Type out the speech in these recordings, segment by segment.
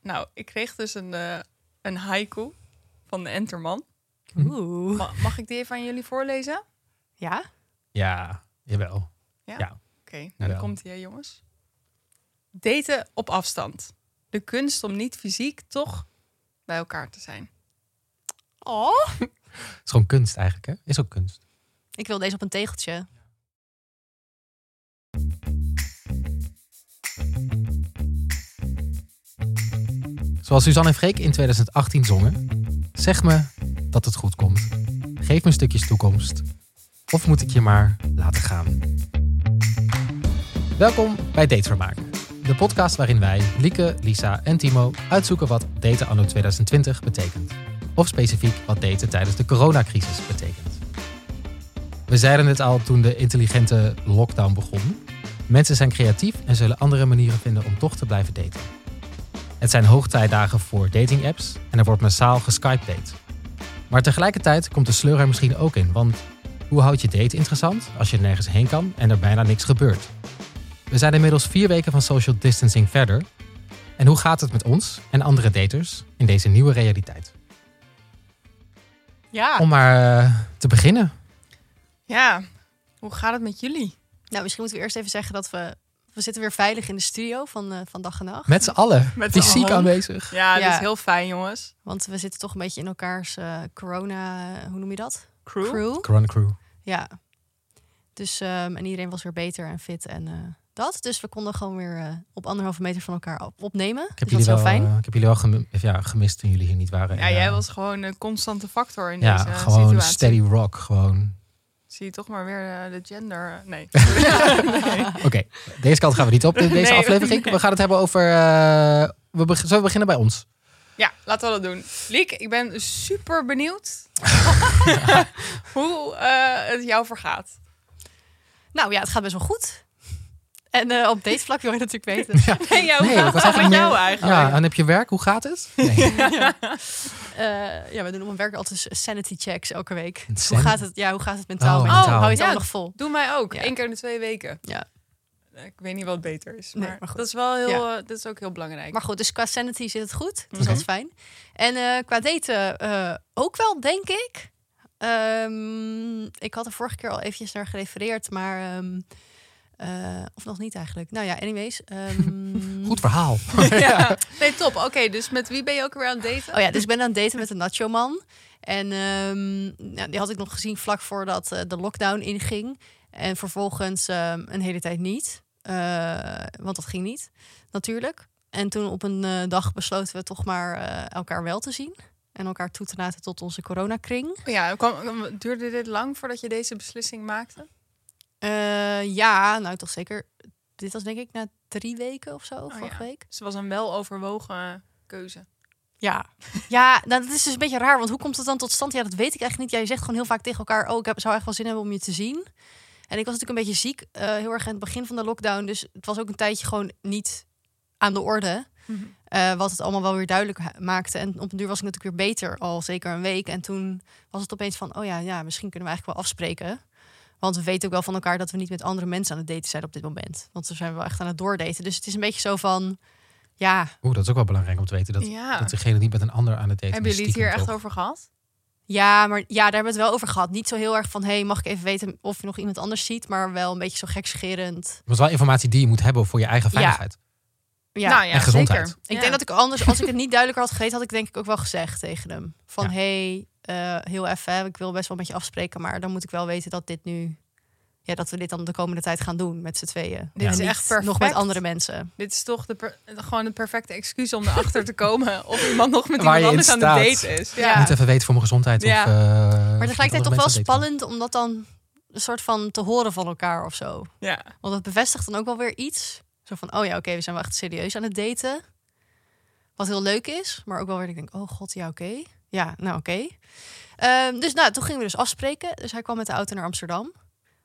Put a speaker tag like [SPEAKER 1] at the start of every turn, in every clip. [SPEAKER 1] Nou, ik kreeg dus een, eh, een haiku van de Enterman.
[SPEAKER 2] Oeh.
[SPEAKER 1] Ma- mag ik die even aan jullie voorlezen? Oké,
[SPEAKER 2] Ja?
[SPEAKER 3] Ja, jawel.
[SPEAKER 1] dan
[SPEAKER 3] Ja.
[SPEAKER 1] komt hij, jongens. Daten op afstand. De kunst om niet fysiek toch bij elkaar te zijn.
[SPEAKER 2] Oh.
[SPEAKER 3] Het is gewoon kunst eigenlijk, hè? Is ook kunst.
[SPEAKER 2] Ik wil deze op een tegeltje.
[SPEAKER 3] Zoals Suzanne en Freek in 2018 zongen. Zeg me dat het goed komt. Geef me stukjes toekomst. Of moet ik je maar laten gaan? Welkom bij Datevermaak. De podcast waarin wij, Lieke, Lisa en Timo uitzoeken wat daten anno 2020 betekent. Of specifiek wat daten tijdens de coronacrisis betekent. We zeiden het al toen de intelligente lockdown begon. Mensen zijn creatief en zullen andere manieren vinden om toch te blijven daten. Het zijn hoogtijdagen voor datingapps en er wordt massaal geskyped date. Maar tegelijkertijd komt de sleur er misschien ook in, want hoe houd je date interessant als je nergens heen kan en er bijna niks gebeurt? We zijn inmiddels vier weken van social distancing verder. En hoe gaat het met ons en andere daters in deze nieuwe realiteit?
[SPEAKER 1] Ah.
[SPEAKER 2] Ja.
[SPEAKER 3] Om maar eh, te beginnen.
[SPEAKER 1] Ja, hoe gaat het met jullie?
[SPEAKER 2] Nou, misschien moeten we eerst even zeggen dat we... We zitten weer veilig in de studio van, eh, van dag en nacht.
[SPEAKER 3] Met z'n allen.
[SPEAKER 1] Met z'n
[SPEAKER 3] Fysiek
[SPEAKER 1] allen.
[SPEAKER 3] aanwezig.
[SPEAKER 1] Ja, dat
[SPEAKER 2] Ja.
[SPEAKER 1] is heel fijn, jongens.
[SPEAKER 2] Want we zitten toch een beetje in elkaars eh, corona... Hoe noem je dat?
[SPEAKER 1] Crew.
[SPEAKER 3] Corona crew.
[SPEAKER 2] Ja. Dus ehm, en iedereen was weer beter en fit en eh, dat. Dus we konden gewoon weer eh, op anderhalve meter van elkaar op- opnemen.
[SPEAKER 3] Ik heb,
[SPEAKER 2] dus dat is
[SPEAKER 3] jullie wel,
[SPEAKER 2] heel fijn.
[SPEAKER 3] eh, ik heb jullie wel gemi- ja, gemist toen jullie hier niet waren.
[SPEAKER 1] Ja,
[SPEAKER 3] En,
[SPEAKER 1] jij
[SPEAKER 3] eh,
[SPEAKER 1] was gewoon een constante factor in
[SPEAKER 3] Ja,
[SPEAKER 1] deze
[SPEAKER 3] gewoon
[SPEAKER 1] situatie.
[SPEAKER 3] steady rock. Gewoon.
[SPEAKER 1] Zie je toch maar weer eh, de gender? Nee.
[SPEAKER 3] Oké, deze kant gaan we niet op in deze
[SPEAKER 1] Nee,
[SPEAKER 3] aflevering. We gaan het hebben over... eh, we beg- Zullen we beginnen bij ons?
[SPEAKER 1] Ja, laten we dat doen. Liek, ik ben super benieuwd hoe eh, het jou vergaat.
[SPEAKER 2] Nou ja, het gaat best wel goed. En eh, op deze vlak wil je natuurlijk weten. Eh,
[SPEAKER 1] En jou
[SPEAKER 3] Nee, ik
[SPEAKER 1] gaat het
[SPEAKER 3] was eigenlijk
[SPEAKER 1] met
[SPEAKER 3] meer-
[SPEAKER 1] jou eigenlijk?
[SPEAKER 3] Ja, en heb je werk? Hoe gaat het? Nee.
[SPEAKER 2] Eh, ja, we doen op mijn werk altijd sanity checks elke week.
[SPEAKER 3] Een
[SPEAKER 2] Hoe
[SPEAKER 3] sanity-
[SPEAKER 2] gaat het? Ja, hoe gaat het mentaal?
[SPEAKER 3] Oh,
[SPEAKER 2] met
[SPEAKER 3] mentaal.
[SPEAKER 2] je? Hou je het
[SPEAKER 1] Ja.
[SPEAKER 2] allemaal nog vol?
[SPEAKER 1] Doe mij ook.
[SPEAKER 2] Ja.
[SPEAKER 1] Eén keer in de twee weken.
[SPEAKER 2] Ja.
[SPEAKER 1] Ik weet niet wat beter is. Maar,
[SPEAKER 2] Nee, maar goed.
[SPEAKER 1] dat is wel heel, eh, dat is ook heel belangrijk.
[SPEAKER 2] Maar goed, dus qua sanity zit het goed. Dus
[SPEAKER 3] Oké.
[SPEAKER 2] dat is fijn. En eh, qua daten eh, ook wel, denk ik. Ehm, ik had er vorige keer al eventjes naar gerefereerd, maar... ehm, eh, of nog niet eigenlijk. Nou ja, anyways. ehm,
[SPEAKER 3] Goed verhaal.
[SPEAKER 1] ja. Nee, top. Oké, dus met wie ben je ook weer aan het daten?
[SPEAKER 2] Oh ja, dus ik ben aan het daten met een nacho man. En ehm, nou, die had ik nog gezien vlak voordat eh, de lockdown inging. En vervolgens ehm, een hele tijd niet. Eh, want dat ging niet, natuurlijk. En toen op een eh, dag besloten we toch maar eh, elkaar wel te zien. En elkaar toe te laten tot onze coronakring.
[SPEAKER 1] Ja, kwam, duurde dit lang voordat je deze beslissing maakte?
[SPEAKER 2] Eh, ja, nou toch zeker. Dit was denk ik na drie weken of zo, vorige
[SPEAKER 1] ja.
[SPEAKER 2] week.
[SPEAKER 1] Dus het was een weloverwogen keuze.
[SPEAKER 2] Ja. Ja, nou, dat is dus een beetje raar. Want hoe komt het dan tot stand? Ja, dat weet ik eigenlijk niet. Jij zegt gewoon heel vaak tegen elkaar... oh, ik heb, zou echt wel zin hebben om je te zien. En ik was natuurlijk een beetje ziek. eh, heel erg aan het begin van de lockdown. Dus het was ook een tijdje gewoon niet aan de orde.
[SPEAKER 1] Mhm.
[SPEAKER 2] eh, wat het allemaal wel weer duidelijk ha- maakte. En op een duur was ik natuurlijk weer beter. Al zeker een week. En toen was het opeens van... oh ja, ja misschien kunnen we eigenlijk wel afspreken. Want we weten ook wel van elkaar dat we niet met andere mensen aan het daten zijn op dit moment. Want we zijn wel echt aan het doordaten. Dus het is een beetje zo van... ja,
[SPEAKER 3] Oeh, dat is ook wel belangrijk om te weten. Dat,
[SPEAKER 1] ja.
[SPEAKER 3] dat degene niet met een ander aan het daten
[SPEAKER 1] Hebben
[SPEAKER 3] is,
[SPEAKER 1] jullie het hier
[SPEAKER 3] stiekem
[SPEAKER 1] echt
[SPEAKER 3] toch.
[SPEAKER 1] over gehad?
[SPEAKER 2] Ja, maar ja, daar hebben we het wel over gehad. Niet zo heel erg van, hey, mag ik even weten of je nog iemand anders ziet? Maar wel een beetje zo gekscherend.
[SPEAKER 3] Het was wel informatie die je moet hebben voor je eigen
[SPEAKER 2] Ja.
[SPEAKER 3] veiligheid.
[SPEAKER 2] Ja,
[SPEAKER 1] Nou ja,
[SPEAKER 3] En gezondheid.
[SPEAKER 1] zeker.
[SPEAKER 2] ik denk dat ik anders, als ik het niet duidelijker had geweten, had ik denk ik ook wel gezegd tegen hem. Van,
[SPEAKER 3] Ja.
[SPEAKER 2] hey, eh, heel even, hè, ik wil best wel met je afspreken, maar dan moet ik wel weten dat dit nu... Ja, dat we dit dan de komende tijd gaan doen met z'n tweeën.
[SPEAKER 1] Dit is
[SPEAKER 2] En niet
[SPEAKER 1] echt perfect.
[SPEAKER 2] Nog met andere mensen.
[SPEAKER 1] Dit is toch de per- gewoon de perfecte excuus om erachter te komen of iemand nog met
[SPEAKER 3] Waar
[SPEAKER 1] iemand
[SPEAKER 3] je
[SPEAKER 1] anders
[SPEAKER 3] in
[SPEAKER 1] aan de
[SPEAKER 3] staat.
[SPEAKER 1] date is.
[SPEAKER 2] Ja.
[SPEAKER 3] Ik moet even weten voor mijn gezondheid.
[SPEAKER 1] Ja.
[SPEAKER 3] Of, eh,
[SPEAKER 2] Maar
[SPEAKER 3] of ik met andere
[SPEAKER 2] tegelijkertijd toch wel
[SPEAKER 3] mensen aan het daten
[SPEAKER 2] spannend om dat dan een soort van te horen van elkaar of zo.
[SPEAKER 1] ja.
[SPEAKER 2] Want dat bevestigt dan ook wel weer iets. Zo van, oh ja, oké, we zijn wel echt serieus aan het daten. Wat heel leuk is, maar ook wel weer dat ik denk, oh god, ja, oké. Ja, nou oké. Ehm, dus nou, toen gingen we dus afspreken. Dus hij kwam met de auto naar Amsterdam.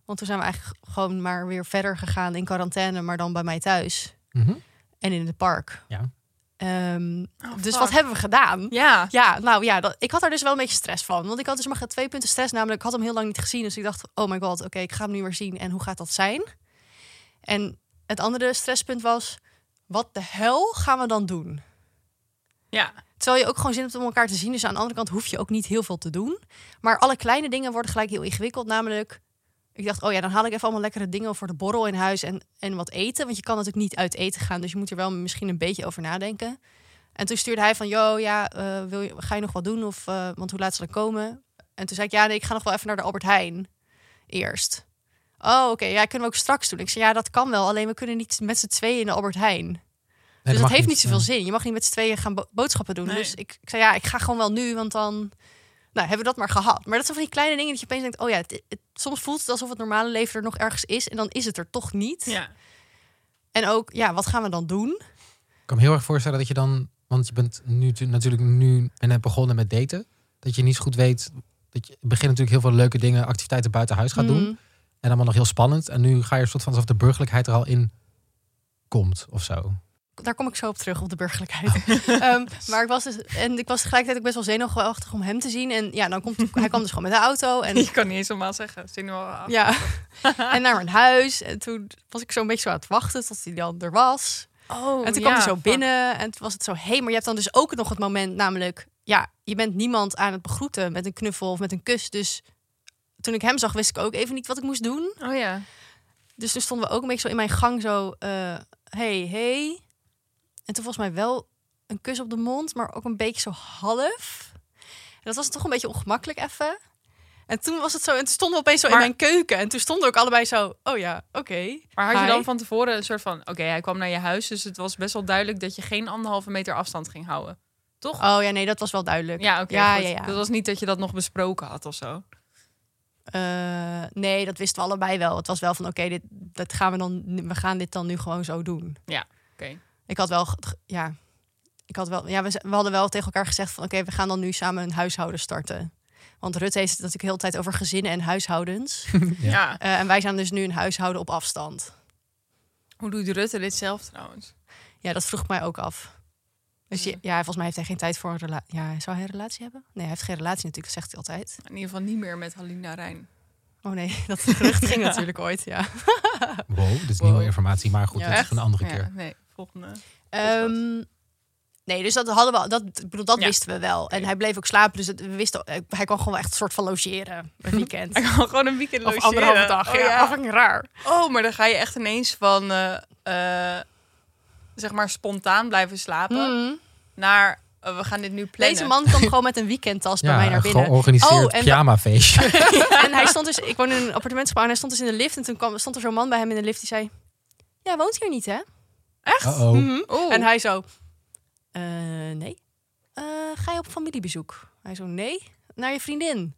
[SPEAKER 2] Want toen zijn we eigenlijk gewoon maar weer verder gegaan in quarantaine, maar dan bij mij thuis
[SPEAKER 3] doen. Mhm.
[SPEAKER 2] en in het park.
[SPEAKER 3] Ja.
[SPEAKER 2] Ehm,
[SPEAKER 1] Oh,
[SPEAKER 2] dus
[SPEAKER 1] fuck.
[SPEAKER 2] wat hebben we gedaan?
[SPEAKER 1] Ja.
[SPEAKER 2] Ja, nou ja, dat, ik had er dus wel een beetje stress van. Want ik had dus maar twee punten stress. Namelijk, ik had hem heel lang niet gezien. Dus ik dacht, oh my god, oké, ik ga hem nu weer zien. En hoe gaat dat zijn? En het andere stresspunt was, wat de hel gaan we dan doen?
[SPEAKER 1] Ja,
[SPEAKER 2] Terwijl je ook gewoon zin hebt om elkaar te zien. Dus aan de andere kant hoef je ook niet heel veel te doen. Maar alle kleine dingen worden gelijk heel ingewikkeld. Namelijk, ik dacht, oh ja, dan haal ik even allemaal lekkere dingen voor de borrel in huis en, en wat eten. Want je kan natuurlijk niet uit eten gaan. Dus je moet er wel misschien een beetje over nadenken. En toen stuurde hij van, yo, ja, eh, wil je, ga je nog wat doen? Of, eh, want hoe laat zal ik komen? En toen zei ik, ja, nee, ik ga nog wel even naar de Albert Heijn eerst. Oh, oké, ja, kunnen we ook straks doen. Ik zei, ja, dat kan wel. Alleen we kunnen niet met z'n tweeën in de Albert Heijn
[SPEAKER 3] Nee,
[SPEAKER 2] dus
[SPEAKER 3] mag
[SPEAKER 2] dat heeft niet
[SPEAKER 3] ja.
[SPEAKER 2] zoveel zin. Je mag niet met z'n tweeën gaan bo- boodschappen doen.
[SPEAKER 1] Nee.
[SPEAKER 2] Dus ik, ik zei, ja, ik ga gewoon wel nu, want dan nou, hebben we dat maar gehad. Maar dat zijn van die kleine dingen dat je opeens denkt... oh ja, het, het- soms voelt het alsof het normale leven er nog ergens is... en dan is het er toch niet.
[SPEAKER 1] ja.
[SPEAKER 2] En ook, ja, wat gaan we dan doen?
[SPEAKER 3] Ik kan me heel erg voorstellen dat je dan, want je bent nu tu- natuurlijk nu en net begonnen met daten, dat je niet zo goed weet. Dat je in het begin natuurlijk heel veel leuke dingen, activiteiten buiten huis gaat doen.
[SPEAKER 2] Mm.
[SPEAKER 3] En allemaal nog heel spannend. En nu ga je er soort van alsof de burgerlijkheid er al in komt of zo.
[SPEAKER 2] Daar kom ik zo op terug, op de burgerlijkheid. Ehm, maar ik was dus, en ik was tegelijkertijd ook best wel zenuwachtig om hem te zien. En ja, dan komt hij kwam dus gewoon met de auto. En
[SPEAKER 1] Je kan niet eens normaal zeggen. Zin nu al af.
[SPEAKER 2] Ja. en naar mijn huis. En toen was ik zo'n beetje zo aan het wachten tot hij dan er was.
[SPEAKER 1] Oh,
[SPEAKER 2] en toen
[SPEAKER 1] ja,
[SPEAKER 2] kwam hij zo
[SPEAKER 1] fuck.
[SPEAKER 2] binnen en toen was het zo... Hé, maar je hebt dan dus ook nog het moment namelijk... Ja, je bent niemand aan het begroeten met een knuffel of met een kus. Dus toen ik hem zag, wist ik ook even niet wat ik moest doen.
[SPEAKER 1] Oh ja.
[SPEAKER 2] Dus toen stonden we ook een beetje zo in mijn gang zo... eh, hey, hey. En toen volgens mij wel een kus op de mond, maar ook een beetje zo half. En dat was toch een beetje ongemakkelijk even. En toen was het zo, en toen stonden we opeens zo in
[SPEAKER 1] Maar-
[SPEAKER 2] mijn keuken. En toen stonden we ook allebei zo, oh ja, oké.
[SPEAKER 1] Maar had je
[SPEAKER 2] Hi.
[SPEAKER 1] dan van tevoren een soort van... Oké, hij kwam naar je huis, dus het was best wel duidelijk... dat je geen anderhalve meter afstand ging houden. Toch?
[SPEAKER 2] Oh ja, nee, dat was wel duidelijk.
[SPEAKER 1] Ja, oké.
[SPEAKER 2] Ja,
[SPEAKER 1] goed.
[SPEAKER 2] ja, ja.
[SPEAKER 1] Dat was niet dat je dat nog besproken had of zo.
[SPEAKER 2] Eh, nee, dat wisten we allebei wel. Het was wel van, oké, dit, dat gaan we dan, we gaan dit dan nu gewoon zo doen.
[SPEAKER 1] Oké.
[SPEAKER 2] Ik had wel, ge- ge- ja, ik had wel, ja, we, ze- we hadden wel tegen elkaar gezegd van, oké, we gaan dan nu samen een huishouden starten. Want Rut heeft het natuurlijk heel de tijd over gezinnen en huishoudens.
[SPEAKER 1] Ja.
[SPEAKER 3] Ja.
[SPEAKER 2] Eh, en wij zijn dus nu een huishouden op afstand.
[SPEAKER 1] Hoe doet Rutte dit zelf trouwens?
[SPEAKER 2] Ja, dat vroeg ik mij ook af. Dus je-
[SPEAKER 1] Ja.
[SPEAKER 2] ja, volgens mij heeft hij geen tijd voor een relatie. Ja, zou hij een relatie hebben? Nee, hij heeft geen relatie natuurlijk, dat zegt hij altijd.
[SPEAKER 1] In ieder geval niet meer met Halina Rijn.
[SPEAKER 2] Oh nee, dat gerucht ging natuurlijk ooit, ja.
[SPEAKER 3] Wow, dit is
[SPEAKER 1] Wow.
[SPEAKER 3] nieuwe informatie. Maar goed,
[SPEAKER 2] Ah. Ja,
[SPEAKER 3] dat is
[SPEAKER 1] echt?
[SPEAKER 3] voor een andere
[SPEAKER 1] Ja,
[SPEAKER 3] keer.
[SPEAKER 1] nee, volgende.
[SPEAKER 2] Ehm, nee, dus dat hadden we, dat, ik bedoel, dat
[SPEAKER 1] Ja.
[SPEAKER 2] wisten we wel. En
[SPEAKER 1] Oké.
[SPEAKER 2] hij bleef ook slapen, dus het, we wisten, eh, hij kon gewoon wel echt een soort van logeren een weekend.
[SPEAKER 1] Ik kan gewoon een weekend
[SPEAKER 2] of
[SPEAKER 1] logeren.
[SPEAKER 2] anderhalve dag,
[SPEAKER 1] Oh,
[SPEAKER 2] ja, afhankelijk raar.
[SPEAKER 1] Oh, maar dan ga je echt ineens van... eh, eh, zeg maar spontaan blijven slapen...
[SPEAKER 2] Mm.
[SPEAKER 1] naar... eh, we gaan dit nu plannen.
[SPEAKER 2] Deze man kwam gewoon met een weekendtas bij mij naar
[SPEAKER 3] een
[SPEAKER 2] binnen.
[SPEAKER 3] georganiseerd
[SPEAKER 2] Oh, en-
[SPEAKER 3] pyjamafeestje.
[SPEAKER 2] En hij stond dus, ik woon in een appartementsgebouw en hij stond dus in de lift. En toen kwam, stond er zo'n man bij hem in de lift die zei, ja, hij woont hier niet hè?
[SPEAKER 1] Echt?
[SPEAKER 3] Uh-oh.
[SPEAKER 2] Mhm.
[SPEAKER 1] Oeh.
[SPEAKER 2] En hij zo, "Eh, nee. Eh, ga je op familiebezoek? Hij zo, nee. Naar je vriendin?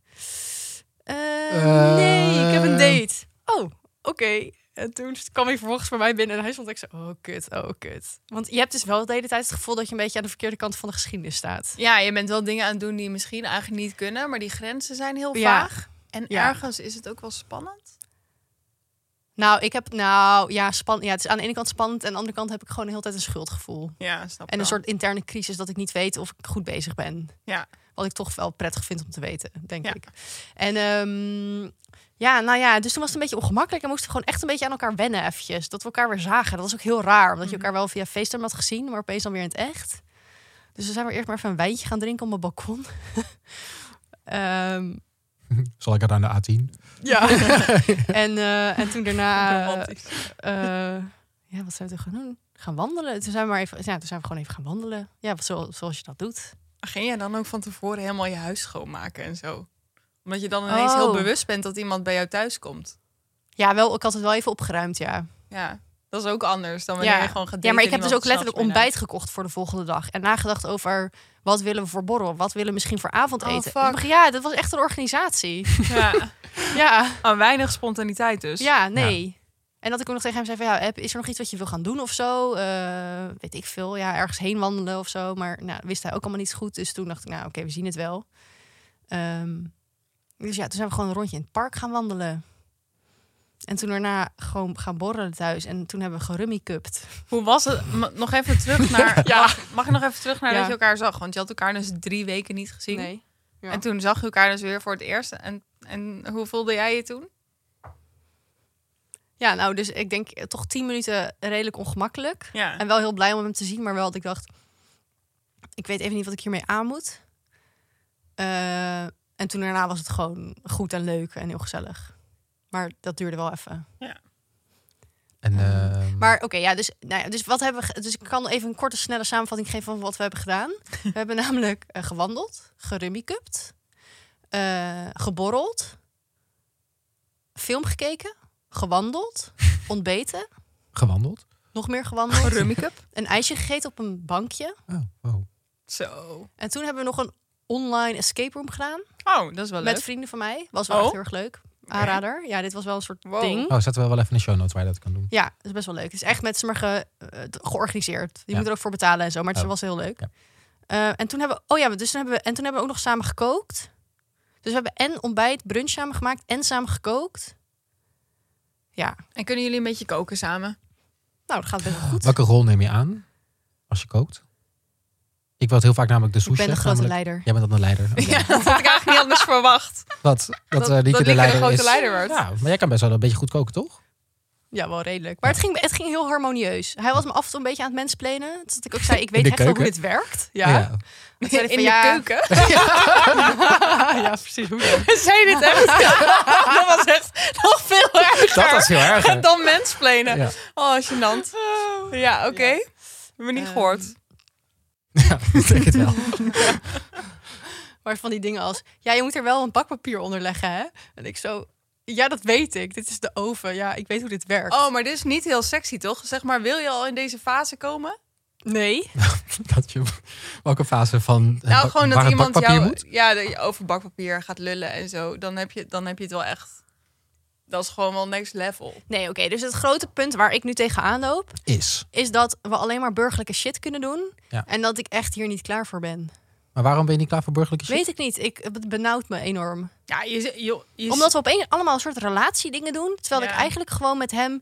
[SPEAKER 2] "Eh,
[SPEAKER 3] Eh.
[SPEAKER 2] nee, ik heb een date. Oh, oké. En toen kwam hij vervolgens bij mij binnen en hij stond ik zo, oh kut, oh kut. Want je hebt dus wel de hele tijd het gevoel dat je een beetje aan de verkeerde kant van de geschiedenis staat.
[SPEAKER 1] Ja, je bent wel dingen aan het doen die misschien eigenlijk niet kunnen, maar die grenzen zijn heel
[SPEAKER 2] Ja.
[SPEAKER 1] vaag. En
[SPEAKER 2] Ja.
[SPEAKER 1] ergens is het ook wel spannend.
[SPEAKER 2] Nou, ik heb, nou ja, span, ja, het is aan de ene kant spannend en aan de andere kant heb ik gewoon de hele tijd een schuldgevoel.
[SPEAKER 1] Ja, snap
[SPEAKER 2] En een soort interne crisis dat ik niet weet of ik goed bezig ben.
[SPEAKER 1] Ja.
[SPEAKER 2] Wat ik toch wel prettig vind om te weten, denk
[SPEAKER 1] Ja.
[SPEAKER 2] ik. En ehm, ja, nou ja, dus toen was het een beetje ongemakkelijk. En moesten we gewoon echt een beetje aan elkaar wennen eventjes. Dat we elkaar weer zagen. Dat was ook heel raar. Omdat je
[SPEAKER 1] Mhm.
[SPEAKER 2] elkaar wel via FaceTime had gezien, maar opeens dan weer in het echt. Dus we zijn weer eerst maar even een wijntje gaan drinken op mijn balkon. Ehm,
[SPEAKER 3] Zal ik het aan de A10?
[SPEAKER 2] ja. en, eh, en toen daarna...
[SPEAKER 1] Romantisch.
[SPEAKER 2] eh, ja, wat zijn we toen gaan doen? Gaan wandelen. Toen zijn we, maar even, ja, toen zijn we gewoon even gaan wandelen. Ja, zo, zoals je dat doet.
[SPEAKER 1] Ging jij dan ook van tevoren helemaal je huis schoonmaken en zo? Omdat je dan ineens heel
[SPEAKER 2] Oh.
[SPEAKER 1] bewust bent dat iemand bij jou thuis komt.
[SPEAKER 2] Ja, wel, ik had het wel even opgeruimd, ja.
[SPEAKER 1] Ja, dat is ook anders dan wanneer
[SPEAKER 2] ja.
[SPEAKER 1] je gewoon gaat
[SPEAKER 2] ja, maar ik
[SPEAKER 1] daten
[SPEAKER 2] heb
[SPEAKER 1] en iemand
[SPEAKER 2] dus ook letterlijk
[SPEAKER 1] s'nachts bij
[SPEAKER 2] ontbijt gekocht voor de volgende dag. En nagedacht over wat willen we voor borrel? Wat willen we misschien voor avondeten?
[SPEAKER 1] Oh, fuck.
[SPEAKER 2] Ik dacht, Ja, dat was echt een organisatie.
[SPEAKER 1] naar huis.
[SPEAKER 2] ja,
[SPEAKER 1] Ja, aan weinig spontaniteit dus.
[SPEAKER 2] ja, nee. En dat ik ook nog tegen hem zei van, ja, heb- is er nog iets wat je wil gaan doen of zo? Eh, weet ik veel, ja, ergens heen wandelen of zo. Maar nou, wist hij ook allemaal niet zo goed. Dus toen dacht ik, nou, oké, we zien het wel. Ehm, dus ja, toen zijn we gewoon een rondje in het park gaan wandelen. En toen daarna gewoon gaan borrelen thuis. En toen hebben we gerummikupt.
[SPEAKER 1] Hoe was het? M- nog even terug naar.
[SPEAKER 2] Ja.
[SPEAKER 1] mag, mag ik nog even terug naar
[SPEAKER 2] Ja.
[SPEAKER 1] dat je elkaar zag? Want je had elkaar dus drie weken niet gezien.
[SPEAKER 2] Ja.
[SPEAKER 1] En toen zag je elkaar dus weer voor het eerst. En, en hoe voelde jij je toen?
[SPEAKER 2] Ja, nou, dus ik denk eh, toch tien minuten redelijk ongemakkelijk.
[SPEAKER 1] Ja.
[SPEAKER 2] En wel heel blij om hem te zien, maar wel dat ik dacht... Ik weet even niet wat ik hiermee aan moet. Eh, en toen daarna was het gewoon goed en leuk en heel gezellig. Maar dat duurde wel even.
[SPEAKER 3] En,
[SPEAKER 2] Ehm,
[SPEAKER 3] ehm,
[SPEAKER 2] Maar oké, ja, dus, nou ja, dus wat hebben we. ge- Dus ik kan even een korte, snelle samenvatting geven van wat we hebben gedaan. We hebben namelijk eh, gewandeld, gerummikupt, eh, geborreld, film gekeken, gewandeld, ontbeten,
[SPEAKER 3] gewandeld?
[SPEAKER 2] nog meer
[SPEAKER 1] Oh,
[SPEAKER 2] gewandeld,
[SPEAKER 1] Rummikub.
[SPEAKER 2] een ijsje gegeten op een bankje.
[SPEAKER 3] Oh, wow.
[SPEAKER 1] Zo.
[SPEAKER 2] En toen hebben we nog een online escape room gedaan
[SPEAKER 1] Oh, dat is wel
[SPEAKER 2] met
[SPEAKER 1] leuk.
[SPEAKER 2] vrienden van mij. Was wel echt
[SPEAKER 1] Oh.
[SPEAKER 2] heel erg leuk.
[SPEAKER 1] Oké.
[SPEAKER 2] Aanrader. Ja, dit was wel een soort
[SPEAKER 1] Wow.
[SPEAKER 2] ding.
[SPEAKER 3] Oh, zetten we wel even in de show notes waar je dat kan doen.
[SPEAKER 2] Ja, dat is best wel leuk. Het is echt met z'n maar ge- eh, georganiseerd. Je
[SPEAKER 3] Ja.
[SPEAKER 2] moet er ook voor betalen en zo, maar het
[SPEAKER 3] Oh.
[SPEAKER 2] was heel leuk.
[SPEAKER 3] Ja.
[SPEAKER 2] Eh, en toen hebben we, oh ja, dus toen hebben we, en toen hebben we ook nog samen gekookt. Dus we hebben en ontbijt, brunch samen gemaakt en samen gekookt. Ja,
[SPEAKER 1] En kunnen jullie een beetje koken samen?
[SPEAKER 2] nou, dat gaat best wel goed.
[SPEAKER 3] Welke rol neem je aan als je kookt? Ik was heel vaak namelijk de
[SPEAKER 2] ik
[SPEAKER 3] sushi.
[SPEAKER 2] ben de grote leider.
[SPEAKER 3] Jij bent dan de leider. Oké.
[SPEAKER 1] Ja, dat had ik eigenlijk niet anders verwacht.
[SPEAKER 3] Dat, dat,
[SPEAKER 1] Dat-
[SPEAKER 3] eh, Lieke
[SPEAKER 1] dat
[SPEAKER 3] de
[SPEAKER 1] Lieke
[SPEAKER 3] leider
[SPEAKER 1] de grote
[SPEAKER 3] is.
[SPEAKER 1] leider wordt.
[SPEAKER 3] Ja, maar jij kan best wel een beetje goed koken, toch?
[SPEAKER 2] Ja, wel redelijk. Maar het ging, het ging heel harmonieus. Hij was me af en toe een beetje aan het mensplenen. Dat ik ook zei, ik weet
[SPEAKER 3] de
[SPEAKER 2] echt wel hoe
[SPEAKER 3] keuken?
[SPEAKER 2] dit werkt. Ja.
[SPEAKER 1] In
[SPEAKER 2] zei ik
[SPEAKER 1] de
[SPEAKER 2] van, ja.
[SPEAKER 1] keuken?
[SPEAKER 2] Ah, ja, precies. Hoe dan?
[SPEAKER 1] Zei dit echt? dat was echt nog veel erger
[SPEAKER 3] Dat was heel erg. hè?
[SPEAKER 1] dan mensplenen.
[SPEAKER 3] Ja.
[SPEAKER 1] Oh, gênant. Ja, oké.
[SPEAKER 2] Ja.
[SPEAKER 1] Hebben we niet
[SPEAKER 2] Ehm,
[SPEAKER 1] gehoord.
[SPEAKER 3] Ja, ik denk het wel.
[SPEAKER 2] Maar van die dingen als, ja, je moet er wel een bakpapier onder leggen, hè? En ik zo, ja, dat weet ik. Dit is de oven. Ja, ik weet hoe dit werkt.
[SPEAKER 1] Oh, maar dit is niet heel sexy, toch? Zeg maar, wil je al in deze fase komen?
[SPEAKER 2] nee.
[SPEAKER 3] Dat je, welke fase van eh,
[SPEAKER 1] nou,
[SPEAKER 3] bak-
[SPEAKER 1] gewoon
[SPEAKER 3] waar
[SPEAKER 1] dat
[SPEAKER 3] het
[SPEAKER 1] iemand
[SPEAKER 3] bakpapier
[SPEAKER 1] jou
[SPEAKER 3] moet?
[SPEAKER 1] ja, dat je over bakpapier gaat lullen en zo. Dan heb je, dan heb je het wel echt... Dat is gewoon wel next level.
[SPEAKER 2] Nee, oké. Dus het grote punt waar ik nu tegenaan loop,
[SPEAKER 3] Is.
[SPEAKER 2] is dat we alleen maar burgerlijke shit kunnen doen.
[SPEAKER 3] Ja.
[SPEAKER 2] En dat ik echt hier niet klaar voor ben.
[SPEAKER 3] Maar waarom ben je niet klaar voor burgerlijke shit?
[SPEAKER 2] Weet ik niet. Ik, het benauwt me enorm.
[SPEAKER 1] Ja, je, z- je, je
[SPEAKER 2] Omdat we opeens allemaal een soort relatiedingen doen. Terwijl ik
[SPEAKER 1] Ja.
[SPEAKER 2] eigenlijk gewoon met hem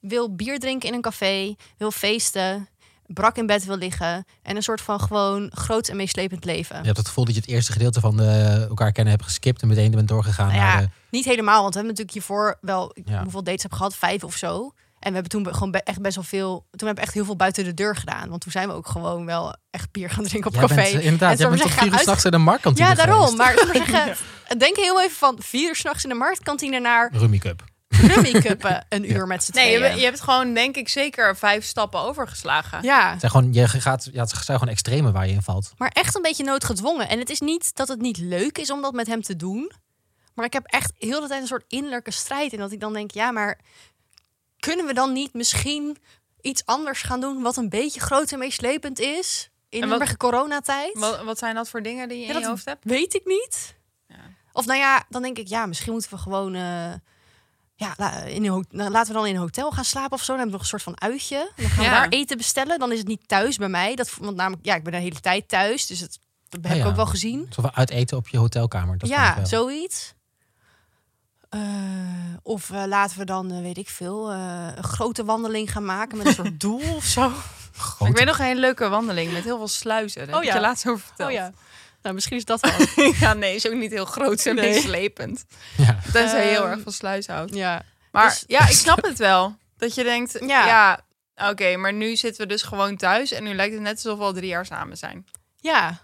[SPEAKER 2] wil bier drinken in een café, wil feesten, brak in bed wil liggen. En een soort van gewoon groot en meeslepend leven.
[SPEAKER 3] Je hebt het gevoel dat je het eerste gedeelte van eh, elkaar kennen hebt geskipt en meteen bent doorgegaan
[SPEAKER 2] Nou
[SPEAKER 3] naar
[SPEAKER 2] ja,
[SPEAKER 3] de...
[SPEAKER 2] niet helemaal, want we hebben natuurlijk hiervoor wel ik-
[SPEAKER 3] Ja.
[SPEAKER 2] hoeveel dates heb gehad, vijf of zo. En we hebben toen be- gewoon be- echt best wel veel. Toen hebben we echt heel veel buiten de deur gedaan, want toen zijn we ook gewoon wel echt bier gaan drinken op
[SPEAKER 3] Jij
[SPEAKER 2] café.
[SPEAKER 3] bent, eh, inderdaad, jij
[SPEAKER 2] En zullen we
[SPEAKER 3] bent tot
[SPEAKER 2] zeggen,
[SPEAKER 3] vier uur
[SPEAKER 2] uit-
[SPEAKER 3] s'nachts in de marktkantine
[SPEAKER 2] Ja, daarom.
[SPEAKER 3] geweest.
[SPEAKER 2] Maar zullen we zeggen, denk heel even van vier uur s'nachts in de marktkantine naar
[SPEAKER 3] Rummy Cup.
[SPEAKER 2] rummy cuppen een uur met z'n
[SPEAKER 1] Nee, je,
[SPEAKER 2] tweeën.
[SPEAKER 1] hebt- je hebt gewoon denk ik zeker vijf stappen overgeslagen.
[SPEAKER 2] Ja,
[SPEAKER 3] Het zijn gewoon, je gaat, ja, het zijn gewoon extreme waar je in valt.
[SPEAKER 2] maar echt een beetje noodgedwongen. En het is niet dat het niet leuk is om dat met hem te doen. Maar ik heb echt heel de tijd een soort innerlijke strijd. En dat ik dan denk, ja, maar kunnen we dan niet misschien iets anders gaan doen... wat een beetje groot en meeslepend is in
[SPEAKER 1] En wat-
[SPEAKER 2] de huidige coronatijd?
[SPEAKER 1] Wat, wat zijn dat voor dingen die je
[SPEAKER 2] Ja,
[SPEAKER 1] in je
[SPEAKER 2] dat-
[SPEAKER 1] hoofd hebt?
[SPEAKER 2] Weet ik niet.
[SPEAKER 1] Ja.
[SPEAKER 2] Of nou ja, dan denk ik, ja, misschien moeten we gewoon... eh, ja, la- in een ho- nou, laten we dan in een hotel gaan slapen of zo. Dan hebben we nog een soort van uitje. Dan gaan we
[SPEAKER 1] Ja.
[SPEAKER 2] daar eten bestellen. Dan is het niet thuis bij mij. Dat, want namelijk, ja, ik ben de hele tijd thuis. Dus het, dat heb
[SPEAKER 3] Ah Ja,
[SPEAKER 2] ik
[SPEAKER 3] ja.
[SPEAKER 2] ook wel gezien.
[SPEAKER 3] Zo van uit eten op je hotelkamer. Dat kan ik
[SPEAKER 2] Hm? ja,
[SPEAKER 3] wel.
[SPEAKER 2] zoiets. Eh, of eh, laten we dan, eh, weet ik veel, eh, een grote wandeling gaan maken met een soort doel of zo.
[SPEAKER 3] Grote-
[SPEAKER 1] Ik weet nog een leuke wandeling met heel veel sluizen. Daar
[SPEAKER 2] Oh
[SPEAKER 1] heb ik
[SPEAKER 2] ja.
[SPEAKER 1] je laatst over verteld.
[SPEAKER 2] Nou, misschien is dat wel.
[SPEAKER 1] Ja, nee, is ook niet heel groot en
[SPEAKER 2] Nee.
[SPEAKER 1] meeslepend.
[SPEAKER 3] Ja.
[SPEAKER 1] Tenzij je heel
[SPEAKER 2] Ehm,
[SPEAKER 1] erg van sluis houdt.
[SPEAKER 2] ja.
[SPEAKER 1] Maar
[SPEAKER 2] dus-
[SPEAKER 1] ja, ik snap het wel. Dat je denkt,
[SPEAKER 2] Ja.
[SPEAKER 1] ja, oké, maar nu zitten we dus gewoon thuis. En nu lijkt het net alsof we al drie jaar samen zijn.
[SPEAKER 2] Ja.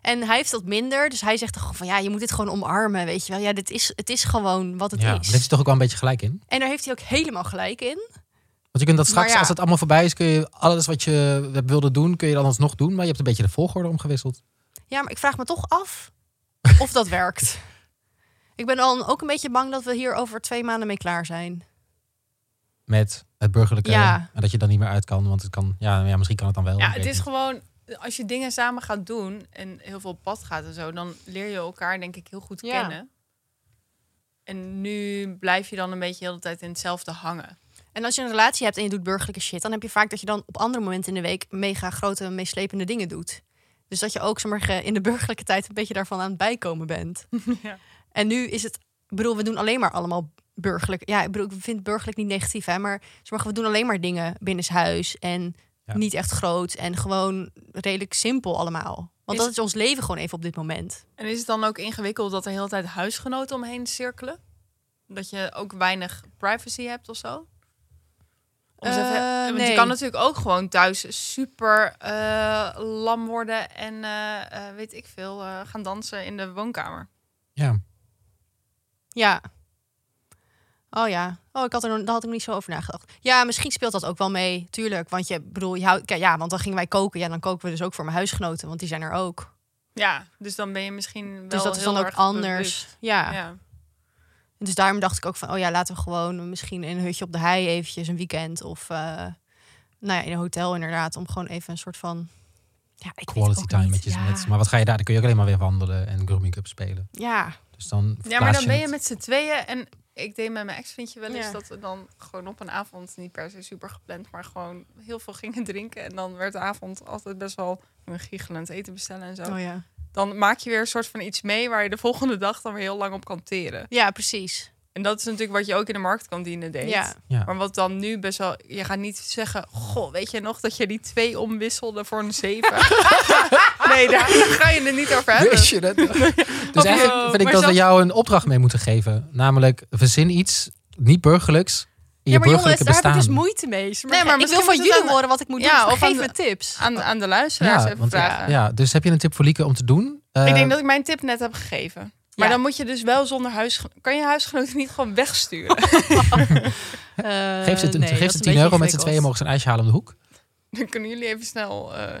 [SPEAKER 2] En hij heeft dat minder. Dus hij zegt toch gewoon van, ja, je moet dit gewoon omarmen, weet je wel. Ja, dit is, het is gewoon wat het
[SPEAKER 3] Ja, maar
[SPEAKER 2] is.
[SPEAKER 3] dit is toch ook wel een beetje gelijk in.
[SPEAKER 2] En daar heeft hij ook helemaal gelijk in.
[SPEAKER 3] Want je kunt dat
[SPEAKER 2] Maar
[SPEAKER 3] straks,
[SPEAKER 2] ja.
[SPEAKER 3] als het allemaal voorbij is, kun je alles wat je wilde doen, kun je dan alsnog doen. Maar je hebt een beetje de volgorde omgewisseld.
[SPEAKER 2] Ja, maar ik vraag me toch af of dat werkt. Ik ben al ook een beetje bang dat we hier over twee maanden mee klaar zijn.
[SPEAKER 3] Met het burgerlijke.
[SPEAKER 2] Ja.
[SPEAKER 3] En dat je dan niet meer uit kan. Want het kan, ja, ja misschien kan het dan wel.
[SPEAKER 1] Ja,
[SPEAKER 3] ik weet
[SPEAKER 1] het is
[SPEAKER 3] niet.
[SPEAKER 1] gewoon, als je dingen samen gaat doen en heel veel op pad gaat en zo, dan leer je elkaar denk ik heel goed
[SPEAKER 2] Ja.
[SPEAKER 1] kennen. En nu blijf je dan een beetje de hele tijd in hetzelfde hangen.
[SPEAKER 2] En als je een relatie hebt en je doet burgerlijke shit, dan heb je vaak dat je dan op andere momenten in de week mega grote, meeslepende dingen doet. Dus dat je ook zeg maar, ge- in de burgerlijke tijd een beetje daarvan aan het bijkomen bent.
[SPEAKER 1] Ja.
[SPEAKER 2] En nu is het, ik bedoel, we doen alleen maar allemaal burgerlijk. Ja, ik bedoel, ik vind burgerlijk niet negatief, hè, maar zeg maar, we doen alleen maar dingen binnenshuis en
[SPEAKER 3] Ja.
[SPEAKER 2] niet echt groot en gewoon redelijk simpel allemaal. Want
[SPEAKER 1] Is-
[SPEAKER 2] dat is ons leven gewoon even op dit moment.
[SPEAKER 1] En is het dan ook ingewikkeld dat er heel de tijd huisgenoten omheen cirkelen? Dat je ook weinig privacy hebt of zo? Om eens even-
[SPEAKER 2] Eh,
[SPEAKER 1] want
[SPEAKER 2] nee.
[SPEAKER 1] Je kan natuurlijk ook gewoon thuis super eh, lam worden en eh, eh, weet ik veel, eh, gaan dansen in de woonkamer.
[SPEAKER 3] Ja.
[SPEAKER 2] Ja. Oh ja. Oh, ik had er, nog- daar had ik nog niet zo over nagedacht. Ja, misschien speelt dat ook wel mee. Tuurlijk. Want je, bedoel, je houdt, kijk, ja, want dan gingen wij koken. Ja, dan koken we dus ook voor mijn huisgenoten, want die zijn er ook.
[SPEAKER 1] Ja, dus dan ben je misschien wel
[SPEAKER 2] dus dat is
[SPEAKER 1] heel
[SPEAKER 2] dan ook
[SPEAKER 1] erg
[SPEAKER 2] anders.
[SPEAKER 1] bewust.
[SPEAKER 2] Ja.
[SPEAKER 1] Ja.
[SPEAKER 2] En Dus daarom dacht ik ook van, oh ja, laten we gewoon misschien in een hutje op de hei eventjes een weekend of, eh, nou ja, in een hotel inderdaad, om gewoon even een soort van, ja, ik weet
[SPEAKER 3] Quality
[SPEAKER 2] ook
[SPEAKER 3] time
[SPEAKER 2] niet.
[SPEAKER 3] met je.
[SPEAKER 2] ja.
[SPEAKER 3] met- Maar wat ga je daar? Dan kun je ook alleen maar weer wandelen en grooming up spelen.
[SPEAKER 2] Ja,
[SPEAKER 3] Dus dan
[SPEAKER 1] ja, maar
[SPEAKER 3] verplaats
[SPEAKER 1] dan ben je
[SPEAKER 3] het.
[SPEAKER 1] met z'n tweeën en ik deed met mijn ex-vriendje wel eens
[SPEAKER 2] Ja.
[SPEAKER 1] dat we dan gewoon op een avond, niet per se super gepland, maar gewoon heel veel gingen drinken. En dan werd de avond altijd best wel een giechelend eten bestellen en zo.
[SPEAKER 2] oh ja.
[SPEAKER 1] Dan maak je weer een soort van iets mee waar je de volgende dag dan weer heel lang op kan teren.
[SPEAKER 2] Ja, precies.
[SPEAKER 1] En dat is natuurlijk wat je ook in de marktkantine deed.
[SPEAKER 2] Ja.
[SPEAKER 3] Ja.
[SPEAKER 1] Maar wat dan nu best wel... Je gaat niet zeggen... Goh, weet je nog dat je die twee omwisselde voor een zeven? nee, daar ga je het niet over hebben.
[SPEAKER 3] Wist je dat? Dus
[SPEAKER 1] Of,
[SPEAKER 3] eigenlijk
[SPEAKER 1] eh,
[SPEAKER 3] vind ik
[SPEAKER 1] Oh, maar
[SPEAKER 3] dat we
[SPEAKER 1] zelfs-
[SPEAKER 3] jou een opdracht mee moeten geven. Namelijk, verzin iets niet burgerlijks in je burgerlijke
[SPEAKER 1] dus
[SPEAKER 3] bestaan.
[SPEAKER 2] dus moeite mee.
[SPEAKER 1] Nee, maar
[SPEAKER 2] ik wil
[SPEAKER 1] misschien
[SPEAKER 2] van
[SPEAKER 1] is het
[SPEAKER 2] jullie
[SPEAKER 1] aan de-
[SPEAKER 2] horen wat ik moet
[SPEAKER 1] Ja,
[SPEAKER 2] doen.
[SPEAKER 1] of
[SPEAKER 2] Of geef
[SPEAKER 1] aan de-
[SPEAKER 2] me tips.
[SPEAKER 1] Aan, aan de luisteraars
[SPEAKER 3] Ja,
[SPEAKER 1] even
[SPEAKER 3] want-
[SPEAKER 1] vragen.
[SPEAKER 3] ja, dus heb je een tip voor Lieke om te doen? Eh,
[SPEAKER 1] Ik denk dat ik mijn tip net heb gegeven. Maar
[SPEAKER 2] Ja.
[SPEAKER 1] dan moet je dus wel zonder huis... Kan je huisgenoten niet gewoon wegsturen?
[SPEAKER 2] Eh,
[SPEAKER 3] geef ze,
[SPEAKER 2] nee, dat
[SPEAKER 3] geef
[SPEAKER 2] is
[SPEAKER 3] ze 10
[SPEAKER 2] een beetje
[SPEAKER 3] euro met z'n
[SPEAKER 2] ingewikkeld.
[SPEAKER 3] tweeën mogen ze een ijsje halen om de hoek.
[SPEAKER 1] Dan kunnen jullie even snel... eh,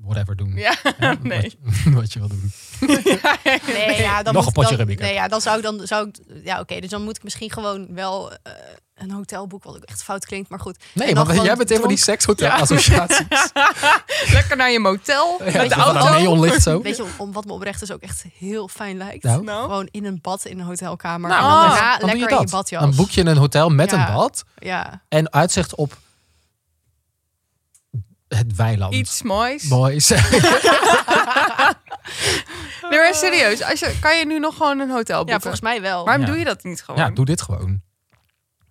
[SPEAKER 3] Whatever doen.
[SPEAKER 1] ja,
[SPEAKER 3] Hè,
[SPEAKER 1] nee.
[SPEAKER 3] Wat, wat je wil doen.
[SPEAKER 2] Nee, ja, dan
[SPEAKER 3] Nog
[SPEAKER 2] moet
[SPEAKER 3] een potje
[SPEAKER 2] dan-
[SPEAKER 3] Rubicon.
[SPEAKER 2] Nee, ja, dan zou ik dan zou ik, ja, oké, dus dan moet ik misschien gewoon wel eh, een hotelboek, wat ook echt fout klinkt, maar goed.
[SPEAKER 3] Nee,
[SPEAKER 2] En dan
[SPEAKER 3] want jij
[SPEAKER 2] gewoon
[SPEAKER 3] bent helemaal die sekshotel-associaties.
[SPEAKER 1] Lekker naar je motel.
[SPEAKER 3] Ja,
[SPEAKER 1] met de
[SPEAKER 3] dat er
[SPEAKER 1] auto.
[SPEAKER 3] dan neon ligt zo.
[SPEAKER 2] Weet je, om, om wat me oprecht dus ook echt heel fijn lijkt.
[SPEAKER 3] Nou.
[SPEAKER 1] Nou.
[SPEAKER 2] Gewoon in een bad in een hotelkamer.
[SPEAKER 3] Nou,
[SPEAKER 2] en
[SPEAKER 1] dan
[SPEAKER 2] dan
[SPEAKER 1] is-
[SPEAKER 2] daarna
[SPEAKER 3] dan doe
[SPEAKER 2] lekker
[SPEAKER 3] je
[SPEAKER 2] in
[SPEAKER 3] dat.
[SPEAKER 2] je badjas.
[SPEAKER 3] Dan boek je een hotel met
[SPEAKER 2] Ja.
[SPEAKER 3] een bad
[SPEAKER 2] Ja,
[SPEAKER 3] en uitzicht op het weiland.
[SPEAKER 1] Iets moois.
[SPEAKER 3] Boys.
[SPEAKER 1] Nee, maar serieus. Als je, kan je nu nog gewoon een hotel boeken?
[SPEAKER 2] ja volgens mij wel.
[SPEAKER 1] Waarom
[SPEAKER 3] Ja.
[SPEAKER 1] doe je dat niet gewoon?
[SPEAKER 3] ja, doe dit gewoon.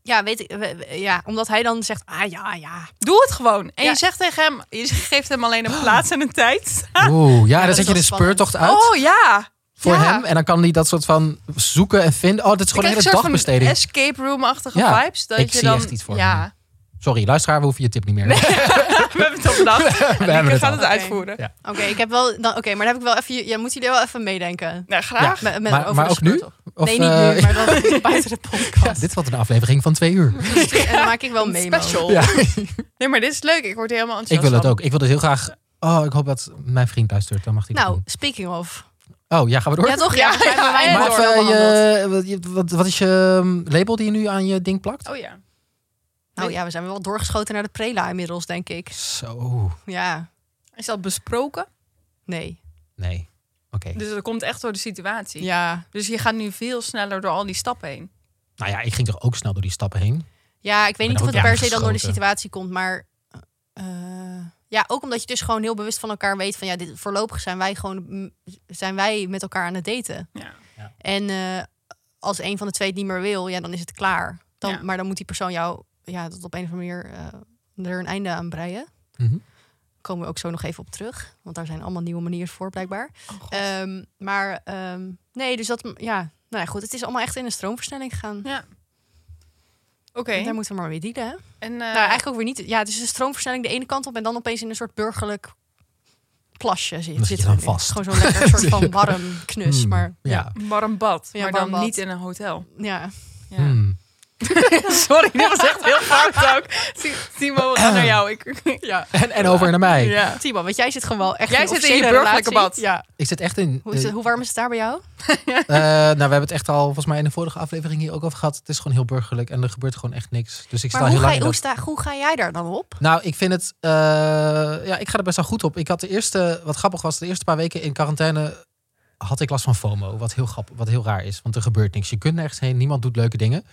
[SPEAKER 2] ja, weet ik, we- we- ja, omdat hij dan zegt, ah ja, ja.
[SPEAKER 1] Doe het gewoon. En
[SPEAKER 2] Ja.
[SPEAKER 1] je zegt tegen hem, je geeft hem alleen een plaats en een tijd.
[SPEAKER 3] Oeh, ja, dan zet
[SPEAKER 2] dat is
[SPEAKER 3] je de
[SPEAKER 2] wel spannend.
[SPEAKER 3] speurtocht uit
[SPEAKER 1] Oh ja.
[SPEAKER 3] voor
[SPEAKER 1] ja.
[SPEAKER 3] hem. En dan kan hij dat soort van zoeken en vinden. Oh, dit is
[SPEAKER 1] Ik
[SPEAKER 3] gewoon
[SPEAKER 1] krijg
[SPEAKER 3] een
[SPEAKER 1] een
[SPEAKER 3] hele
[SPEAKER 1] soort van
[SPEAKER 3] dagbesteding.
[SPEAKER 1] escape room-achtige
[SPEAKER 3] Ja,
[SPEAKER 1] vibes. Dat
[SPEAKER 3] ik
[SPEAKER 1] je
[SPEAKER 3] zie
[SPEAKER 1] dan,
[SPEAKER 3] echt iets voor
[SPEAKER 1] Ja,
[SPEAKER 3] Sorry, luisteraar, we hoeven je tip niet meer. We
[SPEAKER 1] we hebben het al bedacht.
[SPEAKER 3] hebben
[SPEAKER 1] We
[SPEAKER 3] het
[SPEAKER 1] gaan
[SPEAKER 3] al.
[SPEAKER 1] het uitvoeren.
[SPEAKER 3] Ja.
[SPEAKER 2] Oké, ik heb wel, dan, oké, maar dan heb ik wel even, ja, moeten jullie wel even meedenken.
[SPEAKER 1] Nou, graag.
[SPEAKER 2] Met, met-
[SPEAKER 3] Maar-
[SPEAKER 2] over
[SPEAKER 3] maar
[SPEAKER 2] de
[SPEAKER 3] ook nu?
[SPEAKER 2] speurtocht.
[SPEAKER 3] Of,
[SPEAKER 2] nee, niet
[SPEAKER 3] eh,
[SPEAKER 2] nu, maar wel buiten de podcast.
[SPEAKER 3] Dit was een aflevering van twee uur.
[SPEAKER 2] en dan maak ik wel mee.
[SPEAKER 1] Special.
[SPEAKER 3] Ja.
[SPEAKER 1] Nee, maar dit is leuk. Ik word hier helemaal
[SPEAKER 3] Ik
[SPEAKER 1] enthousiast
[SPEAKER 3] wil dat
[SPEAKER 1] van.
[SPEAKER 3] ook. Ik wil dus heel graag... Oh, ik hoop dat mijn vriend luistert. Dan mag hij dat
[SPEAKER 2] Nou,
[SPEAKER 3] doen.
[SPEAKER 2] speaking of.
[SPEAKER 3] Oh, ja, gaan we door?
[SPEAKER 2] Ja, toch?
[SPEAKER 1] Ja,
[SPEAKER 2] Ja, we hebben
[SPEAKER 1] ja,
[SPEAKER 2] wij
[SPEAKER 1] en
[SPEAKER 2] het
[SPEAKER 3] Eh, maar
[SPEAKER 2] door
[SPEAKER 3] even
[SPEAKER 2] allemaal behandeld.
[SPEAKER 3] je, wat, je- wat, wat is je ehm, label die je nu aan je ding plakt?
[SPEAKER 1] Oh ja.
[SPEAKER 2] Nou ja, we zijn wel doorgeschoten naar de prela inmiddels, denk ik.
[SPEAKER 3] Zo,
[SPEAKER 2] Ja,
[SPEAKER 1] Is dat besproken?
[SPEAKER 2] nee.
[SPEAKER 3] nee. Oké.
[SPEAKER 1] Dus dat komt echt door de situatie.
[SPEAKER 2] Ja,
[SPEAKER 1] Dus je gaat nu veel sneller door al die stappen heen.
[SPEAKER 3] Nou ja, ik ging toch ook snel door die stappen heen.
[SPEAKER 2] Ja, ik weet
[SPEAKER 3] ben
[SPEAKER 2] niet
[SPEAKER 3] er
[SPEAKER 2] of
[SPEAKER 3] ook
[SPEAKER 2] het per se dan
[SPEAKER 3] uitgeschoten.
[SPEAKER 2] door de situatie komt, maar eh, ja, ook omdat je dus gewoon heel bewust van elkaar weet van ja, dit, voorlopig zijn wij gewoon mm, zijn wij met elkaar aan het daten.
[SPEAKER 1] Ja.
[SPEAKER 2] En eh, als een van de twee het niet meer wil, ja, dan is het klaar. Dan,
[SPEAKER 1] Ja.
[SPEAKER 2] Maar dan moet die persoon jou ja, dat op een of andere manier eh, er een einde aan breien.
[SPEAKER 3] Mhm.
[SPEAKER 2] Komen we ook zo nog even op terug, want daar zijn allemaal nieuwe manieren voor blijkbaar.
[SPEAKER 1] Oh, God.
[SPEAKER 2] Ehm, maar ehm, nee, dus dat ja, nou ja, goed, het is allemaal echt in een stroomversnelling gegaan.
[SPEAKER 1] Ja. Oké.
[SPEAKER 2] Daar moeten we maar mee dealen. Hè?
[SPEAKER 1] En eh,
[SPEAKER 2] Nou, eigenlijk ook weer niet. Ja, het is een stroomversnelling de ene kant op en dan opeens in een soort burgerlijk plasje zit.
[SPEAKER 3] zit je
[SPEAKER 2] zitten
[SPEAKER 3] dan
[SPEAKER 2] we in.
[SPEAKER 3] vast.
[SPEAKER 2] Gewoon zo'n lekker soort van warm knus.
[SPEAKER 3] Hmm,
[SPEAKER 2] Dus, Maar ja.
[SPEAKER 3] Ja.
[SPEAKER 1] warm bad.
[SPEAKER 2] Ja,
[SPEAKER 1] maar
[SPEAKER 2] warm
[SPEAKER 1] dan
[SPEAKER 2] bad.
[SPEAKER 1] niet in een hotel.
[SPEAKER 2] ja.
[SPEAKER 1] Ja.
[SPEAKER 3] Hmm.
[SPEAKER 1] Sorry, dit was echt heel fout ook. Si- Timo, we gaan naar jou. Ik, ja.
[SPEAKER 3] En, en over naar mij.
[SPEAKER 1] ja.
[SPEAKER 2] Timo, want jij zit gewoon wel echt
[SPEAKER 1] Jij
[SPEAKER 2] een
[SPEAKER 1] zit in je
[SPEAKER 2] officiële
[SPEAKER 1] burgerlijke
[SPEAKER 2] relatie.
[SPEAKER 1] bad.
[SPEAKER 2] Ja.
[SPEAKER 3] Ik zit echt in...
[SPEAKER 2] Hoe, is
[SPEAKER 3] eh,
[SPEAKER 2] het- hoe warm is het daar bij jou?
[SPEAKER 3] eh, nou, we hebben het echt al volgens mij in de vorige aflevering hier ook over gehad. Het is gewoon heel burgerlijk en er gebeurt gewoon echt niks. Dus ik sta
[SPEAKER 2] Maar
[SPEAKER 3] heel
[SPEAKER 2] hoe ga,
[SPEAKER 3] lang
[SPEAKER 2] je,
[SPEAKER 3] in
[SPEAKER 2] hoe,
[SPEAKER 3] dat-
[SPEAKER 2] sta, hoe ga jij daar dan op?
[SPEAKER 3] Nou, ik vind het... eh, ja, ik ga er best wel goed op. Ik had de eerste... Wat grappig was, de eerste paar weken in quarantaine had ik last van FOMO. Wat heel, grappig, wat heel raar is, want er gebeurt niks. Je kunt nergens heen, niemand doet leuke dingen.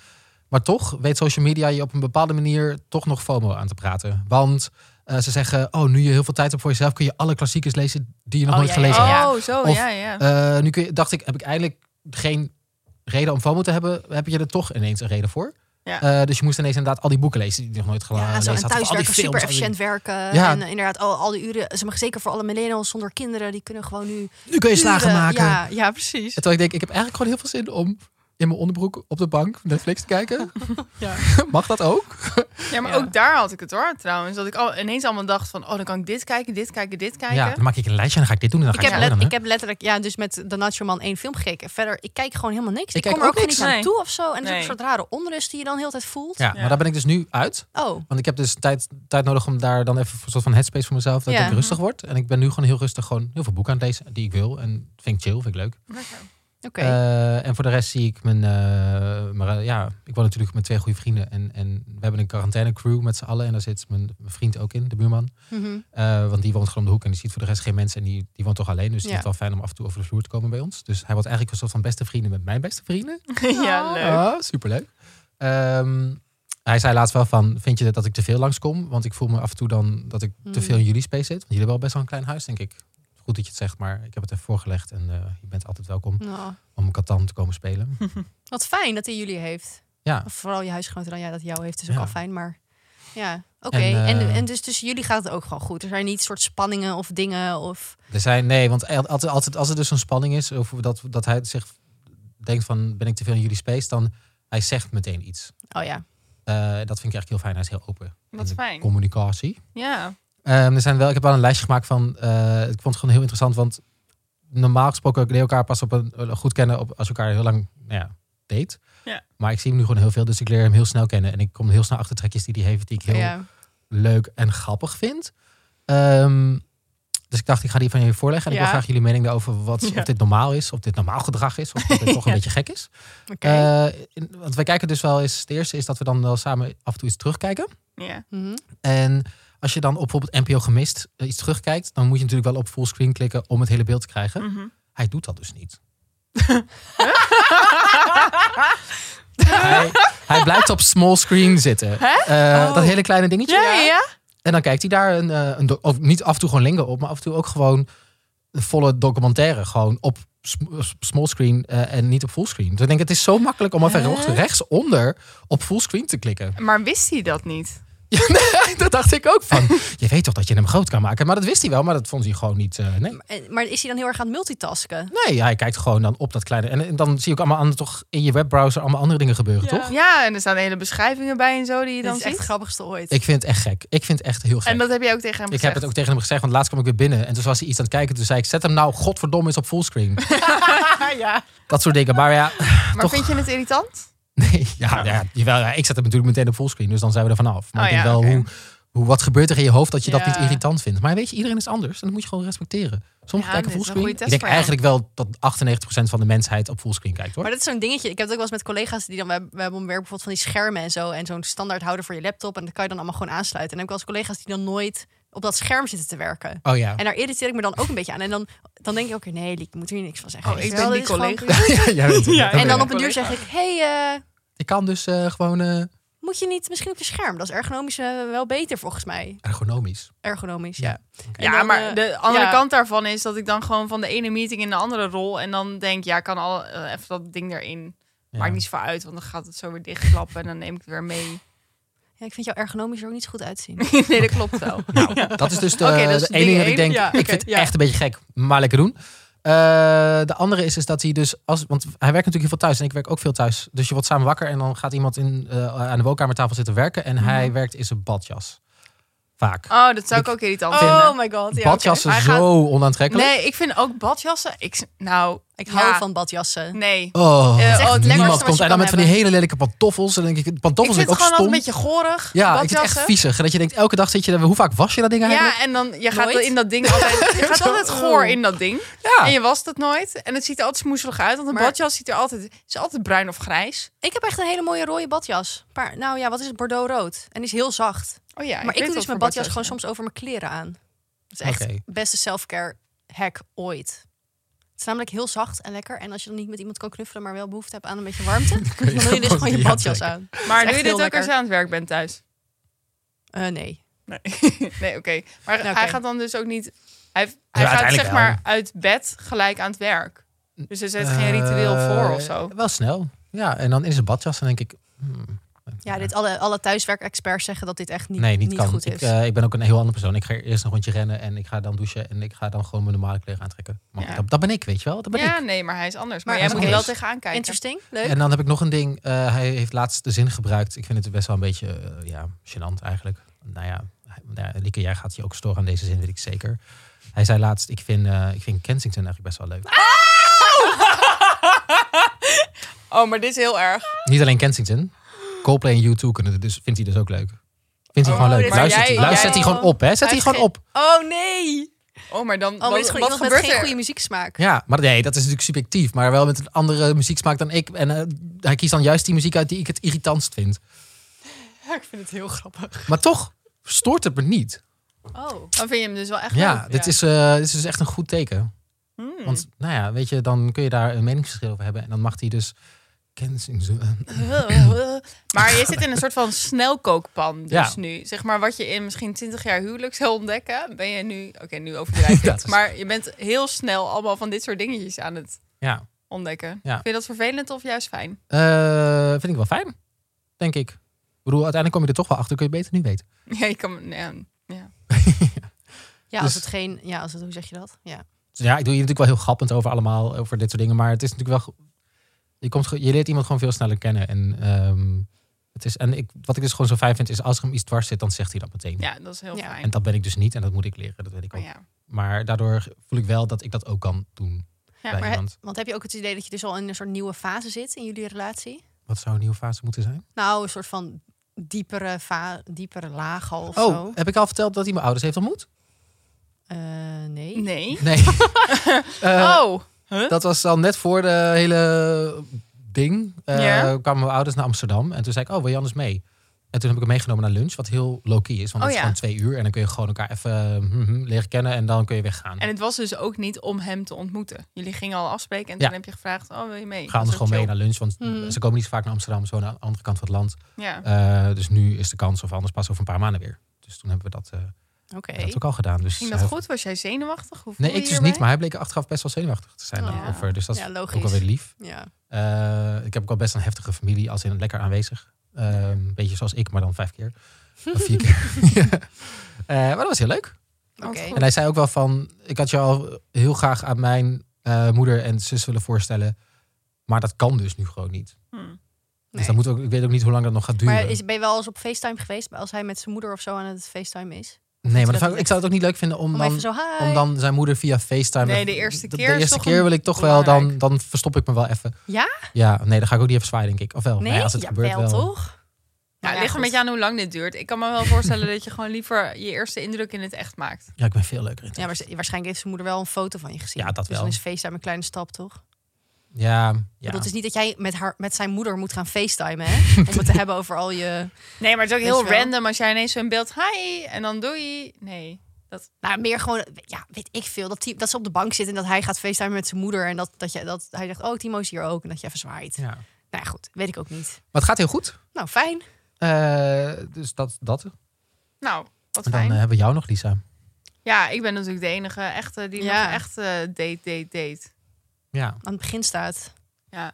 [SPEAKER 3] Maar toch weet social media je op een bepaalde manier toch nog FOMO aan te praten. Want eh, ze zeggen, oh, nu je heel veel tijd hebt voor jezelf... kun je alle klassiekers lezen die je nog
[SPEAKER 2] Oh,
[SPEAKER 3] nooit
[SPEAKER 2] ja, ja,
[SPEAKER 3] gelezen hebt.
[SPEAKER 2] ja.
[SPEAKER 1] Oh, zo,
[SPEAKER 3] Of-
[SPEAKER 1] ja, ja.
[SPEAKER 3] Eh, nu kun je, dacht ik, heb ik eindelijk geen reden om FOMO te hebben. Heb je er toch ineens een reden voor?
[SPEAKER 1] Ja.
[SPEAKER 3] Eh, dus je moest ineens inderdaad al die boeken lezen die je nog nooit gelezen
[SPEAKER 2] Ja,
[SPEAKER 3] Eh, had.
[SPEAKER 2] zo en
[SPEAKER 3] of al die
[SPEAKER 2] thuiswerken,
[SPEAKER 3] films, al die-
[SPEAKER 2] super efficiënt werken.
[SPEAKER 3] Ja.
[SPEAKER 2] En eh, inderdaad, al, al die uren, zeg maar, zeker voor alle millennials zonder kinderen, die kunnen gewoon nu...
[SPEAKER 3] Nu kun je slagen
[SPEAKER 2] uren-
[SPEAKER 3] maken.
[SPEAKER 2] Ja, ja precies.
[SPEAKER 3] Terwijl ik denk, ik heb eigenlijk gewoon heel veel zin om in mijn onderbroek op de bank Netflix te kijken?
[SPEAKER 2] Ja.
[SPEAKER 3] Mag dat ook?
[SPEAKER 1] Ja, maar
[SPEAKER 2] Ja.
[SPEAKER 1] ook daar had ik het hoor, trouwens. Dat ik al, ineens allemaal dacht van, oh, dan kan ik dit kijken, dit kijken, dit kijken.
[SPEAKER 3] Ja, dan maak ik een lijstje en dan ga ik dit doen en dan
[SPEAKER 2] Ik
[SPEAKER 3] ga
[SPEAKER 2] heb,
[SPEAKER 3] ik
[SPEAKER 2] let-
[SPEAKER 3] dat doen.
[SPEAKER 2] ik heb letterlijk, ja, dus met de Nacho Man één film gekeken. Verder, ik kijk gewoon helemaal niks.
[SPEAKER 3] Ik
[SPEAKER 2] Ik,
[SPEAKER 3] kijk
[SPEAKER 2] kom er ook,
[SPEAKER 3] ook
[SPEAKER 2] gewoon
[SPEAKER 3] niks.
[SPEAKER 2] niet aan
[SPEAKER 1] Nee.
[SPEAKER 2] toe of zo. En er is ook
[SPEAKER 1] Nee.
[SPEAKER 2] een soort rare onrust die je dan heel de tijd voelt.
[SPEAKER 3] Ja, maar daar ben ik dus nu uit.
[SPEAKER 2] Oh,
[SPEAKER 3] Want ik heb dus tijd, tijd nodig om daar dan even een soort van headspace voor mezelf. Dat
[SPEAKER 2] Ja. Mhm.
[SPEAKER 3] ik rustig word. En ik ben nu gewoon heel rustig gewoon heel veel boeken aan het lezen die ik wil. En vind ik chill, vind ik leuk.
[SPEAKER 1] Lekker.
[SPEAKER 2] oké.
[SPEAKER 3] Eh, en voor de rest zie ik mijn... eh, maar, eh, ja, ik woon natuurlijk met twee goede vrienden. En, en we hebben een quarantaine crew met z'n allen. En daar zit mijn, mijn vriend ook in, de buurman.
[SPEAKER 2] Mhm.
[SPEAKER 3] Eh, want die woont gewoon om de hoek en die ziet voor de rest geen mensen. En die, die woont toch alleen. Dus het
[SPEAKER 2] Ja.
[SPEAKER 3] is wel fijn om af en toe over de vloer te komen bij ons. Dus hij wordt eigenlijk een soort van beste vrienden met mijn beste vrienden.
[SPEAKER 1] ja, leuk.
[SPEAKER 3] Ah, superleuk. Ehm, hij zei laatst wel van, vind je dat ik te veel langskom? Want ik voel me af en toe dan dat ik te
[SPEAKER 2] Hmm.
[SPEAKER 3] veel in jullie space zit. Want jullie hebben wel best wel een klein huis, denk ik. Goed dat je het zegt, maar ik heb het even voorgelegd. En eh, je bent altijd welkom
[SPEAKER 2] Nou,
[SPEAKER 3] om Catan te komen spelen.
[SPEAKER 2] Hm. wat fijn dat hij jullie heeft.
[SPEAKER 3] Ja,
[SPEAKER 2] Of vooral je huisgenoten dan, ja, dat jou heeft is ook
[SPEAKER 3] Ja.
[SPEAKER 2] al fijn, maar ja. Oké,
[SPEAKER 3] En,
[SPEAKER 2] en,
[SPEAKER 3] eh,
[SPEAKER 2] en, dus tussen jullie gaat het ook gewoon goed. Er zijn niet soort spanningen of dingen of...
[SPEAKER 3] er zijn, nee, want el- altijd, altijd als er dus zo'n spanning is... of dat, dat hij zich denkt van, ben ik te veel in jullie space? Dan, hij zegt meteen iets.
[SPEAKER 2] Oh ja,
[SPEAKER 3] Eh, dat vind ik echt heel fijn. Hij is heel open.
[SPEAKER 1] Wat
[SPEAKER 3] in de
[SPEAKER 1] fijn.
[SPEAKER 3] Communicatie.
[SPEAKER 1] Ja.
[SPEAKER 3] Ehm, er zijn wel, ik heb wel een lijstje gemaakt van. eh, ik vond het gewoon heel interessant. Want normaal gesproken leer je elkaar pas op een, eh, goed kennen op, als je elkaar heel lang nou ja, date.
[SPEAKER 1] Ja.
[SPEAKER 3] Maar ik zie hem nu gewoon heel veel. Dus ik leer hem heel snel kennen. En ik kom heel snel achter trekjes die hij heeft. Die ik heel
[SPEAKER 2] ja.
[SPEAKER 3] leuk en grappig vind. Ehm, dus ik dacht, ik ga die van jullie voorleggen. En ik
[SPEAKER 1] Ja.
[SPEAKER 3] wil graag jullie mening daarover. Wat,
[SPEAKER 1] Ja.
[SPEAKER 3] Of dit normaal is. Of dit normaal gedrag is. Of dat dit toch een
[SPEAKER 1] Ja.
[SPEAKER 3] beetje gek is.
[SPEAKER 2] oké.
[SPEAKER 3] Eh, in- want wij kijken dus wel eens. Het eerste is dat we dan wel samen af en toe iets terugkijken.
[SPEAKER 1] Ja.
[SPEAKER 2] Mhm.
[SPEAKER 3] En als je dan op bijvoorbeeld NPO gemist eh, iets terugkijkt, dan moet je natuurlijk wel op fullscreen klikken om het hele beeld te krijgen.
[SPEAKER 1] Mhm.
[SPEAKER 3] Hij doet dat dus niet. hij, hij blijft op small screen zitten. Eh,
[SPEAKER 2] Oh.
[SPEAKER 3] Dat hele kleine dingetje.
[SPEAKER 1] Ja, ja.
[SPEAKER 3] En dan kijkt hij daar een, eh, een do- of niet af en toe gewoon linken op, maar af en toe ook gewoon een volle documentaire. Gewoon op sm- s- small screen eh, en niet op fullscreen. Dus ik denk, het is zo makkelijk om even
[SPEAKER 2] Hè?
[SPEAKER 3] rechts- rechtsonder op fullscreen te klikken.
[SPEAKER 1] Maar wist hij dat niet?
[SPEAKER 3] Ja, nee, dat dacht ik ook van. Je weet toch dat je hem groot kan maken? Maar dat wist hij wel, maar dat vond hij gewoon niet. eh, nee.
[SPEAKER 2] En- Maar is hij dan heel erg aan het multitasken?
[SPEAKER 3] nee, hij kijkt gewoon dan op dat kleine. En, en dan zie je ook allemaal andere, toch in je webbrowser allemaal andere dingen gebeuren,
[SPEAKER 2] Ja.
[SPEAKER 3] toch?
[SPEAKER 1] Ja, en er staan hele beschrijvingen bij en zo die je
[SPEAKER 2] Dit
[SPEAKER 1] dan
[SPEAKER 2] is echt
[SPEAKER 1] ziet.
[SPEAKER 2] het grappigste ooit.
[SPEAKER 3] Ik vind het echt gek. Ik vind het echt heel gek.
[SPEAKER 1] en dat heb je ook tegen hem
[SPEAKER 3] ik heb
[SPEAKER 1] gezegd.
[SPEAKER 3] het ook tegen hem gezegd, want laatst kwam ik weer binnen. En toen was hij iets aan het kijken. Toen zei ik, zet hem nou godverdomme eens op fullscreen.
[SPEAKER 1] ja.
[SPEAKER 3] Dat soort dingen. Maar ja,
[SPEAKER 1] Maar
[SPEAKER 3] Toch.
[SPEAKER 1] vind je het irritant?
[SPEAKER 3] nee, ja, ja, jawel, ja, ik zet hem natuurlijk meteen op fullscreen. Dus dan zijn we er vanaf. Maar
[SPEAKER 1] Oh
[SPEAKER 3] ik denk
[SPEAKER 1] ja,
[SPEAKER 3] wel,
[SPEAKER 1] oké.
[SPEAKER 3] hoe, hoe, wat gebeurt er in je hoofd dat je dat
[SPEAKER 1] Ja.
[SPEAKER 3] niet irritant vindt? Maar weet je, iedereen is anders. En dat moet je gewoon respecteren. Sommigen
[SPEAKER 1] Ja,
[SPEAKER 3] kijken
[SPEAKER 1] dit is een
[SPEAKER 3] fullscreen.
[SPEAKER 1] goede
[SPEAKER 3] Ik
[SPEAKER 1] test
[SPEAKER 3] denk
[SPEAKER 1] voor jou.
[SPEAKER 3] eigenlijk wel dat 98% van de mensheid op fullscreen kijkt hoor.
[SPEAKER 2] Maar dat is zo'n dingetje. Ik heb het ook wel eens met collega's die dan... We hebben we hebben om werk bijvoorbeeld van die schermen en zo. En zo'n standaard houden voor je laptop. En dat kan je dan allemaal gewoon aansluiten. En dan heb ik wel eens collega's die dan nooit op dat scherm zitten te werken.
[SPEAKER 3] Oh ja.
[SPEAKER 2] En daar irriteer ik me dan ook een beetje aan. En dan, dan denk ik ook, weer, nee, Liek, ik moet hier niks van zeggen.
[SPEAKER 1] Oh,
[SPEAKER 2] Weet
[SPEAKER 1] ik
[SPEAKER 2] je
[SPEAKER 1] ben
[SPEAKER 2] wel,
[SPEAKER 1] die
[SPEAKER 2] dit is gewoon-
[SPEAKER 1] collega.
[SPEAKER 3] Ja, jij bent het.
[SPEAKER 1] Ja,
[SPEAKER 3] Dat
[SPEAKER 2] En
[SPEAKER 3] ben
[SPEAKER 2] dan
[SPEAKER 3] ik.
[SPEAKER 2] op een duur zeg ik, hey, eh,
[SPEAKER 3] Ik kan dus eh, gewoon eh,
[SPEAKER 2] moet je niet misschien op je scherm? Dat is ergonomisch eh, wel beter volgens mij.
[SPEAKER 3] ergonomisch.
[SPEAKER 2] Ergonomisch,
[SPEAKER 3] Ja.
[SPEAKER 2] ja. En
[SPEAKER 1] Ja,
[SPEAKER 2] dan,
[SPEAKER 1] maar
[SPEAKER 2] eh,
[SPEAKER 1] de andere
[SPEAKER 2] ja.
[SPEAKER 1] kant daarvan is dat ik dan gewoon van de ene meeting in de andere rol. En dan denk, ja, ik kan al eh, even dat ding erin.
[SPEAKER 3] Ja.
[SPEAKER 1] Maakt niet zoveel uit, want dan gaat het zo weer dichtklappen. En dan neem ik het weer mee.
[SPEAKER 2] Ja, ik vind jou ergonomisch er ook niet zo goed uitzien.
[SPEAKER 1] nee, dat klopt wel.
[SPEAKER 3] Nou, dat is dus de,
[SPEAKER 1] Oké, dat is
[SPEAKER 3] de ene
[SPEAKER 1] ding één.
[SPEAKER 3] ding dat ik denk,
[SPEAKER 1] Ja,
[SPEAKER 3] ik
[SPEAKER 1] oké,
[SPEAKER 3] vind het
[SPEAKER 1] ja.
[SPEAKER 3] echt een beetje gek, maar lekker doen. Eh, de andere is, is dat hij dus, als, want hij werkt natuurlijk heel veel thuis en ik werk ook veel thuis. Dus je wordt samen wakker en dan gaat iemand in, eh, aan de woonkamertafel zitten werken en hij werkt in zijn badjas. Vaak.
[SPEAKER 1] Mhm. Oh, dat zou ik ook irritant vinden.
[SPEAKER 2] Oh my god, ja.
[SPEAKER 3] Badjassen
[SPEAKER 1] Hij gaat-
[SPEAKER 3] zo onaantrekkelijk.
[SPEAKER 1] Nee, ik vind ook badjassen. Ik, s- nou,
[SPEAKER 2] oké. Ik hou
[SPEAKER 1] ja,
[SPEAKER 2] van badjassen.
[SPEAKER 1] Nee.
[SPEAKER 3] Oh,
[SPEAKER 1] Eh, oh, het lekkerste wat
[SPEAKER 3] niemand
[SPEAKER 1] je
[SPEAKER 3] komt. En dan
[SPEAKER 2] kan
[SPEAKER 3] met van die
[SPEAKER 2] hebben.
[SPEAKER 3] hele lelijke pantoffels. En dan denk ik,
[SPEAKER 1] ik
[SPEAKER 3] pantoffels
[SPEAKER 1] vind
[SPEAKER 3] vind
[SPEAKER 1] het
[SPEAKER 3] ik ook
[SPEAKER 1] gewoon altijd
[SPEAKER 3] stom.
[SPEAKER 1] een beetje gorig.
[SPEAKER 3] Ja, ik vind het
[SPEAKER 1] badjassen.
[SPEAKER 3] echt viezig. En dat je denkt, elke dag zit je daar. Hoe vaak was je dat ding eigenlijk?
[SPEAKER 1] Ja, en dan je gaat
[SPEAKER 2] Nooit?
[SPEAKER 1] in dat ding altijd, je gaat altijd goor in dat ding.
[SPEAKER 3] Ja.
[SPEAKER 1] En je wast het nooit. En het ziet er altijd smoeselig uit, want een
[SPEAKER 2] Maar-
[SPEAKER 1] badjas ziet er altijd, is altijd bruin of grijs.
[SPEAKER 2] Ik heb echt een hele mooie rode badjas. Maar, nou ja, wat is het? Bordeaux rood. En die is heel zacht.
[SPEAKER 1] Oh ja,
[SPEAKER 2] maar ik
[SPEAKER 1] weet
[SPEAKER 2] doe
[SPEAKER 1] wat
[SPEAKER 2] dus mijn
[SPEAKER 1] voor
[SPEAKER 2] badjas gewoon
[SPEAKER 1] ja.
[SPEAKER 2] soms over mijn kleren aan. Dat is echt
[SPEAKER 3] Oké.
[SPEAKER 2] beste self-care hack ooit. Het is namelijk heel zacht en lekker. En als je dan niet met iemand kan knuffelen, maar wel behoefte hebt aan een beetje warmte, dan
[SPEAKER 3] je
[SPEAKER 2] doe je dus
[SPEAKER 3] gewoon
[SPEAKER 2] gewoon je
[SPEAKER 3] die
[SPEAKER 2] badjas
[SPEAKER 3] aantrekken.
[SPEAKER 2] aan.
[SPEAKER 1] Maar
[SPEAKER 2] echt
[SPEAKER 1] doe je dit
[SPEAKER 2] heel
[SPEAKER 1] ook
[SPEAKER 2] lekker.
[SPEAKER 1] als je aan het werk bent thuis?
[SPEAKER 2] Eh, nee.
[SPEAKER 1] Nee, nee oké. Maar
[SPEAKER 2] Nou, oké.
[SPEAKER 1] hij gaat dan dus ook niet... Hij, hij gaat
[SPEAKER 3] uiteindelijk
[SPEAKER 1] zeg maar uit bed gelijk aan het werk. Dus er zit geen ritueel
[SPEAKER 3] Eh,
[SPEAKER 1] voor of zo.
[SPEAKER 3] Wel snel. Ja, en dan in zijn badjas. En denk ik, hmm,
[SPEAKER 2] Ja, dit, alle, alle thuiswerkexperts zeggen dat dit echt niet,
[SPEAKER 3] nee, niet,
[SPEAKER 2] niet,
[SPEAKER 3] kan.
[SPEAKER 2] goed
[SPEAKER 3] ik,
[SPEAKER 2] is.
[SPEAKER 3] eh, ik ben ook een heel andere persoon. Ik ga eerst een rondje rennen en ik ga dan douchen en ik ga dan gewoon mijn normale kleren aantrekken. Maar
[SPEAKER 1] Ja.
[SPEAKER 3] dat, dat ben ik, weet je wel? Dat ben ik.
[SPEAKER 1] Ja, nee, maar hij is anders. Maar,
[SPEAKER 2] Maar
[SPEAKER 1] jij
[SPEAKER 3] hij
[SPEAKER 1] moet er
[SPEAKER 3] is
[SPEAKER 1] wel
[SPEAKER 3] anders.
[SPEAKER 1] tegenaan kijken.
[SPEAKER 2] Interesting, leuk.
[SPEAKER 3] En dan heb ik nog een ding. Eh, hij heeft laatst de zin gebruikt. Ik vind het best wel een beetje eh, ja, gênant eigenlijk. Nou ja, hij- nou ja, Lieke, jij gaat je ook storen aan deze zin, weet ik zeker. Hij zei laatst, ik vind, eh, ik vind Kensington eigenlijk best wel
[SPEAKER 1] Ah!
[SPEAKER 3] leuk.
[SPEAKER 1] Oh, maar dit is heel erg.
[SPEAKER 3] Niet alleen Kensington. Coldplay en U2 kunnen, het dus, vindt hij dus ook leuk. Vindt hij
[SPEAKER 1] Oh,
[SPEAKER 3] gewoon
[SPEAKER 1] dit
[SPEAKER 3] leuk.
[SPEAKER 1] is-
[SPEAKER 3] Luistert,
[SPEAKER 1] maar
[SPEAKER 3] hij,
[SPEAKER 1] jij-
[SPEAKER 3] luistert
[SPEAKER 1] jij-
[SPEAKER 3] hij gewoon op, hè? Zet hij
[SPEAKER 2] heeft
[SPEAKER 3] gewoon
[SPEAKER 2] geen-
[SPEAKER 3] op.
[SPEAKER 2] Oh nee!
[SPEAKER 1] Oh, maar dan
[SPEAKER 2] Oh, maar dit is
[SPEAKER 1] wat,
[SPEAKER 2] gewoon
[SPEAKER 1] wat
[SPEAKER 2] iemand met
[SPEAKER 1] gebeurt
[SPEAKER 2] geen
[SPEAKER 1] er?
[SPEAKER 2] goede muzieksmaak.
[SPEAKER 3] Ja, maar nee, dat is natuurlijk subjectief. Maar wel met een andere muzieksmaak dan ik. En eh, hij kiest dan juist die muziek uit die ik het irritantst vind.
[SPEAKER 1] Ja, ik vind het heel grappig.
[SPEAKER 3] Maar toch stoort het me niet.
[SPEAKER 2] Oh.
[SPEAKER 1] Dan vind je hem dus wel echt
[SPEAKER 3] Ja,
[SPEAKER 1] leuk.
[SPEAKER 3] dit, Is, eh, dit is dus echt een goed teken.
[SPEAKER 1] Hmm.
[SPEAKER 3] Want nou ja, weet je, dan kun je daar een meningsverschil over hebben. En dan mag hij dus... Kensington-
[SPEAKER 1] maar je zit in een soort van snelkookpan dus
[SPEAKER 3] Ja.
[SPEAKER 1] nu. Zeg maar wat je in misschien 20 jaar huwelijk zou ontdekken, ben je nu... Oké, nu overdrijf ik
[SPEAKER 3] Ja,
[SPEAKER 1] het,
[SPEAKER 3] dat is-
[SPEAKER 1] Maar je bent heel snel allemaal van dit soort dingetjes aan het
[SPEAKER 3] Ja,
[SPEAKER 1] ontdekken.
[SPEAKER 3] Ja.
[SPEAKER 1] Vind je dat vervelend of juist fijn?
[SPEAKER 3] Eh, vind ik wel fijn. Denk ik. Ik bedoel, uiteindelijk kom je er toch wel achter. Kun je beter nu weten.
[SPEAKER 1] Ja, je kan... nee, ja.
[SPEAKER 2] Ja,
[SPEAKER 3] Dus-
[SPEAKER 2] als het geen... Ja, als het, hoe zeg je dat? Ja.
[SPEAKER 3] Dus ja, ik doe hier natuurlijk wel heel grappend over allemaal, over dit soort dingen. Maar het is natuurlijk wel. ge- Je, komt, ge- je leert iemand gewoon veel sneller kennen. En, ehm, het is, en ik, wat ik dus gewoon zo fijn vind, is als er hem iets dwars zit, dan zegt hij dat meteen.
[SPEAKER 1] ja, dat is heel
[SPEAKER 2] Ja.
[SPEAKER 1] fijn.
[SPEAKER 3] En dat ben ik dus niet en dat moet ik leren, dat weet ik ook.
[SPEAKER 1] Maar ja.
[SPEAKER 3] Maar daardoor voel ik wel dat ik dat ook kan doen bij
[SPEAKER 2] maar he-
[SPEAKER 3] iemand.
[SPEAKER 2] Want heb je ook het idee dat je dus al in een soort nieuwe fase zit in jullie relatie?
[SPEAKER 3] Wat zou een nieuwe fase moeten zijn?
[SPEAKER 2] Nou, een soort van diepere, fa diepere laag al of
[SPEAKER 3] oh,
[SPEAKER 2] zo.
[SPEAKER 3] heb ik al verteld dat hij mijn ouders heeft ontmoet?
[SPEAKER 2] Eh, nee.
[SPEAKER 1] Nee.
[SPEAKER 3] Nee. Eh,
[SPEAKER 1] Oh.
[SPEAKER 3] Dat was dan net voor de hele ding. Eh,
[SPEAKER 1] Ja.
[SPEAKER 3] Kwamen mijn ouders naar Amsterdam. En toen zei ik, oh, wil je anders mee? En toen heb ik hem meegenomen naar lunch. Wat heel low-key is. Want dat
[SPEAKER 1] Oh
[SPEAKER 3] is
[SPEAKER 1] ja.
[SPEAKER 3] gewoon twee uur. En dan kun je gewoon elkaar even hm, hm, leren kennen. En dan kun je weggaan.
[SPEAKER 1] En het was dus ook niet om hem te ontmoeten. Jullie gingen al afspreken en
[SPEAKER 3] Ja.
[SPEAKER 1] toen heb je gevraagd, oh wil je mee?
[SPEAKER 3] Ga anders
[SPEAKER 1] Dat
[SPEAKER 3] gewoon
[SPEAKER 1] is
[SPEAKER 3] mee
[SPEAKER 1] ook Hm.
[SPEAKER 3] naar lunch. Want
[SPEAKER 2] Mhm.
[SPEAKER 3] ze komen niet zo vaak naar Amsterdam. Zo naar de andere kant van het land.
[SPEAKER 1] chill. Ja.
[SPEAKER 3] Eh, dus nu is de kans. Of anders pas over een paar maanden weer. Dus toen hebben we dat, eh,
[SPEAKER 2] Oké.
[SPEAKER 3] dat ook al gedaan. Dus
[SPEAKER 1] Ging
[SPEAKER 3] hij-
[SPEAKER 1] dat goed? Was jij zenuwachtig? Hoe voel
[SPEAKER 3] Nee,
[SPEAKER 1] je
[SPEAKER 3] ik dus
[SPEAKER 1] hierbij?
[SPEAKER 3] niet. Maar hij bleek achteraf best wel zenuwachtig te zijn.
[SPEAKER 2] Oh.
[SPEAKER 3] daarover. Dus dat is
[SPEAKER 2] Ja,
[SPEAKER 3] ook
[SPEAKER 2] logisch.
[SPEAKER 3] wel weer lief.
[SPEAKER 2] Ja.
[SPEAKER 3] Eh, ik heb ook wel best een heftige familie, als in lekker aanwezig. Eh, Een beetje zoals ik, maar dan vijf keer. Of vier keer. Eh, maar dat was heel leuk.
[SPEAKER 2] Oké.
[SPEAKER 1] Want goed.
[SPEAKER 3] En hij zei ook wel van, ik had je al heel graag aan mijn eh, moeder en zus willen voorstellen. Maar dat kan dus nu gewoon niet.
[SPEAKER 1] Hmm.
[SPEAKER 3] Dus
[SPEAKER 2] Nee.
[SPEAKER 3] dat moet ook, ik weet ook niet hoe lang dat nog gaat duren.
[SPEAKER 2] Maar is, ben je wel eens op FaceTime geweest? Als hij met zijn moeder of zo aan het FaceTime is?
[SPEAKER 3] nee, maar dat
[SPEAKER 2] dat
[SPEAKER 3] zou, ik- ik zou het ook niet leuk vinden om,
[SPEAKER 2] Om
[SPEAKER 3] dan,
[SPEAKER 2] even zo, hi.
[SPEAKER 3] om dan zijn moeder via FaceTime...
[SPEAKER 1] Nee, de eerste
[SPEAKER 3] De,
[SPEAKER 1] keer is
[SPEAKER 3] eerste
[SPEAKER 1] toch
[SPEAKER 3] keer
[SPEAKER 1] een-
[SPEAKER 3] wil ik toch wel, dan,
[SPEAKER 1] belangrijk.
[SPEAKER 3] dan verstop ik me wel even.
[SPEAKER 2] Ja?
[SPEAKER 3] Ja, nee, dan ga ik ook niet even zwaaien, denk ik. Of wel?
[SPEAKER 2] nee,
[SPEAKER 3] nou als het
[SPEAKER 2] ja,
[SPEAKER 3] gebeurt wel.
[SPEAKER 2] toch?
[SPEAKER 1] Nou,
[SPEAKER 2] ja,
[SPEAKER 1] het ligt er
[SPEAKER 2] goed.
[SPEAKER 1] met je aan hoe lang dit duurt. Ik kan me wel voorstellen dat je gewoon liever je eerste indruk in het echt maakt.
[SPEAKER 3] Ja, ik ben veel leuker in het
[SPEAKER 2] Ja, maar ze- waarschijnlijk heeft zijn moeder wel een foto van je gezien.
[SPEAKER 3] Ja, dat
[SPEAKER 2] dus
[SPEAKER 3] wel.
[SPEAKER 2] dan is FaceTime een kleine stap, toch?
[SPEAKER 3] Ja,
[SPEAKER 2] Ja.
[SPEAKER 3] ja.
[SPEAKER 2] Dat is niet dat jij met, haar, met zijn moeder moet gaan FaceTime, hè? Om het te hebben over al je...
[SPEAKER 1] Nee, maar het is ook
[SPEAKER 2] Weet
[SPEAKER 1] heel
[SPEAKER 2] je wel.
[SPEAKER 1] random als jij ineens zo in beeld, hi, en dan doei. Nee.
[SPEAKER 2] Nou, meer gewoon, ja, weet ik veel. Dat, die, dat ze op de bank zit en dat hij gaat FaceTime met zijn moeder. En dat, dat, je, dat hij zegt, oh, Timo is hier ook. En dat je even zwaait.
[SPEAKER 3] ja. Maar
[SPEAKER 2] Nou ja, goed, weet ik ook niet.
[SPEAKER 3] het gaat heel goed.
[SPEAKER 2] Nou, fijn.
[SPEAKER 3] Eh, dus dat. dat. En
[SPEAKER 1] Nou, wat
[SPEAKER 3] dan eh,
[SPEAKER 1] fijn.
[SPEAKER 3] hebben we jou nog, Lisa.
[SPEAKER 1] Ja, ik ben natuurlijk de enige echte die
[SPEAKER 2] Ja.
[SPEAKER 1] nog echt eh, date, date, date.
[SPEAKER 3] Ja.
[SPEAKER 2] Aan het begin staat
[SPEAKER 1] Ja.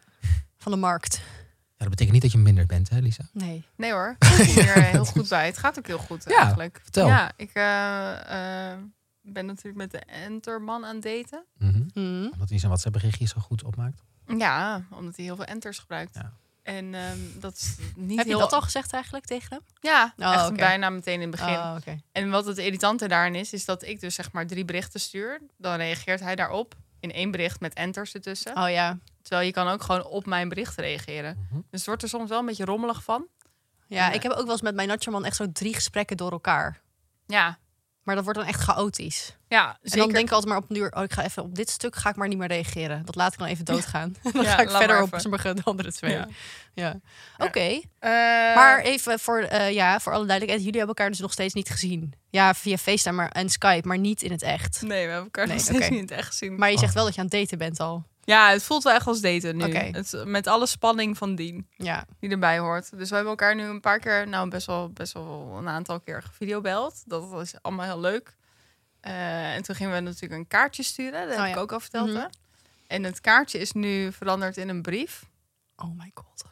[SPEAKER 2] van de markt.
[SPEAKER 3] dat betekent niet dat je minder bent, hè, Lisa?
[SPEAKER 2] Nee.
[SPEAKER 1] Nee hoor, ik ben hier eh, heel goed bij. Het gaat ook heel goed
[SPEAKER 3] Ja,
[SPEAKER 1] eigenlijk.
[SPEAKER 3] vertel.
[SPEAKER 1] Ja, ik eh, eh, ben natuurlijk met de enterman aan het daten.
[SPEAKER 2] Hm.
[SPEAKER 3] Omdat hij zijn WhatsApp-berichtje zo goed opmaakt.
[SPEAKER 1] Ja, omdat hij heel veel enters gebruikt.
[SPEAKER 3] Ja.
[SPEAKER 1] En ehm, dat is niet
[SPEAKER 2] Heb je
[SPEAKER 1] heel...
[SPEAKER 2] dat al gezegd eigenlijk tegen hem?
[SPEAKER 1] Ja,
[SPEAKER 2] Oh,
[SPEAKER 1] echt
[SPEAKER 2] oké.
[SPEAKER 1] bijna meteen in het begin.
[SPEAKER 2] Oh, oké.
[SPEAKER 1] En wat het irritante daarin is, is dat ik dus zeg maar drie berichten stuur. Dan reageert hij daarop in één bericht met enters ertussen.
[SPEAKER 2] Oh ja.
[SPEAKER 1] Terwijl je kan ook gewoon op mijn bericht reageren.
[SPEAKER 3] Mhm.
[SPEAKER 1] Dus het wordt er soms wel een beetje rommelig van.
[SPEAKER 2] Ja,
[SPEAKER 1] Ja.
[SPEAKER 2] ik heb ook wel eens met mijn Nachoman echt zo drie gesprekken door elkaar.
[SPEAKER 1] Ja,
[SPEAKER 2] Maar dat wordt dan echt chaotisch.
[SPEAKER 1] ja zeker.
[SPEAKER 2] En dan denk ik altijd maar op een duur, oh, ik ga even op dit stuk ga ik maar niet meer reageren. Dat laat ik dan even doodgaan. dan
[SPEAKER 1] Ja,
[SPEAKER 2] ga ik
[SPEAKER 1] laat
[SPEAKER 2] verder
[SPEAKER 1] maar
[SPEAKER 2] op
[SPEAKER 1] even.
[SPEAKER 2] sommige de andere twee.
[SPEAKER 1] Ja.
[SPEAKER 2] Ja. Oké,
[SPEAKER 1] Eh,
[SPEAKER 2] maar even voor, eh, ja, voor alle duidelijkheid, jullie hebben elkaar dus nog steeds niet gezien. Ja, via FaceTime maar, en Skype, maar niet in het echt.
[SPEAKER 1] Nee, we hebben elkaar
[SPEAKER 2] Nee,
[SPEAKER 1] nog steeds
[SPEAKER 2] oké.
[SPEAKER 1] niet in het echt gezien.
[SPEAKER 2] Maar je zegt wel dat je aan het daten bent al.
[SPEAKER 1] Ja, het voelt wel echt als daten nu.
[SPEAKER 2] Oké.
[SPEAKER 1] Het, met alle spanning van dien
[SPEAKER 2] Ja,
[SPEAKER 1] die erbij hoort. Dus we hebben elkaar nu een paar keer, nou best wel, best wel een aantal keer gevideobeld. Dat was allemaal heel leuk. Eh, en toen gingen we natuurlijk een kaartje sturen. Dat
[SPEAKER 2] Oh
[SPEAKER 1] heb
[SPEAKER 2] ja.
[SPEAKER 1] ik ook al verteld.
[SPEAKER 2] Mhm.
[SPEAKER 1] hè? En het kaartje is nu veranderd in een brief.
[SPEAKER 2] oh my god.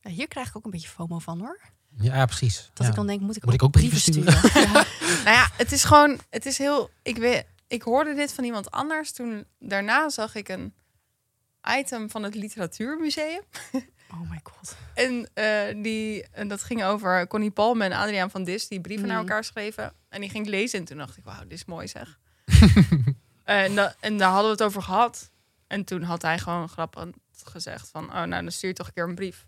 [SPEAKER 2] Ja, hier krijg ik ook een beetje FOMO van hoor.
[SPEAKER 3] Ja, ja, precies.
[SPEAKER 2] Dat
[SPEAKER 3] Ja.
[SPEAKER 2] ik dan denk, moet ik,
[SPEAKER 3] Moet ik ook brieven
[SPEAKER 2] ja.
[SPEAKER 1] Nou ja, het is gewoon, het is heel. Ik, weet, ik hoorde dit van iemand anders. Toen daarna zag ik een item van het Literatuurmuseum.
[SPEAKER 2] Oh my god.
[SPEAKER 1] En, eh, die, en dat ging over Connie Palme en Adriaan van Dis, die brieven naar
[SPEAKER 2] Mhm.
[SPEAKER 1] elkaar schreven. En die ging ik lezen en toen dacht ik, wauw, dit is mooi zeg. Eh, en, da- en daar hadden we het over gehad. En toen had hij gewoon grappig gezegd van, oh nou, dan stuur je toch een keer een brief.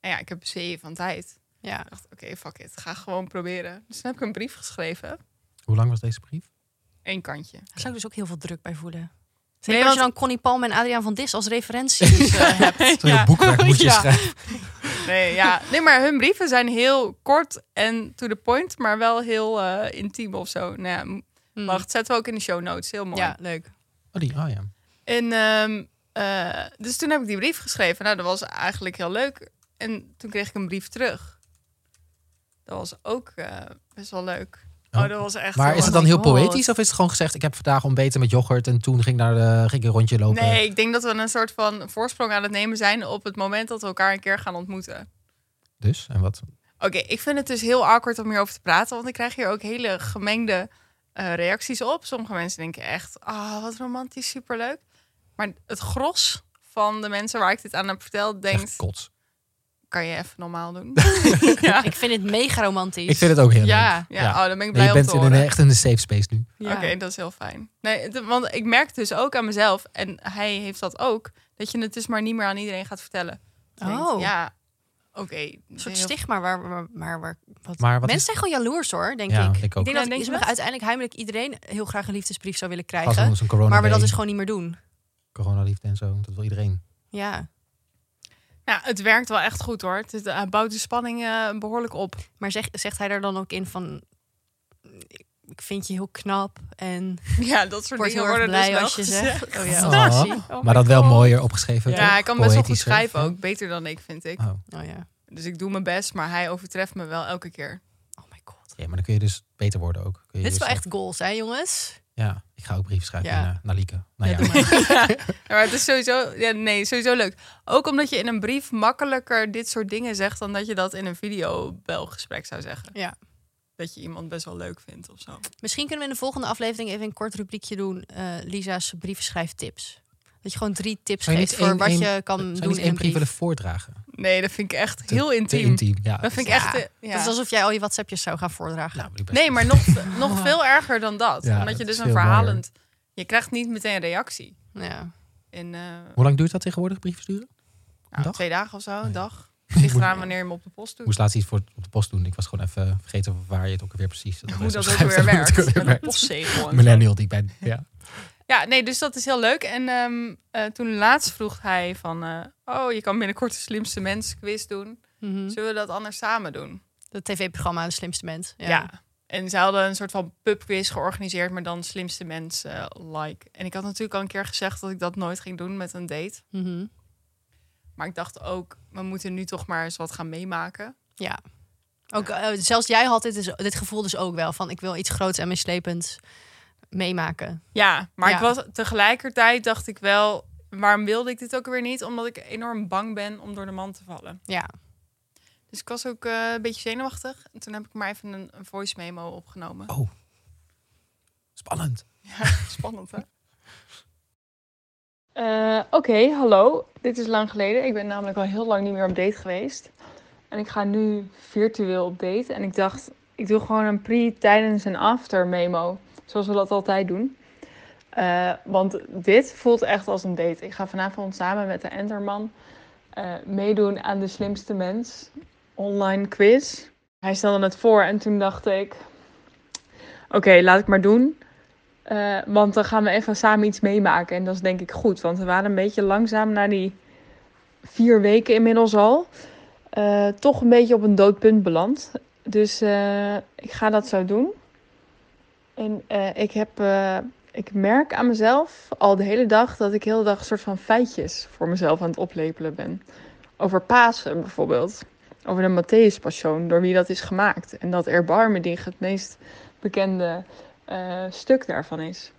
[SPEAKER 1] En ja, ik heb zeeën van tijd.
[SPEAKER 2] Ja,
[SPEAKER 1] Ik dacht, oké, fuck it, ga gewoon proberen. Dus toen heb ik een brief geschreven.
[SPEAKER 3] Hoe lang was deze brief?
[SPEAKER 1] Eén kantje.
[SPEAKER 2] daar zou ik dus ook heel veel druk bij voelen. Zeker
[SPEAKER 1] Nee,
[SPEAKER 2] als je
[SPEAKER 1] want-
[SPEAKER 2] dan Connie Palm en Adriaan van Dis als referenties eh, hebt.
[SPEAKER 3] Zo'n heel boekwerk moet je
[SPEAKER 2] Ja.
[SPEAKER 3] schrijven.
[SPEAKER 1] Nee, ja. nee, maar hun brieven zijn heel kort en to the point, maar wel heel eh, intiem of zo. Nou ja, m-
[SPEAKER 2] Hmm.
[SPEAKER 1] wacht, zetten we ook in de show notes. Heel mooi.
[SPEAKER 2] Ja, leuk.
[SPEAKER 3] Oh, die. Oh ja.
[SPEAKER 1] En, ehm, eh, dus toen heb ik die brief geschreven. Nou, dat was eigenlijk heel leuk. En toen kreeg ik een brief terug. Dat was ook eh, best wel leuk.
[SPEAKER 3] Oh.
[SPEAKER 1] Oh, dat was echt.
[SPEAKER 3] Maar
[SPEAKER 1] heel
[SPEAKER 3] is het
[SPEAKER 1] leuk.
[SPEAKER 3] dan heel
[SPEAKER 2] Oh my God.
[SPEAKER 3] poëtisch of is het gewoon gezegd... ik heb vandaag ontbeten met yoghurt en toen ging, ik naar de, ging ik een rondje lopen?
[SPEAKER 1] Nee, ik denk dat we een soort van voorsprong aan het nemen zijn op het moment dat we elkaar een keer gaan ontmoeten.
[SPEAKER 3] Dus, en wat?
[SPEAKER 1] Oké, ik vind het dus heel awkward om hierover te praten, want ik krijg hier ook hele gemengde eh, reacties op. Sommige mensen denken echt, ah, wat romantisch, superleuk. Maar het gros van de mensen waar ik dit aan heb verteld,
[SPEAKER 3] Echt
[SPEAKER 1] denkt,
[SPEAKER 3] kots.
[SPEAKER 1] kan je even normaal doen? ja,
[SPEAKER 2] Ik vind het mega romantisch.
[SPEAKER 3] Ik vind het ook heel leuk.
[SPEAKER 2] Ja,
[SPEAKER 1] ja,
[SPEAKER 3] Ja.
[SPEAKER 1] Oh, dan ben ik
[SPEAKER 3] Nee,
[SPEAKER 1] blij
[SPEAKER 3] je
[SPEAKER 1] om
[SPEAKER 3] bent
[SPEAKER 1] te
[SPEAKER 3] in een,
[SPEAKER 1] horen.
[SPEAKER 3] echt in een safe space nu.
[SPEAKER 2] ja.
[SPEAKER 1] Oké, dat is heel fijn. Nee, het- want ik merk dus ook aan mezelf, en hij heeft dat ook, dat je het dus maar niet meer aan iedereen gaat vertellen. Je denkt,
[SPEAKER 2] Oh.
[SPEAKER 1] ja, oké.
[SPEAKER 2] Een soort
[SPEAKER 1] heel-
[SPEAKER 2] stigma waar, waar, waar, waar- wat.
[SPEAKER 3] Maar wat
[SPEAKER 2] Mensen
[SPEAKER 3] is-
[SPEAKER 2] zijn gewoon jaloers hoor, denk
[SPEAKER 3] ja,
[SPEAKER 2] ik.
[SPEAKER 3] ik
[SPEAKER 2] Ik
[SPEAKER 3] ook.
[SPEAKER 2] denk
[SPEAKER 1] Ja,
[SPEAKER 2] dat
[SPEAKER 1] denk je
[SPEAKER 2] Ismig
[SPEAKER 1] dat?
[SPEAKER 2] uiteindelijk heimelijk iedereen heel graag een liefdesbrief zou willen
[SPEAKER 3] Als
[SPEAKER 2] krijgen.
[SPEAKER 3] we ons een corona
[SPEAKER 2] Maar we dat
[SPEAKER 3] mee-
[SPEAKER 2] dus gewoon niet meer doen.
[SPEAKER 3] coronaliefde en zo. Dat wil iedereen.
[SPEAKER 2] Ja.
[SPEAKER 1] Ja, het werkt wel echt goed hoor. Het eh, bouwt de spanning eh, behoorlijk op.
[SPEAKER 2] Maar zeg, zegt hij er dan ook in van... Ik vind je heel knap en
[SPEAKER 1] Ja, dat
[SPEAKER 2] ik
[SPEAKER 1] soort
[SPEAKER 2] word
[SPEAKER 1] dingen
[SPEAKER 2] heel erg
[SPEAKER 1] worden
[SPEAKER 2] blij
[SPEAKER 1] dus wel
[SPEAKER 2] als je
[SPEAKER 1] gezegd.
[SPEAKER 2] zegt. Oh ja,
[SPEAKER 3] Oh.
[SPEAKER 2] oh, zie. Oh
[SPEAKER 3] maar dat wel
[SPEAKER 2] God.
[SPEAKER 3] mooier opgeschreven. toch?
[SPEAKER 1] Ja, hij kan best wel goed
[SPEAKER 3] Poëtischer.
[SPEAKER 1] schrijven ook. Beter dan ik, vind ik.
[SPEAKER 3] Oh.
[SPEAKER 2] Oh ja.
[SPEAKER 1] Dus ik doe mijn best, maar hij overtreft me wel elke keer.
[SPEAKER 2] Oh my god.
[SPEAKER 3] Ja, maar dan kun je dus beter worden ook. Kun je
[SPEAKER 2] Dit
[SPEAKER 3] dus
[SPEAKER 2] is wel echt goals, hè jongens?
[SPEAKER 3] Ja, ik ga ook brieven schrijven
[SPEAKER 2] Ja.
[SPEAKER 3] naar, naar Lieke. Nou ja,
[SPEAKER 2] doe maar.
[SPEAKER 1] Ja, maar het is sowieso, ja, nee, sowieso leuk. Ook omdat je in een brief makkelijker dit soort dingen zegt... dan dat je dat in een videobelgesprek zou zeggen.
[SPEAKER 2] Ja.
[SPEAKER 1] Dat je iemand best wel leuk vindt of zo.
[SPEAKER 2] Misschien kunnen we in de volgende aflevering even een kort rubriekje doen. eh, Lisa's brievenschrijftips. Dat je gewoon drie tips
[SPEAKER 3] Zou je
[SPEAKER 2] geeft
[SPEAKER 3] niet
[SPEAKER 2] voor
[SPEAKER 3] één-
[SPEAKER 2] wat
[SPEAKER 3] één-
[SPEAKER 2] je kan
[SPEAKER 3] zou je
[SPEAKER 2] doen
[SPEAKER 3] niet
[SPEAKER 2] in
[SPEAKER 3] één
[SPEAKER 2] een
[SPEAKER 3] brief
[SPEAKER 2] brief.
[SPEAKER 3] willen voordragen?
[SPEAKER 1] Nee, dat vind ik echt
[SPEAKER 3] Te-
[SPEAKER 1] heel
[SPEAKER 3] te
[SPEAKER 1] intiem.
[SPEAKER 3] intiem. Ja,
[SPEAKER 1] Dat vind ik
[SPEAKER 2] Ja.
[SPEAKER 1] echt... eh, ja.
[SPEAKER 2] Het is alsof jij al je WhatsAppjes zou gaan voordragen.
[SPEAKER 3] Nou, die best-
[SPEAKER 1] Nee, maar nog, nog veel erger dan dat.
[SPEAKER 3] Ja,
[SPEAKER 1] omdat je
[SPEAKER 3] het
[SPEAKER 1] dus
[SPEAKER 3] is
[SPEAKER 1] een
[SPEAKER 3] veel mooier.
[SPEAKER 1] verhalend... Je krijgt niet meteen een reactie.
[SPEAKER 2] Ja.
[SPEAKER 1] In eh,
[SPEAKER 3] Hoe lang duurt dat tegenwoordig, brieven sturen?
[SPEAKER 1] nou,
[SPEAKER 3] dag?
[SPEAKER 1] twee dagen of zo, een
[SPEAKER 3] ja.
[SPEAKER 1] dag. Ligt
[SPEAKER 3] Moet-
[SPEAKER 1] eraan wanneer je hem op de post doet.
[SPEAKER 3] Ik moest laatst iets voor op de post doen. Ik was gewoon even vergeten waar je het ook weer precies...
[SPEAKER 1] hoe
[SPEAKER 3] adres
[SPEAKER 1] dat ook
[SPEAKER 3] opschrijft
[SPEAKER 1] weer
[SPEAKER 3] en hoe het
[SPEAKER 1] werkt.
[SPEAKER 3] ook
[SPEAKER 1] Met een
[SPEAKER 3] weer werkt.
[SPEAKER 1] postzegel. en zo.
[SPEAKER 3] Millennial die ik ben. Ja.
[SPEAKER 1] Ja, nee, dus dat is heel leuk. En ehm, eh, toen laatst vroeg hij van... eh, oh, je kan binnenkort de slimste mens quiz doen.
[SPEAKER 3] Hm?
[SPEAKER 2] Mhm.
[SPEAKER 1] Zullen we dat anders samen doen?
[SPEAKER 2] Dat tv-programma De Slimste Mens. Ja.
[SPEAKER 1] En ze hadden een soort van pubquiz georganiseerd... maar dan slimste mens eh, like. En ik had natuurlijk al een keer gezegd... dat ik dat nooit ging doen met een date.
[SPEAKER 2] Mhm.
[SPEAKER 1] Maar ik dacht ook... we moeten nu toch maar eens wat gaan meemaken.
[SPEAKER 2] Ja. Ook, eh, zelfs jij had dit, dus, dit gevoel dus ook wel. Van ik wil iets groots en meeslepends meemaken.
[SPEAKER 1] Ja, maar
[SPEAKER 2] Ja.
[SPEAKER 1] Ik was, tegelijkertijd dacht ik wel... waarom wilde ik dit ook weer niet? Omdat ik enorm bang ben om door de man te vallen.
[SPEAKER 2] Ja.
[SPEAKER 1] Dus ik was ook eh, een beetje zenuwachtig. En toen heb ik maar even een, een voice memo opgenomen.
[SPEAKER 3] Oh. Spannend.
[SPEAKER 1] Ja, spannend hè? Eh, Oké, hallo. Dit is lang geleden. Ik ben namelijk al heel lang niet meer op date geweest. En ik ga nu virtueel op date. En ik dacht, ik doe gewoon een pre, tijdens en after memo. Zoals we dat altijd doen. Eh, want dit voelt echt als een date. Ik ga vanavond samen met de Enterman eh, meedoen aan de slimste mens online quiz. Hij stelde het voor en toen dacht ik, oké, laat ik maar doen. Eh, want dan gaan we even samen iets meemaken. En dat is denk ik goed. Want we waren een beetje langzaam na die vier weken inmiddels al. eh, toch een beetje op een dood punt beland. Dus eh, ik ga dat zo doen. En eh, ik, heb, eh, ik merk aan mezelf al de hele dag dat ik heel de dag een soort van feitjes voor mezelf aan het oplepelen ben. Over Pasen bijvoorbeeld. Over de Matthäus Passion, door wie dat is gemaakt. En dat erbarmen die het meest bekende eh, stuk daarvan is.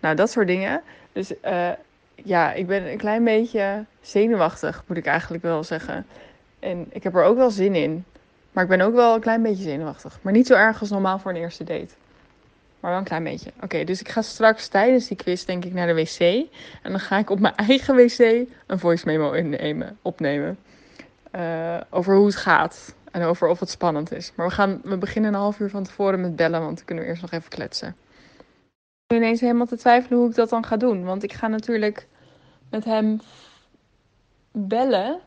[SPEAKER 1] Nou, dat soort dingen. Dus eh, ja, ik ben een klein beetje zenuwachtig, moet ik eigenlijk wel zeggen. En ik heb er ook wel zin in. Maar ik ben ook wel een klein beetje zenuwachtig. Maar niet zo erg als normaal voor een eerste date. Maar wel een klein beetje. Oké, dus ik ga straks tijdens die quiz denk ik naar de wc. En dan ga ik op mijn eigen wc een voice memo innemen, opnemen. Eh, over hoe het gaat. En over of het spannend is. Maar we, gaan, we beginnen een half uur van tevoren met bellen. Want dan kunnen we eerst nog even kletsen. Ik ben ineens helemaal te twijfelen hoe ik dat dan ga doen. Want ik ga natuurlijk met hem bellen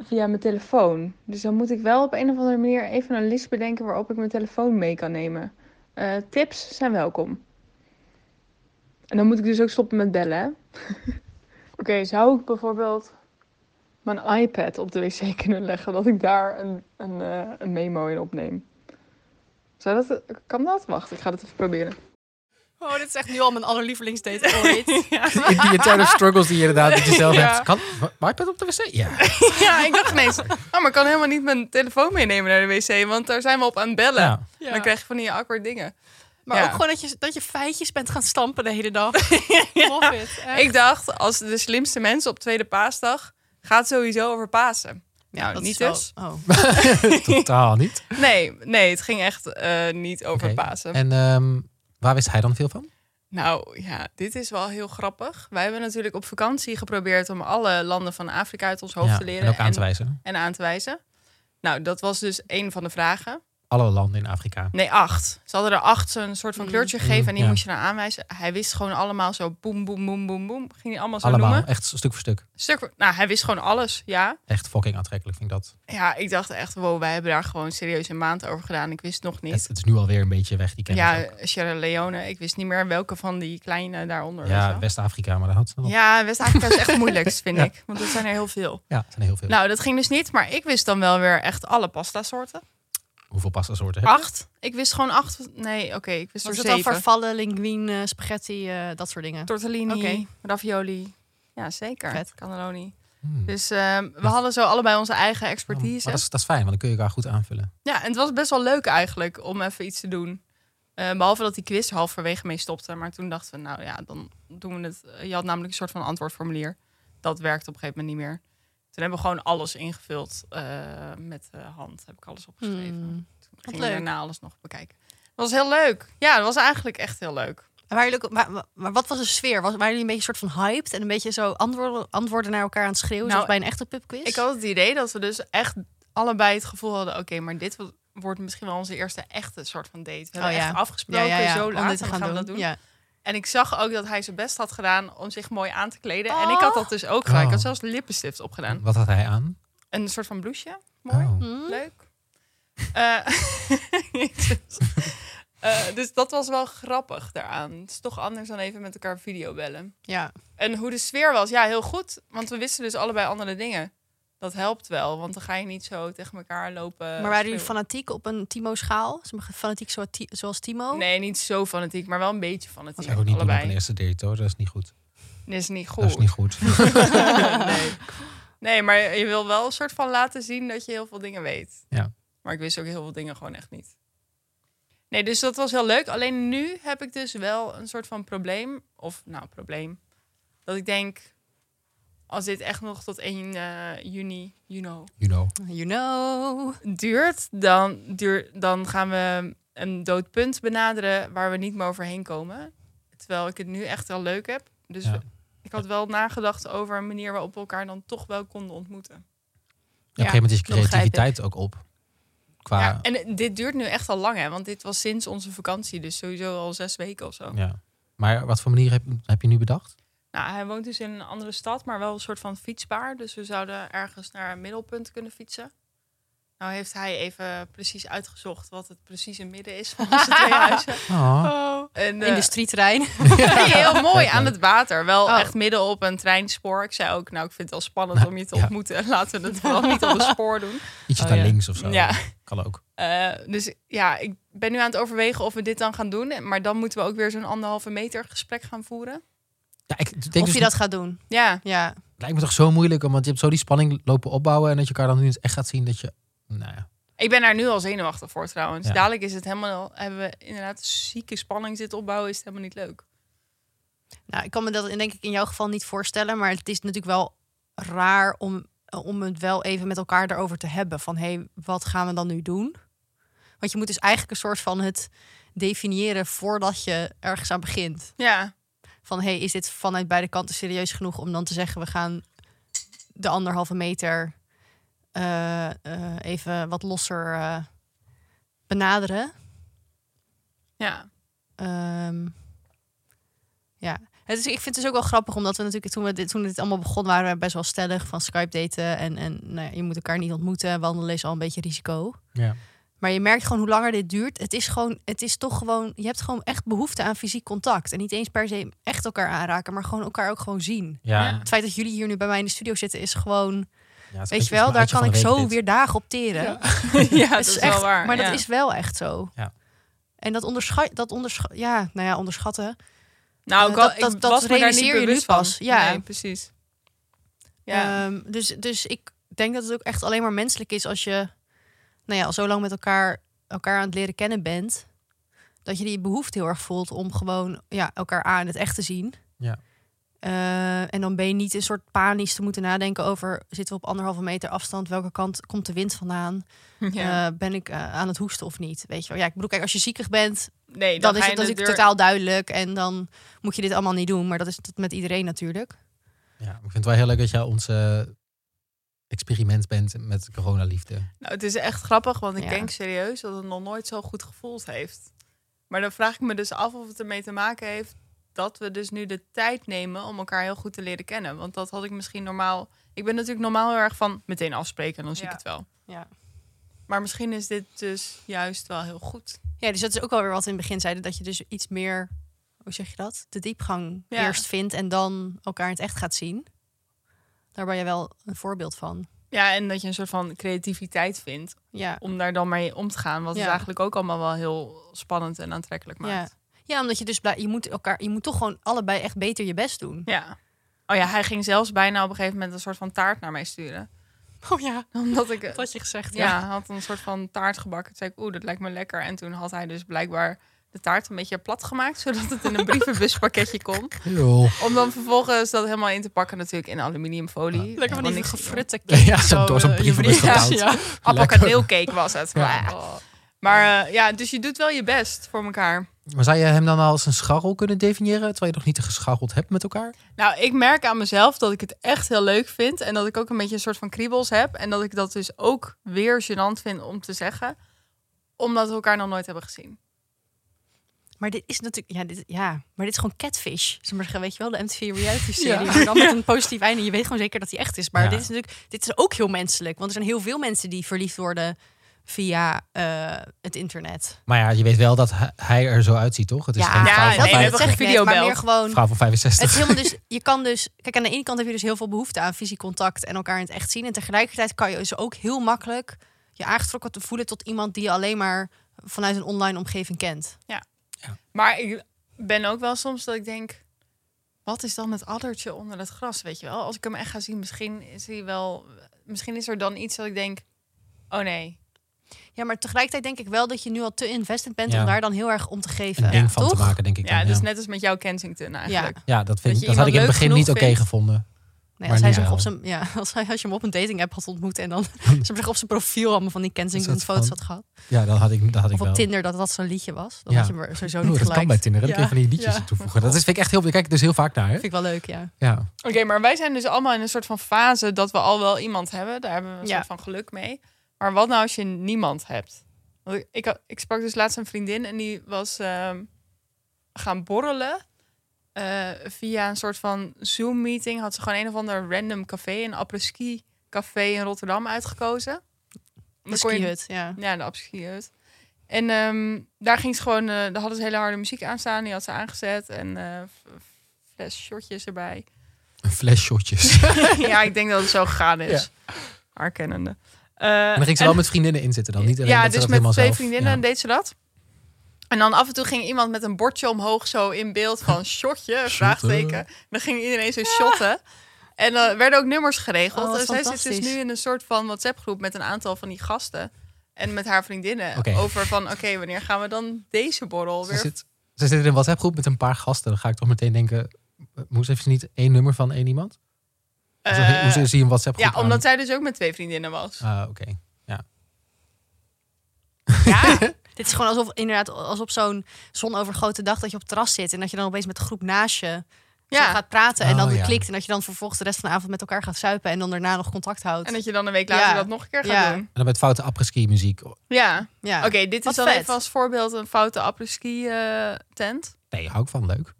[SPEAKER 1] via mijn telefoon. Dus dan moet ik wel op een of andere manier even een list bedenken waarop ik mijn telefoon mee kan nemen. Eh, tips zijn welkom. En dan moet ik dus ook stoppen met bellen. hè? Oké, zou ik bijvoorbeeld mijn iPad op de wc kunnen leggen, dat ik daar een, een, eh, een memo in opneem? Zou dat, kan dat? Wacht, ik ga dat even proberen.
[SPEAKER 2] Oh, dit is echt nu al mijn allerlievelingsdate ooit.
[SPEAKER 3] Die die interne struggles die je inderdaad met jezelf
[SPEAKER 1] Ja.
[SPEAKER 3] hebt. Kan mijn pet op de wc? Ja.
[SPEAKER 1] Ja, ik dacht ineens, oh, maar ik kan helemaal niet mijn telefoon meenemen naar de wc, want daar zijn we op aan het bellen.
[SPEAKER 3] Ja.
[SPEAKER 2] Ja.
[SPEAKER 1] Dan krijg je van die awkward dingen.
[SPEAKER 2] Maar
[SPEAKER 1] Ja.
[SPEAKER 2] ook gewoon dat je, dat je feitjes bent gaan stampen de hele dag. Love it, echt.
[SPEAKER 1] Ik dacht, als de slimste mensen op tweede paasdag, gaat sowieso over Pasen. nou,
[SPEAKER 2] dat
[SPEAKER 1] niet
[SPEAKER 2] is wel-
[SPEAKER 1] dus.
[SPEAKER 2] Oh.
[SPEAKER 3] Totaal niet.
[SPEAKER 1] Nee, nee, het ging echt eh, niet over
[SPEAKER 3] Oké.
[SPEAKER 1] Pasen.
[SPEAKER 3] En ehm, waar wist hij dan veel van?
[SPEAKER 1] Nou ja, dit is wel heel grappig. Wij hebben natuurlijk op vakantie geprobeerd om alle landen van Afrika uit ons hoofd
[SPEAKER 3] Ja,
[SPEAKER 1] te leren
[SPEAKER 3] en ook aan te wijzen.
[SPEAKER 1] en aan te wijzen. Nou, dat was dus één van de vragen.
[SPEAKER 3] Alle landen in Afrika.
[SPEAKER 1] Nee, acht. Ze hadden er acht een soort van
[SPEAKER 2] Mm.
[SPEAKER 1] kleurtje gegeven en die
[SPEAKER 3] ja.
[SPEAKER 1] moest je dan aanwijzen. Hij wist gewoon allemaal zo boem, boem, boem, boem, boem. Ging hij allemaal zo
[SPEAKER 3] Allemaal.
[SPEAKER 1] noemen.
[SPEAKER 3] Echt stuk voor stuk.
[SPEAKER 1] Stuk, voor- nou, hij wist gewoon alles, ja.
[SPEAKER 3] Echt fucking aantrekkelijk vind ik dat.
[SPEAKER 1] Ja, ik dacht echt, wow, wij hebben daar gewoon serieus een maand over gedaan. Ik wist nog niet.
[SPEAKER 3] Het, het is nu alweer een beetje weg, die kennis
[SPEAKER 1] Ja,
[SPEAKER 3] ook.
[SPEAKER 1] Sierra Leone. Ik wist niet meer welke van die kleine daaronder. weet je
[SPEAKER 3] Ja,
[SPEAKER 1] wel.
[SPEAKER 3] West-Afrika, maar dat had ze nog. Ja.
[SPEAKER 1] ja West-Afrika is echt het moeilijkst, vind ik. Want er zijn er heel veel.
[SPEAKER 3] het zijn er heel veel.
[SPEAKER 1] Nou, dat ging dus niet. Maar ik wist dan wel weer echt alle pasta soorten.
[SPEAKER 3] Hoeveel pasta soorten heb je?
[SPEAKER 1] Acht. Ik wist gewoon acht. Nee, oké, ik wist
[SPEAKER 2] Was
[SPEAKER 1] er
[SPEAKER 2] het dan
[SPEAKER 1] zeven.
[SPEAKER 2] vervallen, linguine, eh, spaghetti, eh, dat soort dingen?
[SPEAKER 1] Tortellini,
[SPEAKER 2] Oké.
[SPEAKER 1] ravioli. Ja, zeker.
[SPEAKER 2] Vet.
[SPEAKER 1] Cannelloni.
[SPEAKER 3] Hmm.
[SPEAKER 1] Dus ehm, we hadden zo allebei onze eigen expertise.
[SPEAKER 3] Oh, Maar dat is, dat is fijn, want dan kun je elkaar goed aanvullen.
[SPEAKER 1] Ja, en het was best wel leuk eigenlijk om even iets te doen. Eh, behalve dat die quiz halverwege mee stopte. Maar toen dachten we, nou ja, dan doen we het. Je had namelijk een soort van antwoordformulier. Dat werkte op een gegeven moment niet meer. Toen hebben we gewoon alles ingevuld eh, met de hand. Heb ik alles opgeschreven.
[SPEAKER 2] Hmm.
[SPEAKER 1] Toen gingen we
[SPEAKER 2] leuk.
[SPEAKER 1] daarna alles nog bekijken. Dat was heel leuk. Ja, dat was eigenlijk echt heel leuk.
[SPEAKER 2] En Waren jullie, ook- maar, maar- maar wat was de sfeer? Was, waren jullie een beetje soort van hyped en een beetje zo antwoorden, antwoorden naar elkaar aan het schreeuwen,
[SPEAKER 1] Nou,
[SPEAKER 2] zoals bij een echte pubquiz?
[SPEAKER 1] Ik had het idee dat we dus echt allebei het gevoel hadden... oké, maar dit wo- wordt misschien wel onze eerste echte soort van date. We hebben
[SPEAKER 2] Oh ja.
[SPEAKER 1] echt afgesproken zo
[SPEAKER 2] om
[SPEAKER 1] laat
[SPEAKER 2] dit
[SPEAKER 1] en dan gaan we dat doen.
[SPEAKER 2] Ja.
[SPEAKER 1] En ik zag ook dat hij zijn best had gedaan om zich mooi aan te kleden. En
[SPEAKER 2] Oh.
[SPEAKER 1] ik had dat dus ook gedaan. Ik
[SPEAKER 3] Oh.
[SPEAKER 1] had zelfs lippenstift opgedaan.
[SPEAKER 3] Wat had hij aan?
[SPEAKER 1] Een soort van blouseje. Mooi. Hm.
[SPEAKER 3] Oh.
[SPEAKER 2] Hmm.
[SPEAKER 1] Leuk. Eh, Jezus. Eh, dus dat was wel grappig daaraan. Het is toch anders dan even met elkaar videobellen.
[SPEAKER 2] ja.
[SPEAKER 1] En hoe de sfeer was, ja, heel goed. Want we wisten dus allebei andere dingen. Dat helpt wel, want dan ga je niet zo tegen elkaar lopen.
[SPEAKER 2] Maar waren jullie
[SPEAKER 1] schreeuwen.
[SPEAKER 2] fanatiek op een Timo-schaal? Sommige Fanatiek zo- ti- zoals Timo?
[SPEAKER 1] Nee, niet zo fanatiek, maar wel een beetje
[SPEAKER 3] Dat
[SPEAKER 1] fanatiek.
[SPEAKER 3] zou ik ook niet doen op een
[SPEAKER 1] allebei.
[SPEAKER 3] eerste date, hoor. Dat is niet goed.
[SPEAKER 1] Dat is niet goed.
[SPEAKER 3] Dat is niet goed.
[SPEAKER 1] nee. nee, maar je wil wel een soort van laten zien dat je heel veel dingen weet.
[SPEAKER 3] Ja.
[SPEAKER 1] Maar ik wist ook heel veel dingen gewoon echt niet. Nee, dus dat was heel leuk. Alleen nu heb ik dus wel een soort van probleem. Of nou, probleem. Dat ik denk, als dit echt nog tot 1 eh, juni, you know,
[SPEAKER 3] You know.
[SPEAKER 2] You know.
[SPEAKER 1] duurt, dan, duur, dan gaan we een dood punt benaderen waar we niet meer overheen komen. Terwijl ik het nu echt wel leuk heb. Dus
[SPEAKER 3] Ja.
[SPEAKER 1] we- ik had wel nagedacht over een manier waarop we elkaar dan toch wel konden ontmoeten.
[SPEAKER 3] Ja, op een gegeven moment is je
[SPEAKER 2] dat begrijp ik.
[SPEAKER 3] creativiteit ook op. Qua,
[SPEAKER 1] Ja, en dit duurt nu echt al lang, hè? Want dit was sinds onze vakantie, dus sowieso al zes weken of zo.
[SPEAKER 3] Ja. Maar wat voor manier heb, heb je nu bedacht?
[SPEAKER 1] Nou, hij woont dus in een andere stad, maar wel een soort van fietsbaar. Dus we zouden ergens naar een middelpunt kunnen fietsen. Nou heeft hij even precies uitgezocht wat het precieze midden is van onze twee huizen.
[SPEAKER 3] Oh,
[SPEAKER 1] En, eh,
[SPEAKER 2] Industrieterrein.
[SPEAKER 1] Nee, heel mooi
[SPEAKER 3] Leuk,
[SPEAKER 1] aan
[SPEAKER 3] leuk.
[SPEAKER 1] het water. Wel
[SPEAKER 2] Oh.
[SPEAKER 1] echt midden op een treinspoor. Ik zei ook, nou, ik vind het wel spannend om je te
[SPEAKER 3] Ja.
[SPEAKER 1] ontmoeten. Laten we het wel niet op een spoor doen.
[SPEAKER 3] ietsje
[SPEAKER 2] Oh,
[SPEAKER 3] naar
[SPEAKER 2] ja.
[SPEAKER 3] links of zo.
[SPEAKER 1] Ja.
[SPEAKER 3] Kan ook.
[SPEAKER 1] Eh, dus ja, ik ben nu aan het overwegen of we dit dan gaan doen. Maar dan moeten we ook weer zo'n anderhalve meter gesprek gaan voeren.
[SPEAKER 3] Ja, ik denk
[SPEAKER 2] Of
[SPEAKER 3] dus,
[SPEAKER 2] je dat gaat doen.
[SPEAKER 1] Ja,
[SPEAKER 2] Ja.
[SPEAKER 3] Het lijkt me toch zo moeilijk, want je hebt zo die spanning lopen opbouwen en dat je elkaar dan nu eens echt gaat zien dat je... Nou ja.
[SPEAKER 1] ik ben daar nu al zenuwachtig voor trouwens.
[SPEAKER 3] Ja.
[SPEAKER 1] Dadelijk is het helemaal, hebben we inderdaad zieke spanning zitten opbouwen. Is het helemaal niet leuk.
[SPEAKER 2] Nou, ik kan me dat denk ik in jouw geval niet voorstellen. Maar het is natuurlijk wel raar om eh, om het wel even met elkaar erover te hebben. Van hé, hey, wat gaan we dan nu doen? Want je moet dus eigenlijk een soort van het definiëren voordat je ergens aan begint.
[SPEAKER 1] Ja,
[SPEAKER 2] Van hé, hey, is dit vanuit beide kanten serieus genoeg om dan te zeggen we gaan de anderhalve meter eh, eh, even wat losser eh, benaderen?
[SPEAKER 1] ja.
[SPEAKER 2] Ehm, ja. Het is, ik vind het dus ook wel grappig, omdat we natuurlijk toen we dit, toen dit allemaal begon waren, we best wel stellig van Skype daten en, en nou ja, je moet elkaar niet ontmoeten, wandelen is al een beetje risico.
[SPEAKER 3] Ja.
[SPEAKER 2] Maar je merkt gewoon hoe langer dit duurt, het is gewoon, het is toch gewoon, je hebt gewoon echt behoefte aan fysiek contact en niet eens per se echt elkaar aanraken, maar gewoon elkaar ook gewoon zien.
[SPEAKER 3] Ja,
[SPEAKER 1] Ja.
[SPEAKER 2] Het feit dat jullie hier nu bij mij in de studio zitten is gewoon,
[SPEAKER 3] ja, het is
[SPEAKER 2] weet
[SPEAKER 3] een-
[SPEAKER 2] je wel,
[SPEAKER 3] een
[SPEAKER 2] daar
[SPEAKER 3] uitje
[SPEAKER 2] kan
[SPEAKER 3] van
[SPEAKER 2] ik
[SPEAKER 3] de
[SPEAKER 2] zo
[SPEAKER 3] week dit.
[SPEAKER 2] weer dagen op teren.
[SPEAKER 3] Ja.
[SPEAKER 1] ja, dat
[SPEAKER 2] Het
[SPEAKER 1] is
[SPEAKER 2] is
[SPEAKER 1] wel
[SPEAKER 2] echt,
[SPEAKER 1] waar.
[SPEAKER 2] Maar dat
[SPEAKER 1] ja.
[SPEAKER 2] is wel echt zo.
[SPEAKER 3] Ja.
[SPEAKER 2] En dat onderschat, dat onderschat, ja, nou ja, onderschatten.
[SPEAKER 1] Nou, ik,
[SPEAKER 2] Eh, dat-
[SPEAKER 1] dat,
[SPEAKER 2] dat- dat
[SPEAKER 1] was me daar niet
[SPEAKER 2] realiseer je nu
[SPEAKER 1] bewust van.
[SPEAKER 2] pas. Ja.
[SPEAKER 1] Nee, precies. Ja.
[SPEAKER 2] Ehm, dus, dus ik denk dat het ook echt alleen maar menselijk is als je nou ja, al zo lang met elkaar, elkaar aan het leren kennen bent. Dat je die behoefte heel erg voelt om gewoon ja, elkaar A in het echt te zien.
[SPEAKER 3] Ja.
[SPEAKER 2] Eh, en dan ben je niet een soort panisch te moeten nadenken over zitten we op anderhalve meter afstand, welke kant komt de wind vandaan?
[SPEAKER 1] ja.
[SPEAKER 2] Eh, ben ik eh, aan het hoesten of niet? Weet je wel? Ja, ik bedoel, kijk, als je ziekig bent,
[SPEAKER 1] nee,
[SPEAKER 2] dan,
[SPEAKER 1] dan,
[SPEAKER 2] is
[SPEAKER 1] ga
[SPEAKER 2] het
[SPEAKER 1] je de deur-
[SPEAKER 2] natuurlijk totaal duidelijk. En dan moet je dit allemaal niet doen. Maar dat is dat met iedereen natuurlijk.
[SPEAKER 3] Ja, ik vind het wel heel leuk dat jij ons eh, experiment bent met coronaliefde.
[SPEAKER 1] Nou, het is echt grappig, want ik
[SPEAKER 2] Ja.
[SPEAKER 1] denk serieus dat het nog nooit zo goed gevoeld heeft. Maar dan vraag ik me dus af of het ermee te maken heeft dat we dus nu de tijd nemen om elkaar heel goed te leren kennen. Want dat had ik misschien normaal. Ik ben natuurlijk normaal heel erg van meteen afspreken en dan zie
[SPEAKER 2] Ja.
[SPEAKER 1] ik het wel.
[SPEAKER 2] Ja.
[SPEAKER 1] Maar misschien is dit dus juist wel heel goed.
[SPEAKER 2] Ja, dus dat is ook wel weer wat we in het begin zeiden. Dat je dus iets meer, hoe zeg je dat? De diepgang
[SPEAKER 1] Ja.
[SPEAKER 2] eerst vindt en dan elkaar in het echt gaat zien. Daar ben je wel een voorbeeld van.
[SPEAKER 1] Ja, en dat je een soort van creativiteit vindt
[SPEAKER 2] Ja,
[SPEAKER 1] om daar dan mee om te gaan. Wat
[SPEAKER 2] Ja.
[SPEAKER 1] het eigenlijk ook allemaal wel heel spannend en aantrekkelijk maakt.
[SPEAKER 2] ja omdat je dus blij, je moet elkaar, je moet toch gewoon allebei echt beter je best doen.
[SPEAKER 1] Ja. Oh ja, hij ging zelfs bijna op een gegeven moment een soort van taart naar mij sturen.
[SPEAKER 2] Oh ja,
[SPEAKER 1] Omdat ik... eh,
[SPEAKER 2] dat had je gezegd.
[SPEAKER 1] Ja, hij had een soort van taart gebakken. Toen zei ik, oeh, dat lijkt me lekker. En toen had hij dus blijkbaar de taart een beetje plat gemaakt, zodat het in een brievenbuspakketje kon. Om dan vervolgens dat helemaal in te pakken, natuurlijk in aluminiumfolie.
[SPEAKER 3] Ja.
[SPEAKER 2] Lekker van
[SPEAKER 1] Want
[SPEAKER 2] die
[SPEAKER 1] ik-
[SPEAKER 2] gefrutte eh,
[SPEAKER 3] Ja, zo door zo'n brievenbus
[SPEAKER 1] getouwd. Appenkaneelcake was het.
[SPEAKER 3] Ja.
[SPEAKER 2] Oh.
[SPEAKER 1] Maar eh, ja, dus je doet wel je best voor elkaar.
[SPEAKER 3] Maar zou je hem dan als een scharrel kunnen definiëren, terwijl je nog niet gescharreld hebt met elkaar?
[SPEAKER 1] Nou, ik merk aan mezelf dat ik het echt heel leuk vind. En dat ik ook een beetje een soort van kriebels heb. En dat ik dat dus ook weer gênant vind om te zeggen. Omdat we elkaar nog nooit hebben gezien.
[SPEAKER 2] Maar dit is natuurlijk, ja, dit, ja, maar dit is gewoon catfish. Zeg maar, weet je wel, de MTV reality
[SPEAKER 1] Ja.
[SPEAKER 2] serie. Maar dan met een positief einde. Je weet gewoon zeker dat die echt is. Maar
[SPEAKER 3] Ja.
[SPEAKER 2] dit is natuurlijk, dit is ook heel menselijk. Want er zijn heel veel mensen die verliefd worden via eh, het internet.
[SPEAKER 3] Maar ja, je weet wel dat hij- hij er zo uitziet, toch? Het is geen
[SPEAKER 1] Ja,
[SPEAKER 3] vrouw,
[SPEAKER 1] nee,
[SPEAKER 3] van
[SPEAKER 1] dat
[SPEAKER 3] vijf-
[SPEAKER 1] hebben we
[SPEAKER 2] ik net, maar
[SPEAKER 1] videobelt.
[SPEAKER 2] meer gewoon.
[SPEAKER 3] vrouw van
[SPEAKER 2] Het
[SPEAKER 3] 65.
[SPEAKER 2] is helemaal dus, je kan dus, kijk, aan de ene kant heb je dus heel veel behoefte aan fysiek contact en elkaar in het echt zien. En tegelijkertijd kan je dus ook heel makkelijk je aangetrokken te voelen tot iemand die je alleen maar vanuit een online omgeving kent.
[SPEAKER 1] Maar ik ben ook wel soms dat ik denk... Wat is dan het addertje onder het gras, weet je wel? Als ik hem echt ga zien, misschien is hij wel... Misschien is er dan iets dat ik denk... Oh nee.
[SPEAKER 2] Ja, maar tegelijkertijd denk ik wel dat je nu al te invested bent
[SPEAKER 3] Ja.
[SPEAKER 2] om daar dan heel erg om te geven.
[SPEAKER 3] een ding
[SPEAKER 2] Ja,
[SPEAKER 3] van te
[SPEAKER 2] toch?
[SPEAKER 3] maken, denk ik.
[SPEAKER 1] Ja,
[SPEAKER 3] dan,
[SPEAKER 1] dus
[SPEAKER 3] ja.
[SPEAKER 1] net als met jouw Kensington eigenlijk.
[SPEAKER 3] Ja, dat,
[SPEAKER 1] Dat
[SPEAKER 3] vind,
[SPEAKER 1] je
[SPEAKER 3] ik- dat had ik in het
[SPEAKER 1] iemand
[SPEAKER 3] begin
[SPEAKER 1] leuk
[SPEAKER 3] niet oké
[SPEAKER 1] genoeg vindt.
[SPEAKER 3] gevonden.
[SPEAKER 2] Nee,
[SPEAKER 3] Maar
[SPEAKER 2] als, hij
[SPEAKER 3] nu
[SPEAKER 2] zich
[SPEAKER 3] wel.
[SPEAKER 2] op zijn, ja, als, hij, als je hem op een dating app had ontmoet en dan zeg maar, zich op zijn profiel allemaal van die Kensington
[SPEAKER 3] dat
[SPEAKER 2] foto's
[SPEAKER 3] van-
[SPEAKER 2] had gehad.
[SPEAKER 3] Ja, dat had ik, dat had ik
[SPEAKER 2] Of op
[SPEAKER 3] wel.
[SPEAKER 2] Tinder dat dat zo'n liedje was. Dan
[SPEAKER 3] Ja.
[SPEAKER 2] had je hem er sowieso
[SPEAKER 3] Oeh,
[SPEAKER 2] niet
[SPEAKER 3] dat
[SPEAKER 2] gelijk.
[SPEAKER 3] kan bij Tinder. Dan
[SPEAKER 2] Ja.
[SPEAKER 3] kun je van die liedjes
[SPEAKER 2] Ja.
[SPEAKER 3] aan toevoegen. Dat is, vind ik echt heel... Ik kijk er dus heel vaak naar, hè?
[SPEAKER 2] Vind ik wel leuk, ja.
[SPEAKER 3] Ja.
[SPEAKER 1] Oké, maar wij zijn dus allemaal in een soort van fase dat we al wel iemand hebben. Daar hebben we een
[SPEAKER 2] Ja.
[SPEAKER 1] soort van geluk mee. Maar wat nou als je niemand hebt? Want ik, ik, had- ik sprak dus laatst een vriendin en die was ehm, gaan borrelen. eh, via een soort van Zoom-meeting had ze gewoon een of ander random café, een apres-ski café in Rotterdam uitgekozen.
[SPEAKER 2] De
[SPEAKER 1] Dan kon je-
[SPEAKER 2] skihut, ja.
[SPEAKER 1] ja, de abschiet. En ehm, daar ging ze gewoon, eh, daar hadden ze hele harde muziek aan staan. Die had ze aangezet en eh f- fles shotjes erbij.
[SPEAKER 3] Een fles shotjes. en
[SPEAKER 1] ja, ik denk dat het zo gegaan is. Haar kennende. Eh,
[SPEAKER 3] dan ging ze wel met vriendinnen in zitten dan. Niet alleen
[SPEAKER 1] ja,
[SPEAKER 3] dat ze
[SPEAKER 1] dus
[SPEAKER 3] dat
[SPEAKER 1] met
[SPEAKER 3] helemaal
[SPEAKER 1] twee
[SPEAKER 3] zelf...
[SPEAKER 1] vriendinnen
[SPEAKER 3] ja.
[SPEAKER 1] deed ze dat. En dan af en toe ging iemand met een bordje omhoog zo in beeld van shotje, vraagteken. Dan ging iedereen zo shotten. En er werden ook nummers geregeld.
[SPEAKER 2] Oh, wat
[SPEAKER 1] dus zij zit dus
[SPEAKER 2] fantastisch.
[SPEAKER 1] nu in een soort van WhatsApp groep met een aantal van die gasten. En met haar vriendinnen
[SPEAKER 3] Oké.
[SPEAKER 1] over van oké, wanneer gaan we dan deze borrel
[SPEAKER 3] Ze
[SPEAKER 1] weer?
[SPEAKER 3] zit, ze zit in een WhatsApp groep met een paar gasten. Dan ga ik toch meteen denken... eh, Moes heeft ze niet één nummer van één iemand? Hoezo-
[SPEAKER 1] Eh,
[SPEAKER 3] Hoe zie je een WhatsApp
[SPEAKER 1] ja,
[SPEAKER 3] groep aan?
[SPEAKER 1] omdat zij dus ook met twee vriendinnen was.
[SPEAKER 3] Ah, oké.
[SPEAKER 2] Ja. Dit is gewoon alsof inderdaad als op zo'n zonovergoten dag dat je op het terras zit en dat je dan opeens met de groep naast je
[SPEAKER 1] Ja.
[SPEAKER 2] zo gaat praten en
[SPEAKER 3] Oh,
[SPEAKER 2] dan weer
[SPEAKER 3] ja.
[SPEAKER 2] klikt en dat je dan vervolgens de rest van de avond met elkaar gaat zuipen en dan daarna nog contact houdt.
[SPEAKER 1] En dat je dan een week later
[SPEAKER 2] Ja.
[SPEAKER 1] dat nog een keer gaat
[SPEAKER 2] Ja.
[SPEAKER 1] doen.
[SPEAKER 3] En dan met foute apres-ski muziek.
[SPEAKER 1] Ja.
[SPEAKER 2] ja.
[SPEAKER 1] Oké, dit
[SPEAKER 2] Wat
[SPEAKER 1] is dan
[SPEAKER 2] vet.
[SPEAKER 1] even als voorbeeld een foute apres-ski eh, tent.
[SPEAKER 3] Nee, hou ik van. Leuk.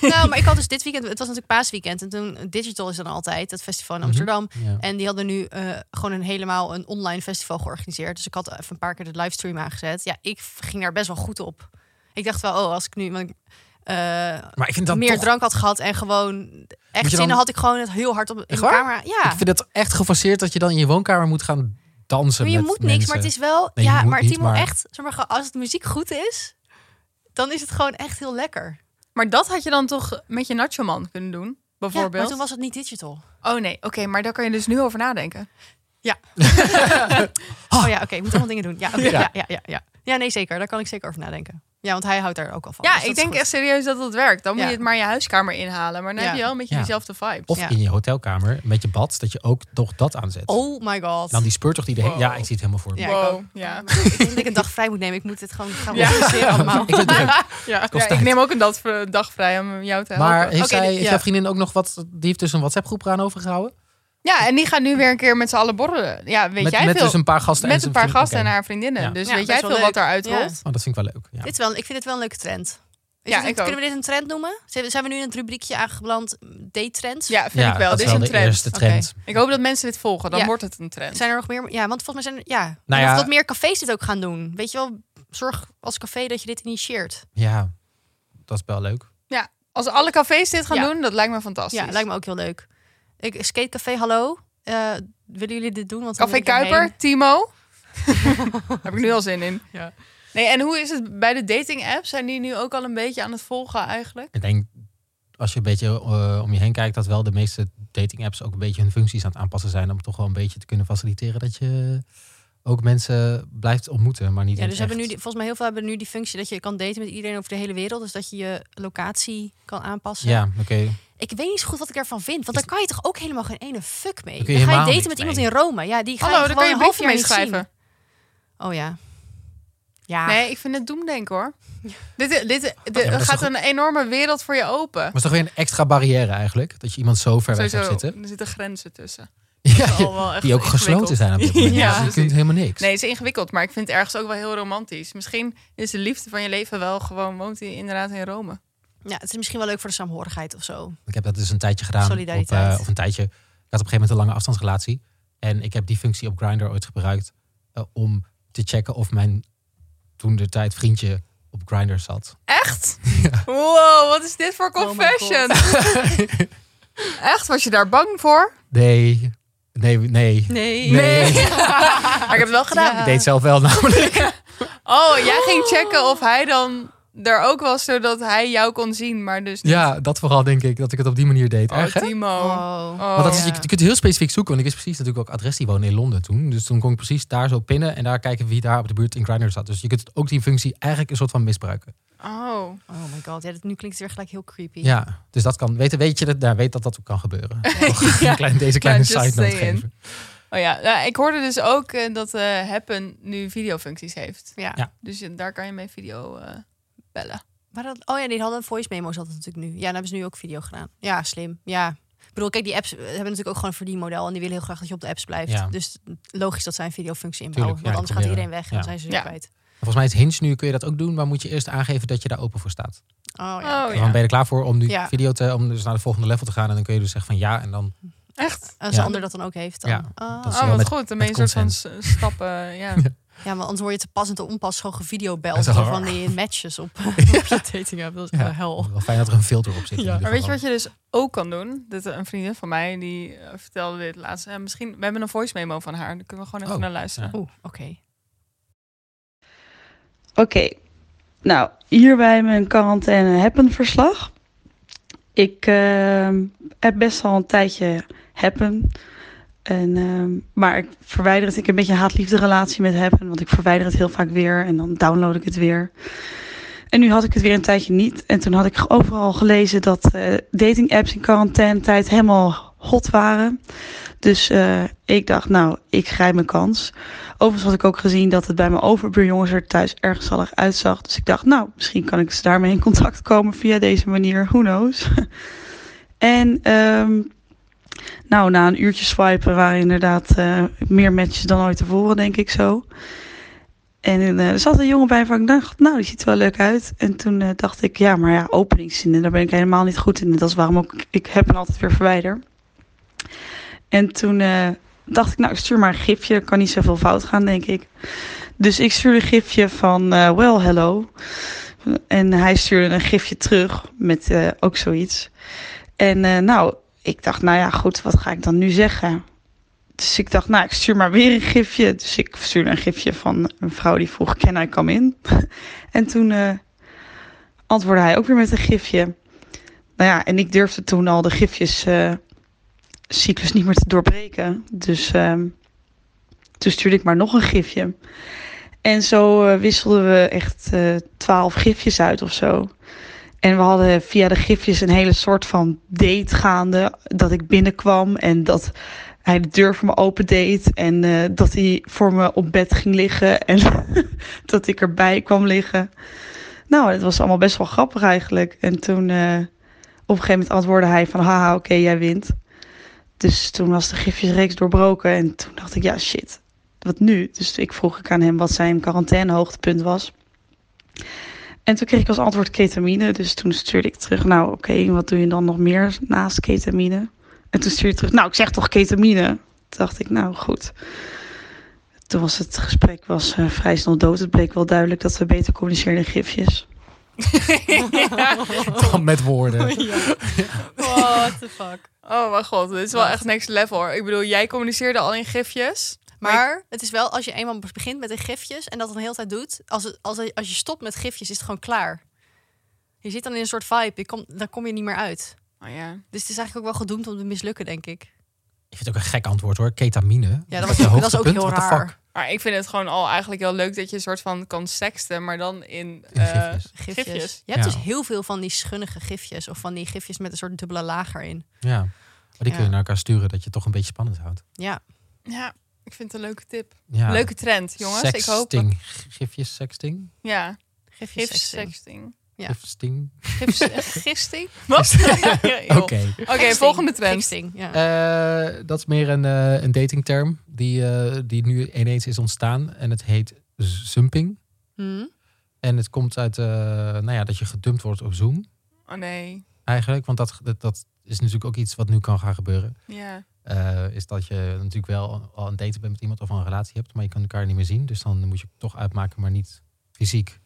[SPEAKER 2] Nou, maar ik had dus dit weekend, het was natuurlijk paasweekend en toen Digital is dan altijd dat festival in
[SPEAKER 3] Mhm.
[SPEAKER 2] Amsterdam.
[SPEAKER 3] Ja.
[SPEAKER 2] En die hadden nu eh, gewoon een helemaal een online festival georganiseerd. Dus ik had even een paar keer de livestream aangezet. Ja, ik ging daar best wel goed op. Ik dacht wel, oh, als ik nu want ik, eh,
[SPEAKER 3] Maar ik vind dat
[SPEAKER 2] meer
[SPEAKER 3] toch...
[SPEAKER 2] drank had gehad en gewoon echt
[SPEAKER 3] Moet je
[SPEAKER 2] zinnen
[SPEAKER 3] dan-
[SPEAKER 2] had ik gewoon het heel hard op in
[SPEAKER 3] Echt
[SPEAKER 2] de
[SPEAKER 3] waar?
[SPEAKER 2] camera. Ja.
[SPEAKER 3] Ik vind het echt geforceerd dat je dan in je woonkamer moet gaan dansen
[SPEAKER 2] Maar je
[SPEAKER 3] met
[SPEAKER 2] moet niks,
[SPEAKER 3] mensen.
[SPEAKER 2] maar het is wel.
[SPEAKER 3] Nee, je
[SPEAKER 2] ja,
[SPEAKER 3] moet
[SPEAKER 2] maar
[SPEAKER 3] niet,
[SPEAKER 2] Timo,
[SPEAKER 3] maar-
[SPEAKER 2] echt, zeg maar, gewoon, als de muziek goed is, dan is het gewoon echt heel lekker.
[SPEAKER 1] Maar dat had je dan toch met je nacho man kunnen doen,
[SPEAKER 2] Ja,
[SPEAKER 1] bijvoorbeeld?
[SPEAKER 2] maar toen was het niet digital.
[SPEAKER 1] Oh nee, oké, maar daar kan je dus nu over nadenken.
[SPEAKER 2] Oh ja, oké, ik moet allemaal dingen doen. Ja, oké,
[SPEAKER 3] Ah. Ja.
[SPEAKER 2] ja. Ja, ja, ja, ja. nee, zeker. Daar kan ik zeker over nadenken. Ja, want hij houdt daar ook al van.
[SPEAKER 1] ja,
[SPEAKER 2] dus
[SPEAKER 1] ik
[SPEAKER 2] dat is
[SPEAKER 1] denk
[SPEAKER 2] goed.
[SPEAKER 1] echt serieus dat dat werkt. Dan moet
[SPEAKER 2] Ja.
[SPEAKER 1] je het maar je huiskamer inhalen. Maar dan
[SPEAKER 2] Ja.
[SPEAKER 1] heb je wel een beetje
[SPEAKER 3] Ja.
[SPEAKER 1] diezelfde vibes.
[SPEAKER 3] Of
[SPEAKER 2] Ja.
[SPEAKER 3] in je hotelkamer met je bad, dat je ook toch dat aanzet.
[SPEAKER 2] Oh my god.
[SPEAKER 3] En dan die speurtocht die de he-
[SPEAKER 1] Wow.
[SPEAKER 3] Ja, ik zie het helemaal voor me.
[SPEAKER 2] Ja, ik
[SPEAKER 1] wow,
[SPEAKER 2] ook.
[SPEAKER 1] ja.
[SPEAKER 2] Ik denk dat ik een dag vrij moet nemen. Ik moet dit gewoon gaan
[SPEAKER 1] Ja.
[SPEAKER 2] organiseren allemaal.
[SPEAKER 3] Ik vind het leuk.
[SPEAKER 1] Ja,
[SPEAKER 3] kost
[SPEAKER 1] ja, ik
[SPEAKER 3] tijd.
[SPEAKER 1] neem ook een dag, een dag vrij om jou te helpen.
[SPEAKER 3] Maar heeft,
[SPEAKER 2] Oké,
[SPEAKER 3] zij,
[SPEAKER 2] dit-
[SPEAKER 3] heeft
[SPEAKER 1] ja.
[SPEAKER 3] jouw vriendin ook nog wat... Die heeft dus een WhatsApp groep eraan overgehouden?
[SPEAKER 1] Ja, en die gaan nu weer een keer met z'n allen borrelen. Ja, weet
[SPEAKER 3] met
[SPEAKER 1] jij
[SPEAKER 3] met
[SPEAKER 1] veel?
[SPEAKER 3] dus een paar gasten.
[SPEAKER 1] met
[SPEAKER 3] en
[SPEAKER 1] een
[SPEAKER 3] zijn
[SPEAKER 1] paar
[SPEAKER 3] vriend-
[SPEAKER 1] gasten
[SPEAKER 3] oké.
[SPEAKER 1] en haar vriendinnen.
[SPEAKER 3] Ja.
[SPEAKER 1] Dus
[SPEAKER 2] Ja,
[SPEAKER 1] weet jij
[SPEAKER 2] best wel
[SPEAKER 1] veel wat
[SPEAKER 2] leuk.
[SPEAKER 1] daaruit
[SPEAKER 2] Ja.
[SPEAKER 1] rolt?
[SPEAKER 3] Oh, dat vind ik wel leuk. Ja.
[SPEAKER 2] Dit wel, ik vind het wel een leuke trend. Is
[SPEAKER 1] Ja,
[SPEAKER 2] dit een-
[SPEAKER 1] ik ook.
[SPEAKER 2] kunnen we dit een trend noemen? Zijn zijn we nu in het rubriekje mm, aangebeland? Daytrends?
[SPEAKER 1] Ja, vind
[SPEAKER 3] Ja,
[SPEAKER 1] ik wel.
[SPEAKER 3] dat
[SPEAKER 1] Dit is een
[SPEAKER 3] de
[SPEAKER 1] trend.
[SPEAKER 3] eerste trend.
[SPEAKER 1] Ik hoop dat mensen dit volgen. Dan
[SPEAKER 2] Ja.
[SPEAKER 1] wordt het een trend.
[SPEAKER 2] Zijn er nog meer? Ja, want volgens mij zijn er, ja.
[SPEAKER 3] Nou
[SPEAKER 2] en
[SPEAKER 3] ja.
[SPEAKER 2] Of dat meer cafés dit ook gaan doen. Weet je wel, zorg als café dat je dit initieert.
[SPEAKER 3] Ja, dat is wel leuk.
[SPEAKER 1] Als alle cafés dit gaan
[SPEAKER 2] Ja.
[SPEAKER 1] doen, dat lijkt me fantastisch.
[SPEAKER 2] Ja, lijkt me ook heel leuk. Ik, skatecafé, hallo. Eh, willen jullie dit doen? Want dan
[SPEAKER 1] Café
[SPEAKER 2] wil ik erheen.
[SPEAKER 1] Kuiper, Timo. Heb ik nu al zin in.
[SPEAKER 2] Ja.
[SPEAKER 1] Nee, en hoe is het bij de dating apps? Zijn die nu ook al een beetje aan het volgen eigenlijk?
[SPEAKER 3] Ik denk, als je een beetje eh, om je heen kijkt, dat wel de meeste dating apps ook een beetje hun functies aan het aanpassen zijn. Om toch wel een beetje te kunnen faciliteren dat je ook mensen blijft ontmoeten, maar niet
[SPEAKER 2] Ja,
[SPEAKER 3] in
[SPEAKER 2] dus
[SPEAKER 3] het
[SPEAKER 2] hebben nu,
[SPEAKER 3] echt.
[SPEAKER 2] die- volgens mij heel veel hebben nu die functie dat je kan daten met iedereen over de hele wereld. Dus dat je je locatie kan aanpassen.
[SPEAKER 3] Ja, oké.
[SPEAKER 2] Ik weet niet zo goed wat ik ervan vind. Want
[SPEAKER 3] Is-
[SPEAKER 2] dan kan je toch ook helemaal geen ene fuck mee.
[SPEAKER 3] Dan kun
[SPEAKER 2] Dan,
[SPEAKER 3] je
[SPEAKER 2] ga je
[SPEAKER 3] helemaal
[SPEAKER 2] daten met
[SPEAKER 3] niks
[SPEAKER 2] iemand
[SPEAKER 3] mee.
[SPEAKER 2] in Rome. Ja, die ga
[SPEAKER 1] Hallo,
[SPEAKER 2] je
[SPEAKER 1] daar
[SPEAKER 2] gewoon
[SPEAKER 1] kan je
[SPEAKER 2] een
[SPEAKER 1] een
[SPEAKER 2] half
[SPEAKER 1] briefje
[SPEAKER 2] jaar
[SPEAKER 1] mee
[SPEAKER 2] niet
[SPEAKER 1] schrijven.
[SPEAKER 2] zien. Oh ja. Ja.
[SPEAKER 1] Nee, ik vind het doemdenken hoor. dit eh, dit, dit
[SPEAKER 3] dat is
[SPEAKER 1] er gaat
[SPEAKER 3] toch-
[SPEAKER 1] een enorme wereld voor je open.
[SPEAKER 3] Maar het is toch weer een extra barrière eigenlijk, dat je iemand zo ver weg hebt
[SPEAKER 1] Sowieso, Oh.
[SPEAKER 3] zitten.
[SPEAKER 1] er zitten grenzen tussen.
[SPEAKER 3] Ja,
[SPEAKER 1] Al wel echt
[SPEAKER 3] die ook gesloten
[SPEAKER 1] ingewikkeld.
[SPEAKER 3] zijn op dit moment.
[SPEAKER 1] Ja,
[SPEAKER 3] Dus je kunt
[SPEAKER 1] precies.
[SPEAKER 3] helemaal niks.
[SPEAKER 1] Nee, het is ingewikkeld, maar ik vind het ergens ook wel heel romantisch. Misschien is de liefde van je leven wel gewoon, woont hij inderdaad in Rome.
[SPEAKER 2] ja, het is misschien wel leuk voor de saamhorigheid of zo.
[SPEAKER 3] Ik heb dat dus een tijdje gedaan. Op,
[SPEAKER 2] Solidariteit.
[SPEAKER 3] eh, of een tijdje. Ik had op een gegeven moment een lange afstandsrelatie. En ik heb die functie op Grindr ooit gebruikt eh, om te checken of mijn toen de tijd vriendje op Grindr zat.
[SPEAKER 1] Echt? Wow, wat is dit voor
[SPEAKER 2] Oh my
[SPEAKER 1] confession? Echt, was je daar bang voor?
[SPEAKER 3] Nee, nee, nee.
[SPEAKER 2] Nee.
[SPEAKER 1] Maar ik heb het wel gedaan.
[SPEAKER 3] Ik deed het zelf wel namelijk.
[SPEAKER 1] Oh, jij ging checken of hij dan daar ook was, zodat hij jou kon zien, maar dus niet.
[SPEAKER 3] Ja, dat vooral denk ik dat ik het op die manier deed.
[SPEAKER 1] Oh,
[SPEAKER 3] Erg, hè?
[SPEAKER 1] Timo.
[SPEAKER 2] Oh.
[SPEAKER 1] Oh.
[SPEAKER 3] Want dat is, je,
[SPEAKER 2] ja.
[SPEAKER 3] je kunt heel specifiek zoeken. Want ik wist precies natuurlijk ook adres die woonde in Londen toen. Dus toen kon ik precies daar zo pinnen. En daar kijken wie daar op de buurt in Grindr zat. Dus je kunt ook die functie eigenlijk een soort van misbruiken.
[SPEAKER 1] Oh.
[SPEAKER 2] Oh my god. Ja, dat, nu klinkt het weer gelijk heel creepy.
[SPEAKER 3] Ja, dus dat kan. Weet, weet je dat, nou, weet dat dat ook kan gebeuren? Toch Oh, een klein, deze kleine
[SPEAKER 1] Ja, just
[SPEAKER 3] side note
[SPEAKER 1] saying.
[SPEAKER 3] geven.
[SPEAKER 1] Oh ja, nou, ik hoorde dus ook eh, dat eh Happen nu videofuncties heeft.
[SPEAKER 2] Ja.
[SPEAKER 3] Ja.
[SPEAKER 1] Dus je- daar kan je mee video eh, bellen.
[SPEAKER 2] Maar dat, oh ja, die hadden voice memo's altijd natuurlijk nu. Ja, dan hebben ze nu ook video gedaan. Ja, slim. Ja. Ik bedoel, kijk, die apps eh, hebben natuurlijk ook gewoon een verdienmodel. En die willen heel graag dat je op de apps blijft.
[SPEAKER 3] Ja.
[SPEAKER 2] Dus logisch dat zij een videofunctie inbouwen.
[SPEAKER 3] Tuurlijk, ja,
[SPEAKER 2] want
[SPEAKER 3] die
[SPEAKER 2] anders gaat
[SPEAKER 3] proberen.
[SPEAKER 2] iedereen weg en dan
[SPEAKER 3] Ja.
[SPEAKER 2] zijn ze ze
[SPEAKER 1] Ja.
[SPEAKER 2] kwijt.
[SPEAKER 3] Volgens mij is Hinge nu, kun je dat ook doen. Maar moet je eerst aangeven dat je daar open voor staat.
[SPEAKER 2] Oh ja.
[SPEAKER 1] Oh
[SPEAKER 3] Dan
[SPEAKER 1] ja.
[SPEAKER 3] ben je er klaar voor om nu
[SPEAKER 2] Ja.
[SPEAKER 3] video te... Om dus naar de volgende level te gaan. En dan kun je dus zeggen van ja. En dan
[SPEAKER 1] Echt?
[SPEAKER 2] Als de
[SPEAKER 3] Ja.
[SPEAKER 2] ander dat dan ook heeft. Dan.
[SPEAKER 3] Ja,
[SPEAKER 2] Ah.
[SPEAKER 3] dat is-
[SPEAKER 1] Oh,
[SPEAKER 3] wel
[SPEAKER 1] wat
[SPEAKER 3] met-
[SPEAKER 1] goed. Dan ben
[SPEAKER 3] met
[SPEAKER 1] je een soort van s- stappen, ja.
[SPEAKER 2] ja, maar anders word je te pas en te onpas gewoon
[SPEAKER 3] Dat
[SPEAKER 2] videobeld.
[SPEAKER 3] is
[SPEAKER 2] Door
[SPEAKER 3] wel-
[SPEAKER 2] van die matches op, op je dating app. Dat is
[SPEAKER 3] Ja.
[SPEAKER 2] wel hel.
[SPEAKER 3] wel fijn dat er een filter op zit. in
[SPEAKER 2] Ja.
[SPEAKER 3] ieder
[SPEAKER 1] Maar weet je
[SPEAKER 3] geval.
[SPEAKER 1] wat je dus ook kan doen? Dat
[SPEAKER 4] eh,
[SPEAKER 1] een vriendin van mij die eh, vertelde dit laatst. Eh, misschien, we hebben een voice memo van haar. Daar kunnen we gewoon even
[SPEAKER 3] Oh,
[SPEAKER 1] naar luisteren.
[SPEAKER 2] Oeh, oké.
[SPEAKER 5] Oké, nou hierbij mijn quarantaine happen verslag. Ik ehm, heb best al een tijdje happen. En, ehm, maar ik verwijder het. Ik heb een beetje een haat-liefde relatie met happen. Want ik verwijder het heel vaak weer en dan download ik het weer. En nu had ik het weer een tijdje niet. En toen had ik overal gelezen dat eh dating apps in quarantaine tijd helemaal hot waren. Dus eh, ik dacht, nou, ik grijp mijn kans. Overigens had ik ook gezien dat het bij mijn overbuurjongens er thuis erg zalig uitzag. Dus ik dacht, nou, misschien kan ik ze daarmee in contact komen via deze manier. Who knows? en ehm, nou, na een uurtje swipen waren inderdaad eh, meer matches dan ooit tevoren, denk ik zo. En eh, er zat een jongen bij waarvan ik dacht, nou, die ziet er wel leuk uit. En toen eh, dacht ik, ja, maar ja, openingszinnen, daar ben ik helemaal niet goed in. Dat is waarom ook, ik heb hem altijd weer verwijder. En toen eh, dacht ik, nou, ik stuur maar een gifje. Er kan niet zoveel fout gaan, denk ik. Dus ik stuurde een gifje van, eh well, hello. En hij stuurde een gifje terug met eh, ook zoiets. En eh, nou, ik dacht, nou ja, goed, wat ga ik dan nu zeggen? Dus ik dacht, nou, ik stuur maar weer een gifje. Dus ik stuurde een gifje van een vrouw die vroeg, can I come in? en toen eh, antwoordde hij ook weer met een gifje. Nou ja, en ik durfde toen al de gifjes... eh, cyclus niet meer te doorbreken. Dus ehm, toen stuurde ik maar nog een gifje. En zo eh, wisselden we echt eh, twaalf gifjes uit of zo. En we hadden via de gifjes een hele soort van date gaande. Dat ik binnenkwam en dat hij de deur voor me opendeed. En eh, dat hij voor me op bed ging liggen. En dat ik erbij kwam liggen. Nou, het was allemaal best wel grappig eigenlijk. En toen eh, op een gegeven moment antwoordde hij van... Haha, oké, jij wint. Dus toen was de gifjesreeks doorbroken en toen dacht ik, ja shit, wat nu? Dus ik vroeg ik aan hem wat zijn quarantainehoogtepunt was. En toen kreeg ik als antwoord ketamine, dus toen stuurde ik terug, nou oké, wat doe je dan nog meer naast ketamine? En toen stuurde ik terug, nou ik zeg toch ketamine? Toen dacht ik, nou goed. Toen was het gesprek was, eh, vrij snel dood. Het bleek wel duidelijk dat we beter communiceren in gifjes.
[SPEAKER 3] Dan met
[SPEAKER 2] Oh,
[SPEAKER 3] woorden.
[SPEAKER 2] What the fuck.
[SPEAKER 4] Oh mijn god, dit is wel
[SPEAKER 2] Wat?
[SPEAKER 4] echt next level hoor. Ik bedoel, jij communiceerde al in gifjes.
[SPEAKER 2] Maar, het is wel als je eenmaal begint met de gifjes en dat dan de hele tijd doet. Als, het, als, het- als je stopt met gifjes, is het gewoon klaar. Je zit dan in een soort vibe. Je komt- dan kom je niet meer uit.
[SPEAKER 4] Oh ja.
[SPEAKER 2] Dus het is eigenlijk ook wel gedoemd om te mislukken, denk ik.
[SPEAKER 3] Ik vind het ook een gek antwoord hoor. Ketamine.
[SPEAKER 2] Ja, dat
[SPEAKER 3] is
[SPEAKER 2] was ook-
[SPEAKER 3] je
[SPEAKER 2] dat is ook
[SPEAKER 3] hoogtepunt?
[SPEAKER 2] heel
[SPEAKER 3] What the
[SPEAKER 2] raar.
[SPEAKER 3] fuck?
[SPEAKER 4] Maar ik vind het gewoon al eigenlijk heel leuk dat je een soort van kan seksten, maar dan in,
[SPEAKER 3] In
[SPEAKER 4] eh,
[SPEAKER 3] gifjes.
[SPEAKER 2] Gifjes.
[SPEAKER 4] Gifjes.
[SPEAKER 2] Je hebt
[SPEAKER 3] Ja.
[SPEAKER 2] dus heel veel van die schunnige gifjes. Of van die gifjes met een soort dubbele laag erin.
[SPEAKER 3] Ja. Maar die kun je
[SPEAKER 2] Ja.
[SPEAKER 3] naar elkaar sturen dat je het toch een beetje spannend houdt.
[SPEAKER 2] Ja.
[SPEAKER 4] Ja, ik vind het een leuke tip.
[SPEAKER 3] Ja.
[SPEAKER 4] Leuke trend, jongens. Ik hoop. dat-
[SPEAKER 3] Sexting. Gifjes sexting.
[SPEAKER 4] Ja,
[SPEAKER 2] Gifjes.
[SPEAKER 4] gif
[SPEAKER 2] sexting.
[SPEAKER 4] sexting.
[SPEAKER 2] Ja.
[SPEAKER 3] Gifsting.
[SPEAKER 2] Gifs- Gifsting?
[SPEAKER 4] Wat? Ja, joh.
[SPEAKER 3] Oké.
[SPEAKER 4] Oké, volgende trend.
[SPEAKER 2] Gifsting, ja.
[SPEAKER 3] Eh, dat is meer een, eh, een datingterm die, eh, die nu ineens is ontstaan. En het heet zumping.
[SPEAKER 2] Hm?
[SPEAKER 3] En het komt uit eh, nou ja, dat je gedumpt wordt op Zoom
[SPEAKER 4] Oh nee.
[SPEAKER 3] eigenlijk. Want dat, dat, dat is natuurlijk ook iets wat nu kan gaan gebeuren.
[SPEAKER 4] Ja.
[SPEAKER 3] Eh, is dat je natuurlijk wel al een daten bent met iemand of al een relatie hebt. Maar je kan elkaar niet meer zien. Dus dan moet je het toch uitmaken, maar niet fysiek.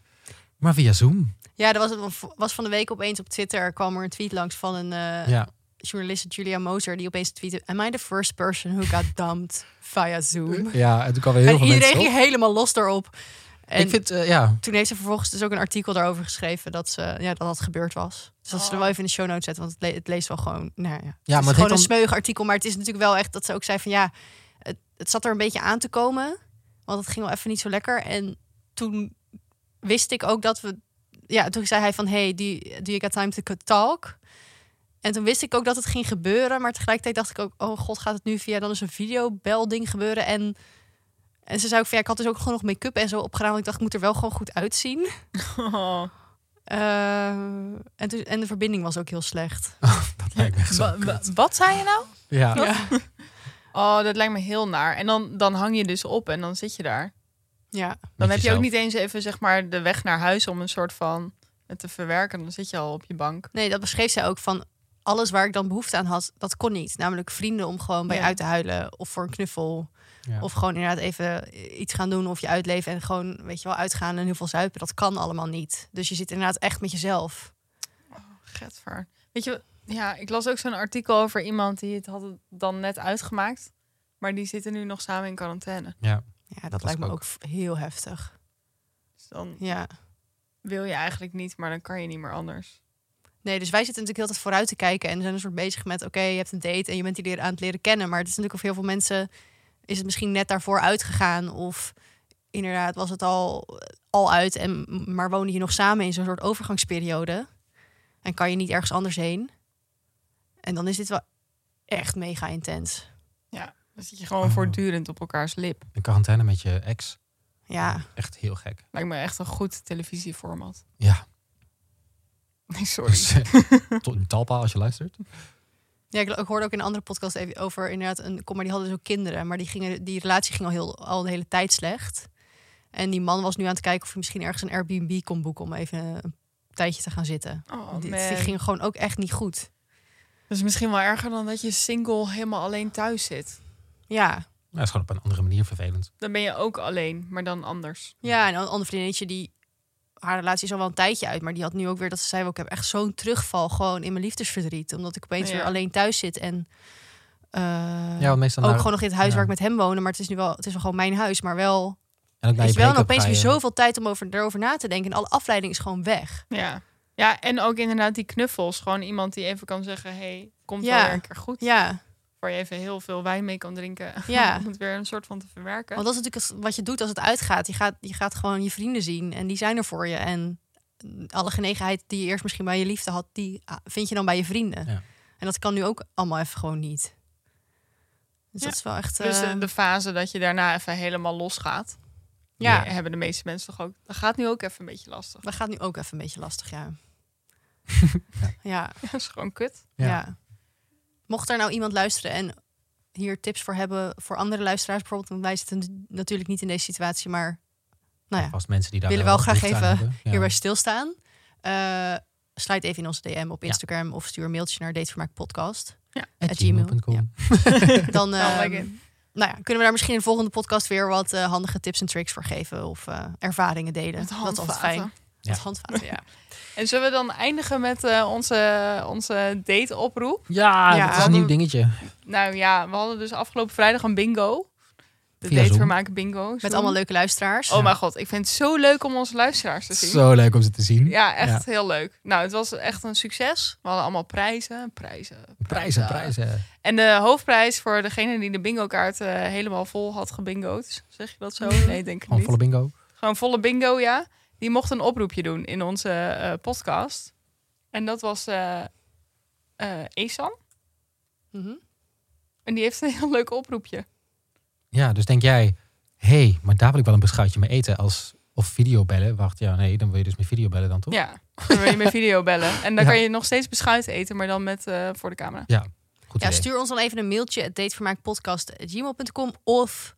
[SPEAKER 3] Maar via Zoom.
[SPEAKER 2] Ja, er was, was van de week opeens op Twitter kwam er een tweet langs van een eh,
[SPEAKER 3] ja.
[SPEAKER 2] journaliste Julia Moser die opeens tweette: Am I the first person who got dumped via Zoom?
[SPEAKER 3] ja, en toen kwam weer heel
[SPEAKER 2] en
[SPEAKER 3] veel
[SPEAKER 2] iedereen
[SPEAKER 3] mensen op.
[SPEAKER 2] ging helemaal los daarop. En
[SPEAKER 3] Ik vind, eh, ja,
[SPEAKER 2] toen heeft ze vervolgens dus ook een artikel daarover geschreven dat ze, ja, dat, dat gebeurd was. Dus dat ze er wel even in de show notes zetten, want het, le- het leest wel gewoon. Nou ja, het is
[SPEAKER 3] maar het
[SPEAKER 2] gewoon
[SPEAKER 3] heet
[SPEAKER 2] een
[SPEAKER 3] dan-
[SPEAKER 2] smeug artikel, maar het is natuurlijk wel echt dat ze ook zei van ja, het, het zat er een beetje aan te komen, want het ging wel even niet zo lekker. En toen wist ik ook dat we, ja, toen zei hij van hey, do, you- do you got time to talk? En toen wist ik ook dat het ging gebeuren, maar tegelijkertijd dacht ik ook, oh god, gaat het nu via dan eens een videobelding gebeuren? En, en ze zei ook van ja, ik had dus ook gewoon nog make-up en zo opgedaan, want ik dacht, ik moet er wel gewoon goed uitzien.
[SPEAKER 4] Oh.
[SPEAKER 2] Eh, en, toen- en de verbinding was ook heel slecht.
[SPEAKER 3] dat lijkt me echt zo.
[SPEAKER 4] Wa- wa- wat zei je nou?
[SPEAKER 3] Ja.
[SPEAKER 2] Ja.
[SPEAKER 4] Oh, dat lijkt me heel naar. En dan, dan hang je dus op en dan zit je daar.
[SPEAKER 2] ja.
[SPEAKER 3] Met
[SPEAKER 4] Dan heb je
[SPEAKER 3] jezelf.
[SPEAKER 4] ook niet eens even zeg maar de weg naar huis om een soort van het te verwerken. Dan zit je al op je bank.
[SPEAKER 2] Nee, dat beschreef zij ook van alles waar ik dan behoefte aan had, dat kon niet. Namelijk vrienden om gewoon bij
[SPEAKER 4] Ja.
[SPEAKER 2] uit te huilen of voor een knuffel.
[SPEAKER 3] Ja.
[SPEAKER 2] Of gewoon inderdaad even iets gaan doen of je uitleven en gewoon, weet je wel, uitgaan en heel veel zuipen. Dat kan allemaal niet. Dus je zit inderdaad echt met jezelf.
[SPEAKER 4] Getver. Weet je, wat- ja, ik las ook zo'n artikel over iemand die het had het dan net uitgemaakt. Maar die zitten nu nog samen in quarantaine.
[SPEAKER 3] Ja.
[SPEAKER 2] Ja, dat,
[SPEAKER 3] was
[SPEAKER 2] lijkt me
[SPEAKER 3] ook.
[SPEAKER 2] ook. v- heel heftig.
[SPEAKER 4] Dus dan
[SPEAKER 2] Ja.
[SPEAKER 4] wil je eigenlijk niet, maar dan kan je niet meer anders.
[SPEAKER 2] Nee, dus wij zitten natuurlijk heel tijd vooruit te kijken en zijn een soort bezig met: oké, je hebt een date en je bent die leren aan het leren kennen. Maar het is natuurlijk voor heel veel mensen is het misschien net daarvoor uitgegaan of inderdaad was het al, al uit en maar wonen je nog samen in zo'n soort overgangsperiode en kan je niet ergens anders heen. En dan is dit wel echt mega intens.
[SPEAKER 1] Dan zit je gewoon
[SPEAKER 3] Oh.
[SPEAKER 1] voortdurend op elkaars lip.
[SPEAKER 3] Een quarantaine met je ex.
[SPEAKER 2] Ja,
[SPEAKER 3] Echt heel gek.
[SPEAKER 1] Lijkt me echt een goed televisieformat.
[SPEAKER 3] Ja.
[SPEAKER 1] Nee, sorry.
[SPEAKER 3] Dus, tot een talpa als je luistert.
[SPEAKER 2] ja ik, ik hoorde ook in een andere podcast even over inderdaad een kom, maar die hadden dus ook kinderen. Maar die, gingen, die relatie ging al, heel, al de hele tijd slecht. En die man was nu aan het kijken of hij misschien ergens een Airbnb kon boeken om even een tijdje te gaan zitten.
[SPEAKER 1] Oh,
[SPEAKER 2] Want dit,
[SPEAKER 1] man.
[SPEAKER 2] dit ging gewoon ook echt niet goed.
[SPEAKER 1] Dat is misschien wel erger dan dat je single helemaal alleen thuis zit.
[SPEAKER 2] Ja,
[SPEAKER 3] Nou, is gewoon op een andere manier vervelend.
[SPEAKER 1] Dan ben je ook alleen, maar dan anders.
[SPEAKER 2] ja en een ander vriendinnetje die... Haar relatie is al wel een tijdje uit, maar die had nu ook weer dat ze zei... "Oh, ik heb echt zo'n terugval gewoon in mijn liefdesverdriet. Omdat ik opeens
[SPEAKER 1] Oh, Ja.
[SPEAKER 2] weer alleen thuis zit en... eh,
[SPEAKER 3] Ja, want meestal
[SPEAKER 2] ook
[SPEAKER 3] na-
[SPEAKER 2] Oh, gewoon nog in het huis
[SPEAKER 3] ja.
[SPEAKER 2] waar ik met hem woon. Maar het is nu wel, het is wel gewoon mijn huis. Maar wel,
[SPEAKER 3] en ook na
[SPEAKER 2] weet je wel, en
[SPEAKER 3] break-up
[SPEAKER 2] opeens
[SPEAKER 3] ga
[SPEAKER 2] weer
[SPEAKER 3] je-
[SPEAKER 2] zoveel tijd om over, erover na te denken. En alle afleiding is gewoon weg.
[SPEAKER 1] Ja. Ja, en ook inderdaad die knuffels. Gewoon iemand die even kan zeggen, hey, komt
[SPEAKER 2] Ja.
[SPEAKER 1] wel weer een keer goed.
[SPEAKER 2] Ja,
[SPEAKER 1] Waar je even heel veel wijn mee kan drinken.
[SPEAKER 2] Ja.
[SPEAKER 1] Om het weer een soort van te verwerken.
[SPEAKER 2] want dat is natuurlijk het- wat je doet als het uitgaat. Je gaat, je gaat gewoon je vrienden zien en die zijn er voor je. En alle genegenheid die je eerst misschien bij je liefde had, die ah, vind je dan bij je vrienden.
[SPEAKER 3] Ja.
[SPEAKER 2] En dat kan nu ook allemaal even gewoon niet. Dus
[SPEAKER 1] Ja.
[SPEAKER 2] dat is wel echt...
[SPEAKER 1] Dus de,
[SPEAKER 2] eh,
[SPEAKER 1] de fase dat je daarna even helemaal losgaat.
[SPEAKER 2] ja,
[SPEAKER 1] die Hebben de meeste mensen toch ook. Dat gaat nu ook even een beetje lastig.
[SPEAKER 2] dat gaat nu ook even een beetje lastig, ja. ja.
[SPEAKER 1] Dat is gewoon kut.
[SPEAKER 3] Ja.
[SPEAKER 2] Ja. Mocht er nou iemand luisteren en hier tips voor hebben voor andere luisteraars bijvoorbeeld, want wij zitten natuurlijk niet in deze situatie, maar nou ja,
[SPEAKER 3] Vast mensen die daar
[SPEAKER 2] Willen
[SPEAKER 3] wel
[SPEAKER 2] wel graag
[SPEAKER 3] behoefte aan
[SPEAKER 2] even
[SPEAKER 3] hebben. Ja.
[SPEAKER 2] hierbij stilstaan. Eh, sluit even in onze DM op
[SPEAKER 3] Ja.
[SPEAKER 2] Instagram of stuur een mailtje naar datevermaakpodcast.
[SPEAKER 3] At
[SPEAKER 2] at gmail.
[SPEAKER 3] gmail.com.
[SPEAKER 2] Ja. Dan
[SPEAKER 1] Nou,
[SPEAKER 2] ehm,
[SPEAKER 1] like it.
[SPEAKER 2] nou ja, kunnen we daar misschien in de volgende podcast weer wat eh, handige tips en tricks voor geven of eh, ervaringen delen.
[SPEAKER 1] Met
[SPEAKER 2] dat is altijd
[SPEAKER 1] handvaten.
[SPEAKER 2] fijn. Met
[SPEAKER 3] Ja.
[SPEAKER 2] handvaten, ja.
[SPEAKER 1] En zullen we dan eindigen met eh, onze, onze date-oproep?
[SPEAKER 3] Ja,
[SPEAKER 2] Ja.
[SPEAKER 3] dat is een nieuw dingetje.
[SPEAKER 1] Nou ja, we hadden dus afgelopen vrijdag een bingo. De
[SPEAKER 3] Via
[SPEAKER 1] datevermaken bingo. Zoom.
[SPEAKER 2] Met allemaal leuke luisteraars.
[SPEAKER 1] Oh mijn god, ik vind het zo leuk om onze luisteraars te zien.
[SPEAKER 3] Zo leuk om ze te zien.
[SPEAKER 1] Ja, echt heel leuk. Nou, het was echt een succes. We hadden allemaal prijzen, prijzen,
[SPEAKER 3] Prijzen, prijzen.
[SPEAKER 1] En de hoofdprijs voor degene die de bingo-kaart eh, helemaal vol had gebingoed. Zeg je dat zo? Nee, denk ik
[SPEAKER 3] Gewoon
[SPEAKER 1] niet.
[SPEAKER 3] volle bingo.
[SPEAKER 1] Gewoon volle bingo, ja. Die mocht een oproepje doen in onze eh, podcast. En dat was eh eh, Esan.
[SPEAKER 2] Mhm.
[SPEAKER 1] En die heeft een heel leuk oproepje.
[SPEAKER 3] Ja, dus denk jij, hé, hey, maar daar wil ik wel een beschuitje mee eten als of videobellen. Wacht, ja, nee, dan wil je dus met videobellen dan toch?
[SPEAKER 1] Ja, dan wil je met video bellen. En dan
[SPEAKER 3] Ja.
[SPEAKER 1] kan je nog steeds beschuit eten, maar dan met eh, voor de camera.
[SPEAKER 3] Goed
[SPEAKER 2] Ja,
[SPEAKER 3] idee.
[SPEAKER 2] stuur ons dan even een mailtje, datevermaakpodcast.gmail.com of...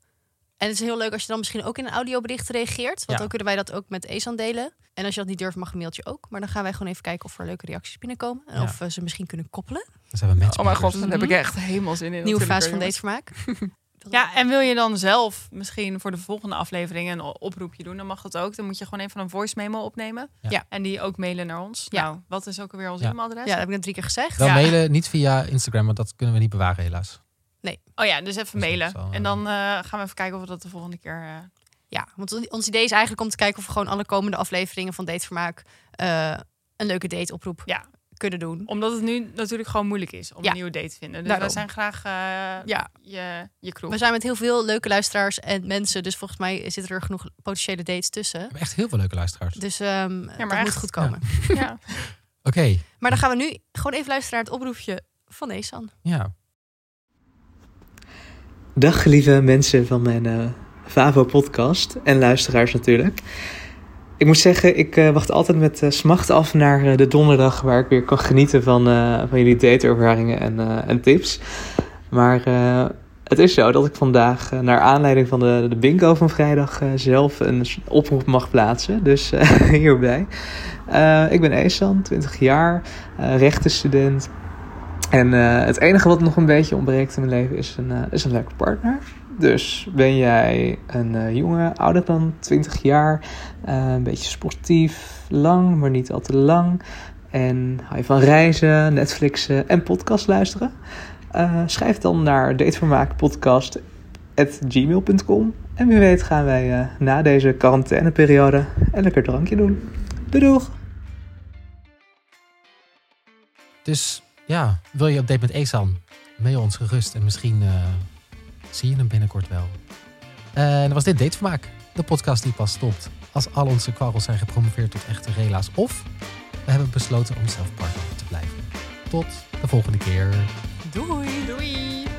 [SPEAKER 2] En het is heel leuk als je dan misschien ook in een audiobericht reageert. Want
[SPEAKER 3] Ja.
[SPEAKER 2] dan kunnen wij dat ook met Esan delen. En als je dat niet durft, mag een mailtje ook. Maar dan gaan wij gewoon even kijken of er leuke reacties binnenkomen. En
[SPEAKER 3] Ja.
[SPEAKER 2] of we ze misschien kunnen koppelen.
[SPEAKER 3] Dan zijn we mensen.
[SPEAKER 1] Oh mijn god, dan
[SPEAKER 2] Mhm.
[SPEAKER 1] heb ik echt helemaal zin in.
[SPEAKER 2] Nieuwe
[SPEAKER 1] natuurlijk,
[SPEAKER 2] fase van
[SPEAKER 1] jongens.
[SPEAKER 2] datevermaak.
[SPEAKER 1] Ja, en wil je dan zelf misschien voor de volgende aflevering een o- oproepje doen, dan mag dat ook. Dan moet je gewoon even een voice memo opnemen.
[SPEAKER 3] Ja.
[SPEAKER 2] Ja.
[SPEAKER 1] En die ook mailen naar ons.
[SPEAKER 2] Ja.
[SPEAKER 1] Nou, wat is ook alweer ons
[SPEAKER 3] Ja.
[SPEAKER 2] Ja,
[SPEAKER 1] e-mailadres?
[SPEAKER 2] dat heb ik net drie keer gezegd.
[SPEAKER 3] Wel
[SPEAKER 1] Ja.
[SPEAKER 3] mailen, niet via Instagram, want dat kunnen we niet bewaren helaas.
[SPEAKER 1] Oh ja, dus even
[SPEAKER 3] Dus dat
[SPEAKER 1] mailen.
[SPEAKER 3] is wel,
[SPEAKER 1] en dan eh, gaan we even kijken of we dat de volgende keer... eh,
[SPEAKER 2] Ja, want on- ons idee is eigenlijk om te kijken of we gewoon alle komende afleveringen van Datevermaak... eh, een leuke dateoproep
[SPEAKER 1] Ja.
[SPEAKER 2] kunnen doen.
[SPEAKER 1] omdat het nu natuurlijk gewoon moeilijk is om
[SPEAKER 2] Ja.
[SPEAKER 1] een nieuwe date te vinden. Dus
[SPEAKER 2] Daarom.
[SPEAKER 1] wij zijn graag eh,
[SPEAKER 2] Ja,
[SPEAKER 1] je, je crew.
[SPEAKER 2] we zijn met heel veel leuke luisteraars en mensen. Dus volgens mij zitten er genoeg potentiële dates tussen.
[SPEAKER 3] We hebben echt heel veel leuke luisteraars.
[SPEAKER 2] Dus ehm dat
[SPEAKER 1] echt.
[SPEAKER 2] moet goed komen.
[SPEAKER 1] Ja.
[SPEAKER 3] Oké,
[SPEAKER 2] Maar dan gaan we nu gewoon even luisteren naar het oproepje van Esan.
[SPEAKER 3] ja.
[SPEAKER 6] Dag lieve mensen van mijn eh Vavo-podcast en luisteraars natuurlijk. Ik moet zeggen, ik eh, wacht altijd met eh, smacht af naar eh, de donderdag... waar ik weer kan genieten van, eh, van jullie dateervaringen en, eh, en tips. Maar eh, het is zo dat ik vandaag, eh, naar aanleiding van de, de bingo van vrijdag... eh, zelf een s- oproep mag plaatsen, dus eh, hierbij. Eh, ik ben Esan, 20 jaar, eh rechtenstudent, en eh, het enige wat nog een beetje ontbreekt in mijn leven is een, eh, is een leuke partner. Dus ben jij een eh, jongen, ouder dan 20 jaar, eh, een beetje sportief, lang, maar niet al te lang. En hou je van reizen, Netflixen en podcast luisteren? Eh, schrijf dan naar datevermaakpodcast.gmail.com. En wie weet gaan wij eh, na deze quarantaineperiode een lekker drankje doen. Doei doeg!
[SPEAKER 3] Dus ja, wil je op date met Esan? Mail ons gerust en misschien eh, zie je hem binnenkort wel. En dat was dit Datevermaak. De podcast die pas stopt als al onze kwarrels zijn gepromoveerd tot echte rela's. Of we hebben besloten om zelf partner te blijven. Tot de volgende keer.
[SPEAKER 2] Doei.
[SPEAKER 7] Doei!
[SPEAKER 1] Doei!